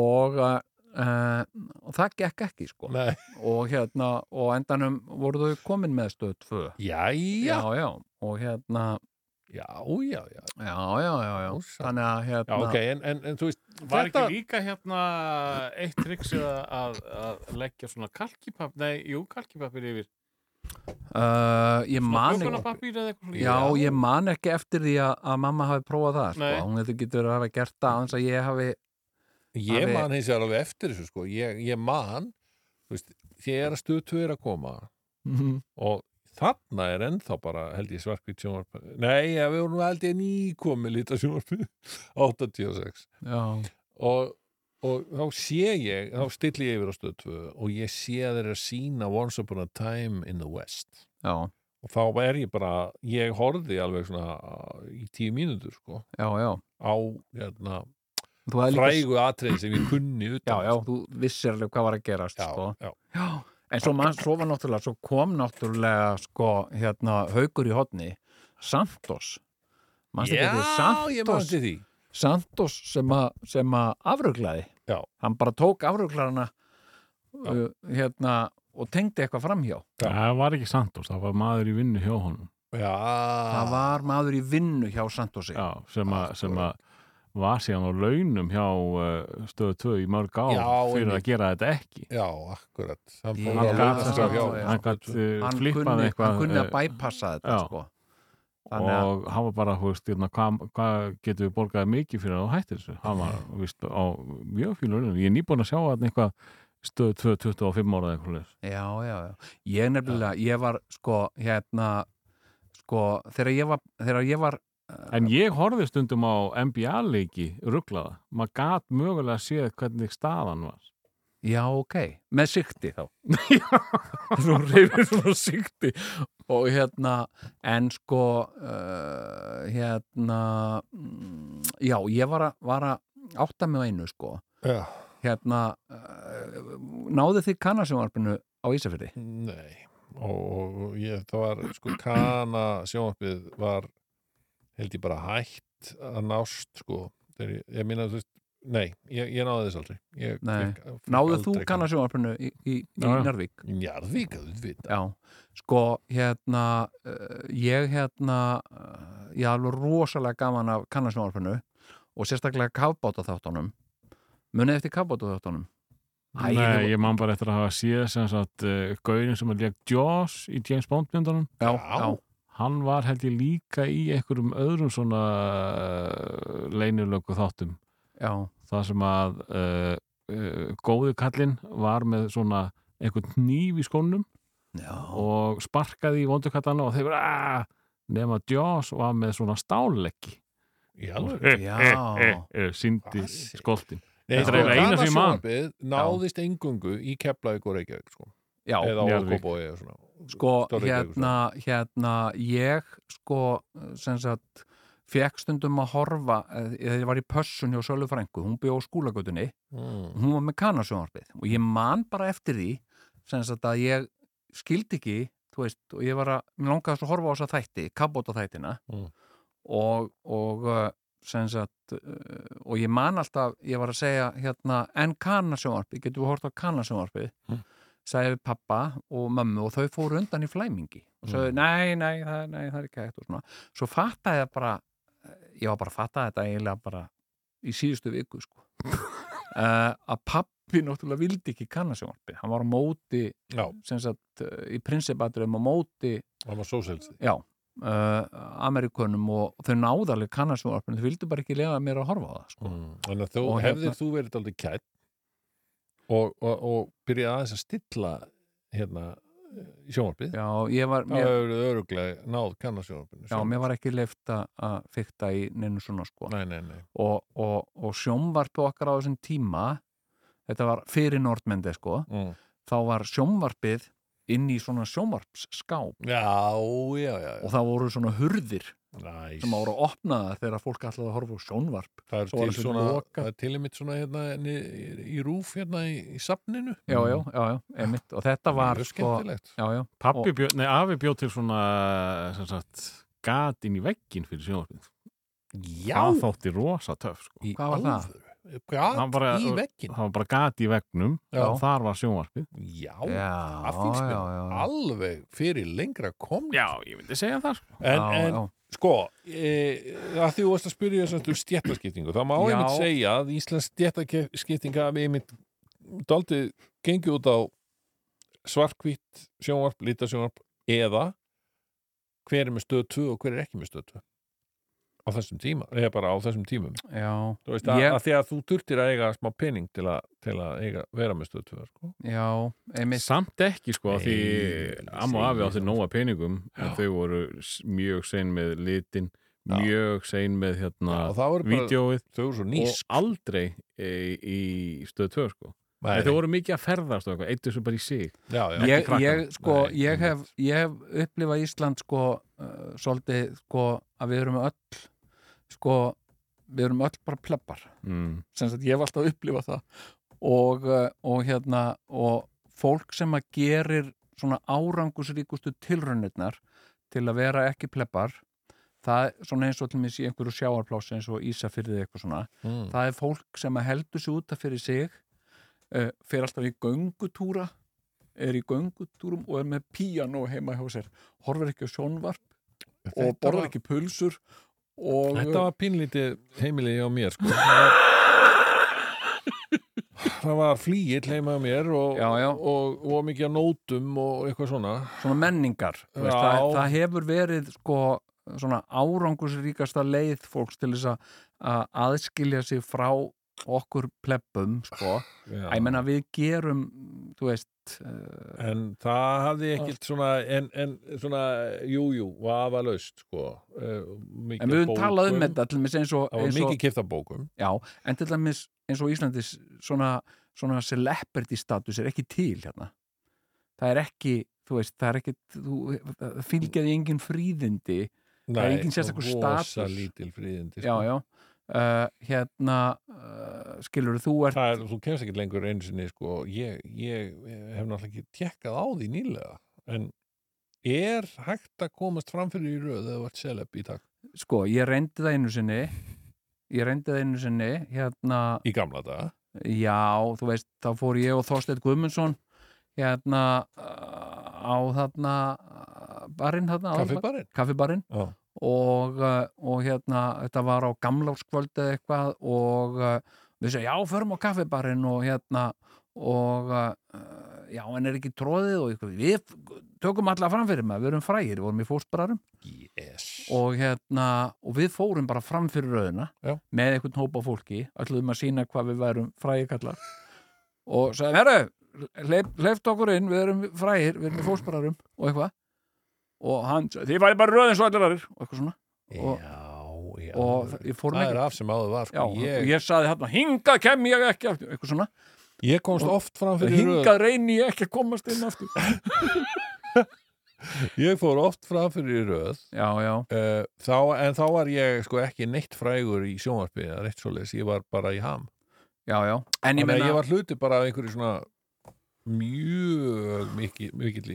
og, uh, og það gekk ekki sko
Nei.
og hérna og á endanum voru þau komin með stöð 2
Jæja!
já, já, og hérna
Já, já, já. já.
já, já, já, já,
Ósa.
þannig að
Já,
hérna
ok, en, en, en þú veist,
Var
þetta...
ekki líka hérna eitt triks að, að, að leggja svona kalkipap, nei, jú, kalkipapir yfir
uh, ég man ekki
Bökunarpapir eða eitthvað
já, ég man ekki eftir því að, að mamma hafi prófað það, sko,
Nei.
hún hefði getur að hafa gert það aðeins að ég hafi
Ég
Hafi-
man hins vegar alveg eftir þessu sko. ég, ég man þú veist, þegar stöðtu er að koma
Mhm.
og þarna er ennþá bara held ég svarkvít sjónvarp Nei, ja, við vorum held ég nýkomi lítið sjónvarp 86
já,
og, og þá sé ég þá stilli ég yfir á stöð 2 og ég sé að þeirra sína Once Upon a Time in the West
já,
og þá er ég bara, ég horfði alveg svona í tíu mínútur sko,
já, já
á hérna,
þú hefði líka,
frægu atriði sem ég kunni
já,
utan
já, þú vissir alveg hvað var að gerast, sko
já,
já, en svo, man, svo var náttúrulega svo kom náttúrulega, sko, hérna haukur í hotni, Santos manstu ekki eftir
ég
Santos
mannst því
Santos sem, a, sem að afruglaði
Já.
hann bara tók afruglarna uh, hérna og tengdi eitthvað framhjá
Það var ekki Santos, það var maður í vinnu hjá honum
Já,
það var maður í vinnu hjá Santosi
já, sem,
Ah,
a, sem a, var síðan á launum hjá uh, stöðu 2 í mörg á
Já,
fyrir
einmitt.
að gera þetta ekki
já akkurat Hann
Ég-
fór
hann
að
Já,
gat,
launaskrá hjá
já,
hann gat uh,
hann kunni,
flippað
hann
eitthvað
kunni að
eh,
bæpassa þetta
já.
sko. Þannig að-
og hann var bara, þú veist, hérna, hvað hva getum við borgaði mikið fyrir að þú hættir þessu hann var,
Mhm.
víst, á mjög fínu launum. ég er nýbúin að sjá hann eitthvað stöð 2, 25 ára eða eitthvað svoleiðis.
já, já, já. Ég nefnilega, ég var sko, hérna sko, þegar ég var, þegar ég var
en ég horfði stundum á NBA-leiki rugglaða, maður gat mögulega að séð hvernig staðan var
já, ok, með sikti þá
þú reyfir svona sigti
og hérna en sko uh, hérna mm, já, ég var að, var að átta mig á einu sko
Já.
hérna uh, náðu þið kannasjónvarpinu á Ísafirði
Nei, og, og ég, það var, sko, kana sjónvarpið var, held ég bara hætt að nást, sko, þegar ég, ég minna, þú veist, nei, ég, ég náði þess aldrei. Ég,
Nei.
Fekk, fekk
náðu þú
aldrei
kannasjónvarpinu í, í, í
Já, já.
Njárvík
Í Njarðvík, þú veit.
já, sko hérna uh, ég hérna uh, ég hafði alveg rosalega gaman af kannasjónvarpinu og sérstaklega kafbáta þáttunum munið eftir kafbáta þáttunum Æ,
Nei, ég man bara eftir að hafa séð sem sagt, uh, gaurin sem er lék Jaws í James Bond-myndunum
já,
Já.
já,
hann var held ég líka í einhverjum öðrum svona uh, leynilöku þáttum
já.
það sem að uh, uh, góðu kallinn var með svona einhvern nýf í skónum
Já.
og sparkaði í vondukallana og þeir voru aaaah nema Jaws var með svona stálleggi Eh,
Já,
Já.
síndi
Vassi.
skoltin
Nei,
Þetta
sko,
er eiginlega eina sem ég man.
kannasjónvarpið náðist engungu í Keflavík og Reykjavík, sko,
Já,
eða á
Njarðvík.
Kópói eða svona.
sko,
Stór Reykjavík,
hérna, hérna, ég, sko, sem sagt, fekk stundum að horfa, eh, þegar ég var í pössun hjá Sölu Frænku, hún bygði á skúlagötunni,
Mm.
hún var með kannasjónvarpið og ég man bara eftir því, sem sagt, að ég skildi ekki, þú veist, og ég var að, mér langaði svo að horfa á þessa þætti, kabbóta þættina
Mm.
og, og, eh, sem sagt, eh, og ég man alltaf, ég var að segja, hérna, en kannasjónvarpið, getum við hort á kannasjónvarpið? sagði við pappa og mömmu og þau fóru undan í flæmingi og sagði, nei, nei, það, nei, það er ekki hægt og svona. svo fattaði það bara eh, ég var bara að fatta þetta eiginlega bara í síðustu viku sko. uh, að pappi náttúrulega vildi ekki kannasjónvarpi, hann var á móti
Já,
sem sagt, eh, í prinsipatriðum á móti
það var sósælst.
já, uh, Amerikunum og þau náðarlega kannasjónvarpinu, þau vildu bara ekki lega mér að horfa á það sko.
Mm. Þannig að þú,
Og
hefðir
hérna-
þú verið aldrei kætt og, og, og byrjaði aðeins að stilla hérna eh, sjónvarpið,
já, ég var,
þá
mér,
hefur þau öruglega náð kannasjónvarpinu. sko.
já, mér var ekki leift að fykta í neinu svona sko.
Nei, nei, nei.
og, og, og sjómvarpi okkar á þessum tíma þetta var fyrir Nordmendi sko
Mm.
þá var sjómvarpið inn í svona sjómvarpsskáp
Já, já, já.
og það voru svona hurðir
Næs.
sem voru opnaða þegar fólk ætlaði að horfa á sjónvarp
Það er
svo var
til
þessi
svona,
loka-
það er til einmitt svona hérna í, í rúf hérna í, í safninu.
já, já, já, já, einmitt og þetta var
Mjög
sko
skemmtilegt.
já, já,
pappi bjó, nei afi bjóð til svona sem sagt, gat inn í veggin fyrir sjónvarpið
Já,
það þótti rosa töf sko.
í
Hvað var það?
alvöru. Gat
Hann bara-
í veggin.
það var bara gat í veggnum
Já.
og þar var sjónvarpið
Já,
já,
það finnst
já,
mér
já, já.
alveg fyrir lengra komn.
já, ég myndi segja það sko.
En,
Já,
en
já.
sko, e, að því þú varst að spyrja um þess að stjættaskiptingu, það má
Já.
einmitt segja að Íslands stjættaskiptinga hafi einmitt daldið gengið út á svarkvít sjónvarp, lítasjónvarp eða hver er með stöð 2 og hver er ekki með stöð 2 á þessum tíma, eða bara á þessum tímum
já,
þú veist að,
Ég-
að því að þú durtir að eiga smá pening til að, til að eiga, vera með stöð 2 sko.
já, einmitt
samt ekki sko
Nei,
því
ég
amma og afi
segi
átti
það.
nóga peningum en þau voru s- mjög sein með litin
Já.
mjög sein með hérna
og það voru bara,
vídjóið
þau eru svo
og
nýsk
aldrei e, í stöð 2 sko
Nei,
en þau voru mikið að ferðast og eitthvað, eittu sem bara í sig
já, já,
ég,
krakkanum.
ég, sko,
Nei,
ég, hef,
einmitt.
ég hef upplifað Ísland sko, uh, svolítið sko, að við erum öll sko, við erum öll bara plebbar
mm.
sem sagt ég hef alltaf upplifað það og, uh, og hérna og fólk sem að gerir svona árangusríkustu tilraunirnar til að vera ekki plebbar það er svona eins og til mér í einhverju sjáarplási eins og Ísafyrðið eitthvað svona
mm,
það er fólk sem að heldur sig út af fyrir sig uh, fer alltaf í göngutúra er í göngutúrum og er með píano heima hjá sér horfir ekki á sjónvarp og
Þetta
borðar
var-
ekki pulsur og
Þetta var pínlítið heimilið hjá mér sko. það, var, það var flýill heima hjá mér og,
Já, já.
og, og mikið af nótum og eitthvað svona
svona menningar þú veist,
Já.
það, það hefur verið sko svona árangursríkasta leið fólks til þess að- að aðskilja sig frá okkur plebbum sko.
Já.
Æ, ég menna við gerum þú veist uh,
En það hafði ekkert svona, en, en svona, jú, jú, vafa laust, sko. En
en við höfum talað um þetta til dæmis eins og,
Það var
eins og
mikið kipta bókum.
já, en til dæmis eins og Íslandis svona, svona celebrity status er ekki til hérna það er ekki þú veist, það er ekki þú, það fylgjaði engin fríðindi er engin sérstakur
Rosa
status.
lítil sko. fríðindi.
já, já uh, sko. hérna uh, skilur þú ert
Það er, þú kemst ekki lengur einu sinni, sko, ég, ég eh, hef náttúrulega ekki tjekkað á því nýlega, en er hægt að komast framfyrir í röð eða vart seleb í dag,
sko, ég reyndi það einu sinni ég reyndi það einu sinni hérna,
í gamla daga?
já, þú veist þá fór ég og Þorsteinn Guðmundsson hérna uh, á þarna uh, barinn þarna,
Kaffibarinn?
kaffibarinn
Já.
og, uh, og hérna þetta var á gamlárskvöldu eitthvað og uh, við segjum, já, förum á kaffibarinn og hérna og uh, já, en er ekki tróðið og eitthvað, við tökum alla fram fyrir maður, við erum frægir, við vorum í fóstbararum
Yes.
og hérna, og við fórum bara fram fyrir rauðina
Já.
með einhvern hópa fólki, ætluðum að sína hvað við værum frægir kallar og sagðum, herru, hleyp, hleypt okkur inn við erum frægir, við erum í fóstbararum og eitthvað, og hann sagði, þið væri bara rauðin svo allir aðrir, og eitthvað svona og-
já, já.
og ég fór
það
með
er af sem áður var,
Já,
sko.
og
ég,
ég saði hérna, hingað kem ég ekki aftur, eitthvað svona,
Ég komst
Og-
oft fram fyrir röð
hingað reyni ég ekki að komast inn aftur.
Ég fór oft fram fyrir röð
Já, já,
uh, þá, En þá var ég sko ekki neitt frægur í sjónvarpið eða neitt svoleiðis, ég var bara í ham
já, já, en ég
Þannig að
meina,
ég var hluti bara af einhverju svona mjög mikil, mikil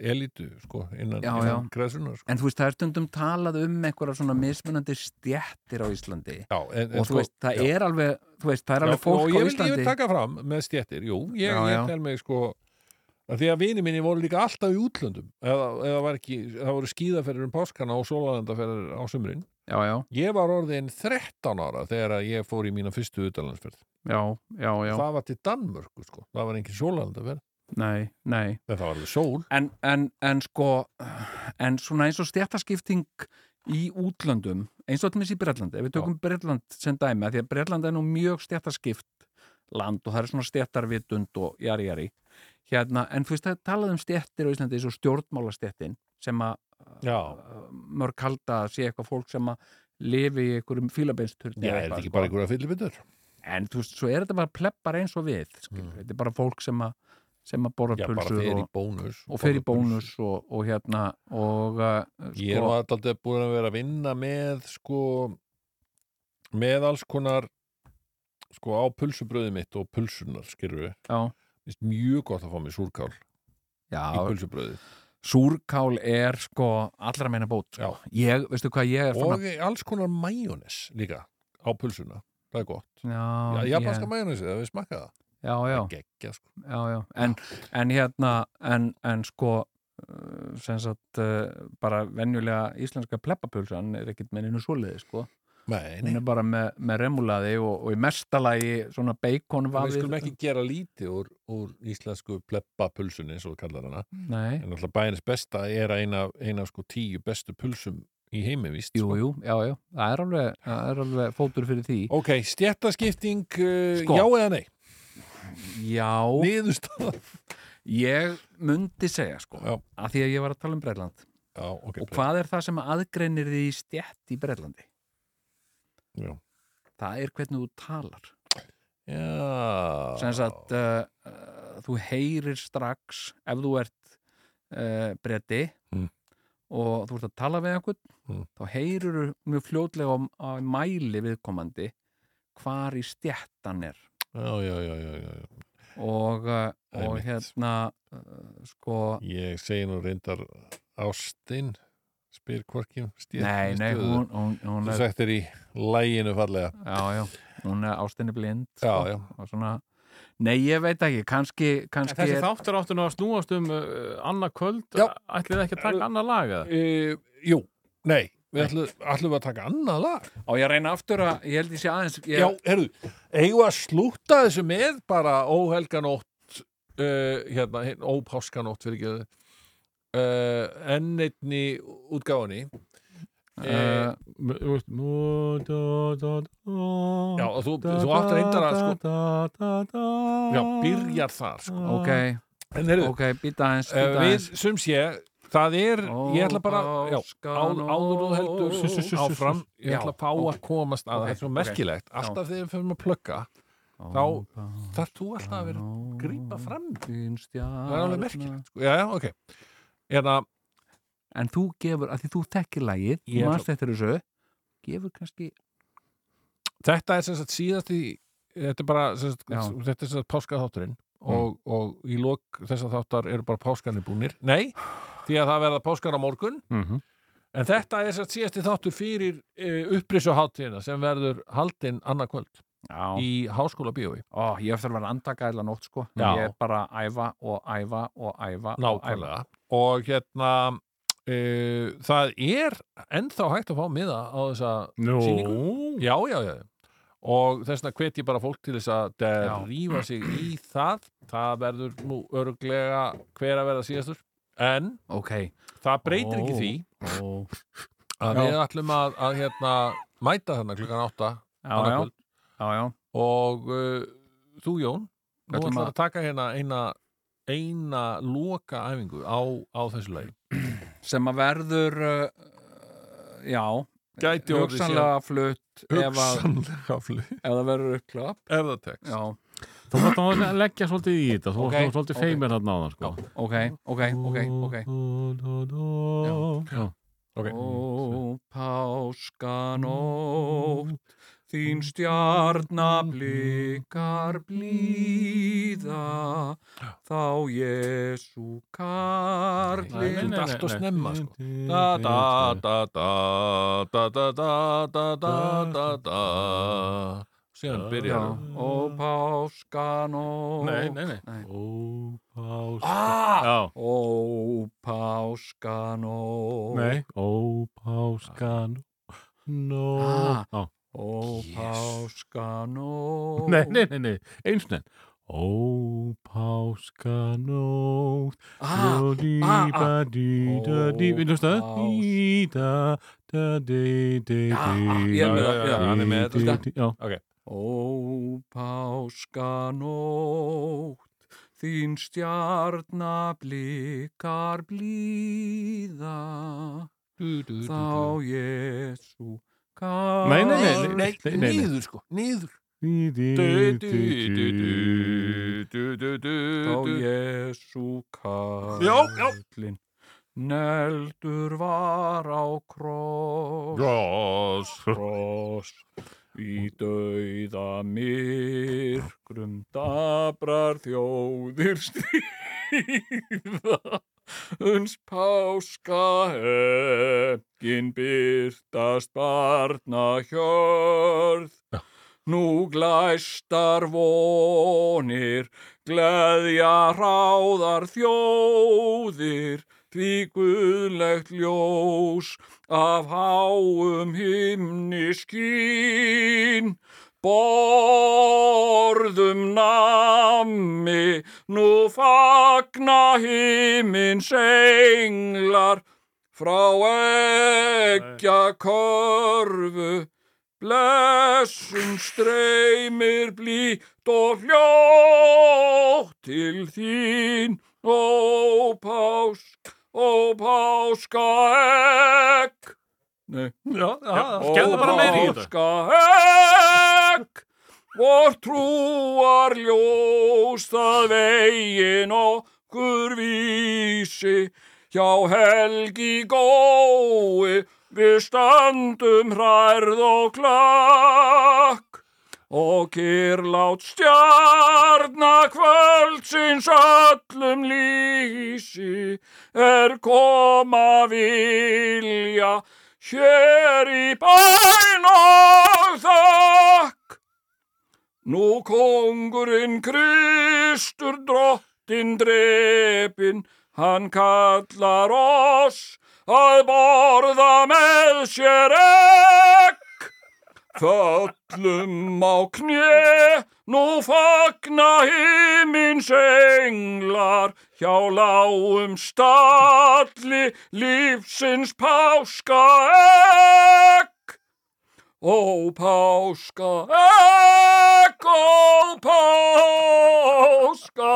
elitu sko, innan,
Já,
innan græðsunar sko.
en þú veist, það er stundum talað um einhverja svona mismunandi stjættir á Íslandi
Já, en, en
og þú veist, það er alveg, þú veist, það er
já,
alveg fólk
og
á
ég vil, ég
Íslandi.
vil taka fram með stjettir, jú, ég,
Já, já.
ég tel mig sko að því að vini minni voru líka alltaf í útlöndum eða, eða var ekki, það voru skíðaferður um páskana og sólalandaferður á sumrin
Já, já,
ég var orðin 13 ára þegar að ég fór í mína fyrstu utalandsferð
já, já, já,
það var til Danmörku sko, það var engin sólalandaferð
nei, nei.
en það var alveg sól
En, en, en sko, en svona eins og stjættaskipting í útlöndum, eins og allmest í Bretlandi, ef við tökum Bretland sem dæmi, af því að Bretland er nú mjög stjættaskipt land og það er svona stjættarvitund og jari jari. Hérna, en þú veist það er talað um stjættir á Íslandi eins og stjórnmálastjættin sem að
Já.
uh, mörg halda að sé eitthvað fólk sem að lifi í einhverjum fílabeinsturni sko.
Já, er þetta ekki bara einhverja fyllibitur?
en þú veist, svo er þetta bara pleppar eins og við skil, þetta er bara fólk sem að sem að borra
Mm. Já, bara
pulsur
fer
og,
í bónus
og fer í
borðar pulsur.
bónus og, og hérna og uh,
Ég er
sko,
alltaf búin að vera að vinna með sko með alls konar sko á pulsubröði mitt og pulsunar skilur við,
já,
Finnst mjög gott að fá mér súrkál í
já,
pulsubröði
súrkál er sko allra meina bót sko. ég, veistu hvað ég er
og alls konar majónes líka á pulsuna, það er gott
já,
Já,
ég-
japanska majónesi, það við smakka það
já, já,
Gekkja, sko.
já, já. En, en hérna en, en sko uh, sem sagt uh, bara venjulega íslenska pleppapulsan er ekkit með einu svoleiði sko
Nei, nei,
hún er bara með, með remulaði og, og í mestalagi svona
við
baconvafið
skulum ekki gera lítið úr, úr íslensku pleppapulsunni, svo kallar hana
nei
en alltaf bæjarins besta er eina, eina sko tíu bestu pulsum í heimi, víst
Jú,
sko.
jú, já, já, það er alveg, það er alveg fótur fyrir því
Ok, stjættaskipting, uh,
Sko.
já eða nei?
Já,
Niðurstaða.
ég myndi segja sko,
Já.
að því að ég var að tala um Breitland
Já, ok.
og hvað er það sem aðgreinir því stjætt í Breitlandi?
Já.
Það er hvernig þú talar
Já.
sem sagt, uh, uh, þú heyrir strax ef þú ert uh, bretti
Mm.
og þú ert að tala við einhvern
Mm.
þá heyrir þú mjög fljótlega á, á mæli viðkomandi hvar í stjættan er
Já, já, já, já, já. já.
og, uh, og
Einmitt.
hérna uh, sko,
Ég segi nú reyndar Ástin, spyr hvorki um stjætt.
nei, nei hún, hún, hún
Þú
er,
sagt er í læginu fallega.
já, já, hún er ástinni blind
Já,
sko,
já.
og svona nei, ég veit ekki, kannski,
En
kannski
þessi
er,
þáttur áttu nú að snúast um uh, annað kvöld,
Já.
ætlið þið ekki að taka annað lag eða?
Uh, jú, nei, við ætlum, ætlum við að taka annað lag.
á ég að reyna aftur að ég held ég sé aðeins ég,
Já, herru, eigum við að slúta þessu með bara óhelganótt uh, hérna, hin- ópáskanótt fyrir ekki uh, enn einni útgáfunni
Eh,
Þú veist, mú, dó, dó, dó,
Já, og þú, þú átt reyndar að sko,
da, da, da,
já, byrjar þar sko.
ok,
En heyrðu,
ok, býta aðeins,
eh,
býta
við
aðeins
sum sé, það er, ég ætla bara, já, á,
Óskan
áður og heldur
og-
áfram, ég ætla
Já,
að fá að komast að,
ok,
það er svo
ok.
merkilegt, alltaf þegar við förum að plugga, þá- þarf þú alltaf að vera að grípa fram, í. það er alveg merkilegt, sko, já, já, ok, Hérna, eða,
en þú gefur, að því þú tekir lagið
Ég
þú manst eftir þessu gefur kannski,
þetta er sem sagt síðast í þetta er bara sem sagt,
Já. Mm.
þetta er sem sagt páskaþátturinn og, og í lok þess að þáttar eru bara páskanir búnir nei, því að það verða páskar á morgun
Mhm.
en þetta er sem sagt síðasti þáttur fyrir uh, upprisu hátíðina sem verður haldinn annað kvöld
já,
í háskóla bíói
ó, ég eftir að vera andaka eða nótt sko,
Já.
ég er bara að æfa og æfa og æfa og æfa.
nákvæmlega og hérna uh, það er ennþá hægt að fá miða á þessa
Nú,
Sýningu? já, já, já og þess vegna hvet ég bara fólk til þess að drífa sig í það það verður nú örglega hver að verða síðastur en
ok,
það breytir ekki því
Ó.
að
Já.
við ætlum að, að hérna, mæta þarna klukkan átta
já, já,
annað kvöld.
já, já
og uh, þú Jón
Við
nú
ætlum
ætlum
að-
að taka hérna eina eina loka æfingu á, á þessu leið
sem að verður uh, já,
gæti orðið sér
hugsanlega flutt ef, að,
hugsanlega flutt
ef það verður uppklapp
ef það tekst
já,
þú mátt að leggja svolítið í þetta þú
Ok,
okay. svolítið
ok.
feimir þarna á það sko.
ok, ok, ok, ok
Dó, dó, dó, dó. Já.
okay.
Ó, páskanótt, þín stjarnablikar blíða, þá
Nei,
Jésu
nei,
karlinn.
nei, allt og
nei.
snemma sko. da da da da da da da da da da da síðan byrjar
Já, Ó, páskanótt,
nei, nei
Ó, pás-
Ah!
Já.
Ó, páskanótt,
Nei, ó, páskan Nó
Ah.
Já.
ó, páskanótt.
Nei, nei, nei, nei, eins og nefn Ó, páskanótt
Ah,
Dó, dí,
ah, ah.
ba, dí, da, dí
Ó,
Við náttúrulega
pás-
Dí, da, da, dí, dí, dí
Já, ah, ég er með sko. það, já,
hann er með þetta,
dí,
veist
dí, Já,
Ó, páskanótt, þín stjarnablikar blíða, þá Jésu karl.
Nei, nei, nei, nei, nei, nei, nei.
niður sko, niður
Dí, dí,
Du, du,
dí,
du, du,
dí.
du, du, du,
Þá
du.
Jésu karlinn.
Já, já.
Neldur var á kross,
Gross
kross, í dauða myrkrum dabrar þjóðir stríða. uns páska hefgin byrtast barna hjörð. Nú glæstar vonir, gleðja ráðar þjóðir, því guðlegt ljós af háum himni skín. Borðum nammi, nú fagna himins englar frá ekja körfu. Blessum streymir blít og hljótt til þín, ó pásk, ó páska ekk. Nei.
Já, já,
skellðu bara meira í þetta.
Óskahegg Vor trúar ljós það vegin okkur vísi Hjá helgi gói við standum hrærð og klakk Og kyrlátt stjarna kvöldsins öllum lýsi er koma vilja hér í bæn og þakk. Nú kongurinn Kristur drottin drepin, hann kallar oss að borða með sér ekk.
Föllum á kné, nú fagna himins englar, hjá lágum stalli, lífsins páska ekk. Ó páska ekk, ó páska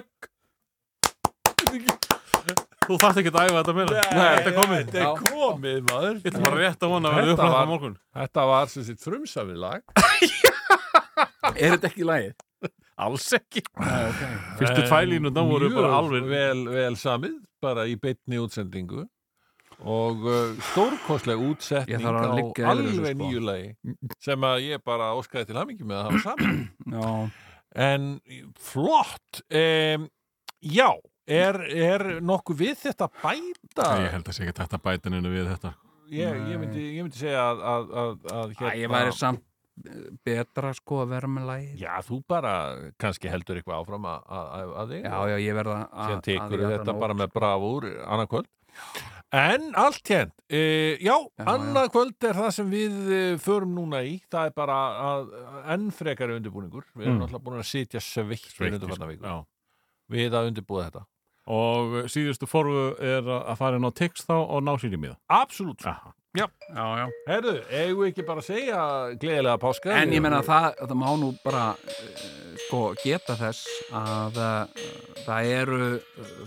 ekk.
Þú þarft ekki að æfa þetta meira Þetta er komið
Þetta er komið, maður.
Þetta var rétt að vona að verða
Þetta
upplætt á
var-
morgun
Þetta var sem sitt frumsafið lag.
Er þetta ekki lægið?
Alls ekki Fyrstu tvælínu þá voru
Mjög
bara alveg
vel, vel samið, bara í beinni útsendingu. Og uh, stórkostleg
Ég
útsetning
þarf að
á
liggja yfir þessu,
alveg
sko.
nýju lagi sem að ég bara óskaði til hamingi með að hafa samið.
Já.
En flott, um, já, er, er nokkuð við þetta að bæta?
Ég held að sé ekki þetta bætaninu við þetta
Ég, ég, myndi, ég myndi segja að, að, að, að hérna
Æ,
hérna.
ég væri samt eh, betra sko að vera með lægið.
Já, þú bara kannski heldur eitthvað áfram að, að, að þig
Já, já, ég verða að...
sem tekur
Ah, að- að-
þetta
að-
bara með bravúr annarkvöld en allt hérnt, e, já,
Já,
já annarkvöld er það sem við e, förum núna í, það er bara að, enn frekari undirbúningur, við erum
Mm.
náttúrulega búin að sitja sveitt
Sveiktir.
við undirfarna viku
Já.
við að undirbúa þetta,
Og síðustu forfu er að að fara inn á text þá og ná sér í miða
absolutt sko.
Aha.
Já, já.
herðu, eigum við ekki bara að segja gleðilega páska
En ég menna að það, það má nú bara eh, sko geta þess að eh, það eru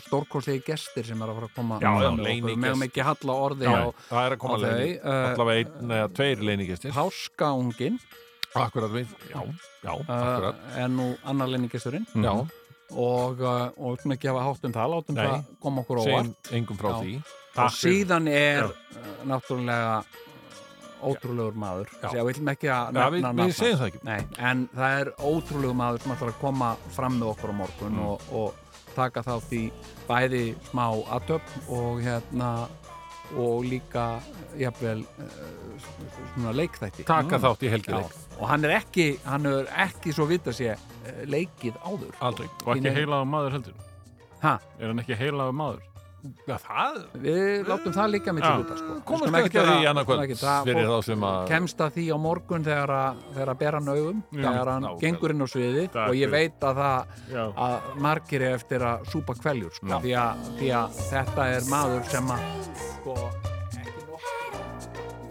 stórkostlegi gestir sem er að fara að koma
Já, já,
fram með okkur. Við megum
leynigestir.
ekki halla orði
Nei.
á,
það er að
á
koma
þau
leini,
uh,
allavega einn eða tveir leinigestir,
Páskaungin
akkurat við já, já,
uh,
akkurat
er nú annar leiningesturinn
já,
og, uh, og svona gefa hátt um það, látum
Nei.
það koma okkur á óvart
segjum engum frá
Já.
því
og síðan er uh, náttúrulega uh, ótrúlegur maður
Já.
já. ég vil ekki að
Já, við,
nefna
við
nafn hans.
segjum það ekki
Nei, en það er ótrúlegu maður sem ætlar að koma fram með okkur á morgun
Mm.
og, og taka þá því bæði smá aðtöfn og hérna og líka jafnvel uh, svona leikþætti Mm.
taka þátt í helgið
Já, og hann er ekki, hann er ekki svo vita sé eh, leikið áður
aldrei
Og ekki
Þínu-
heilaður maður heldur
ha,
Er hann ekki heilaður maður?
ja, það
við látum það líka mitt í
Já.
hluta sko. Við
komum
skulum
við
ekkert
ekki að
vera-
því annað
skulum
kvöld
ekkert- það
fyrir
fólk
þá sem að
kemst að því á morgun þegar að, þegar að bera hann augum þegar hann
nákvæmlega.
gengur inn á sviði
Takk
og ég
fyrir.
veit að það
Já
að margir er eftir að súpa kveljur sko, því, að, því að þetta er maður sem að sko, ekki nokkuð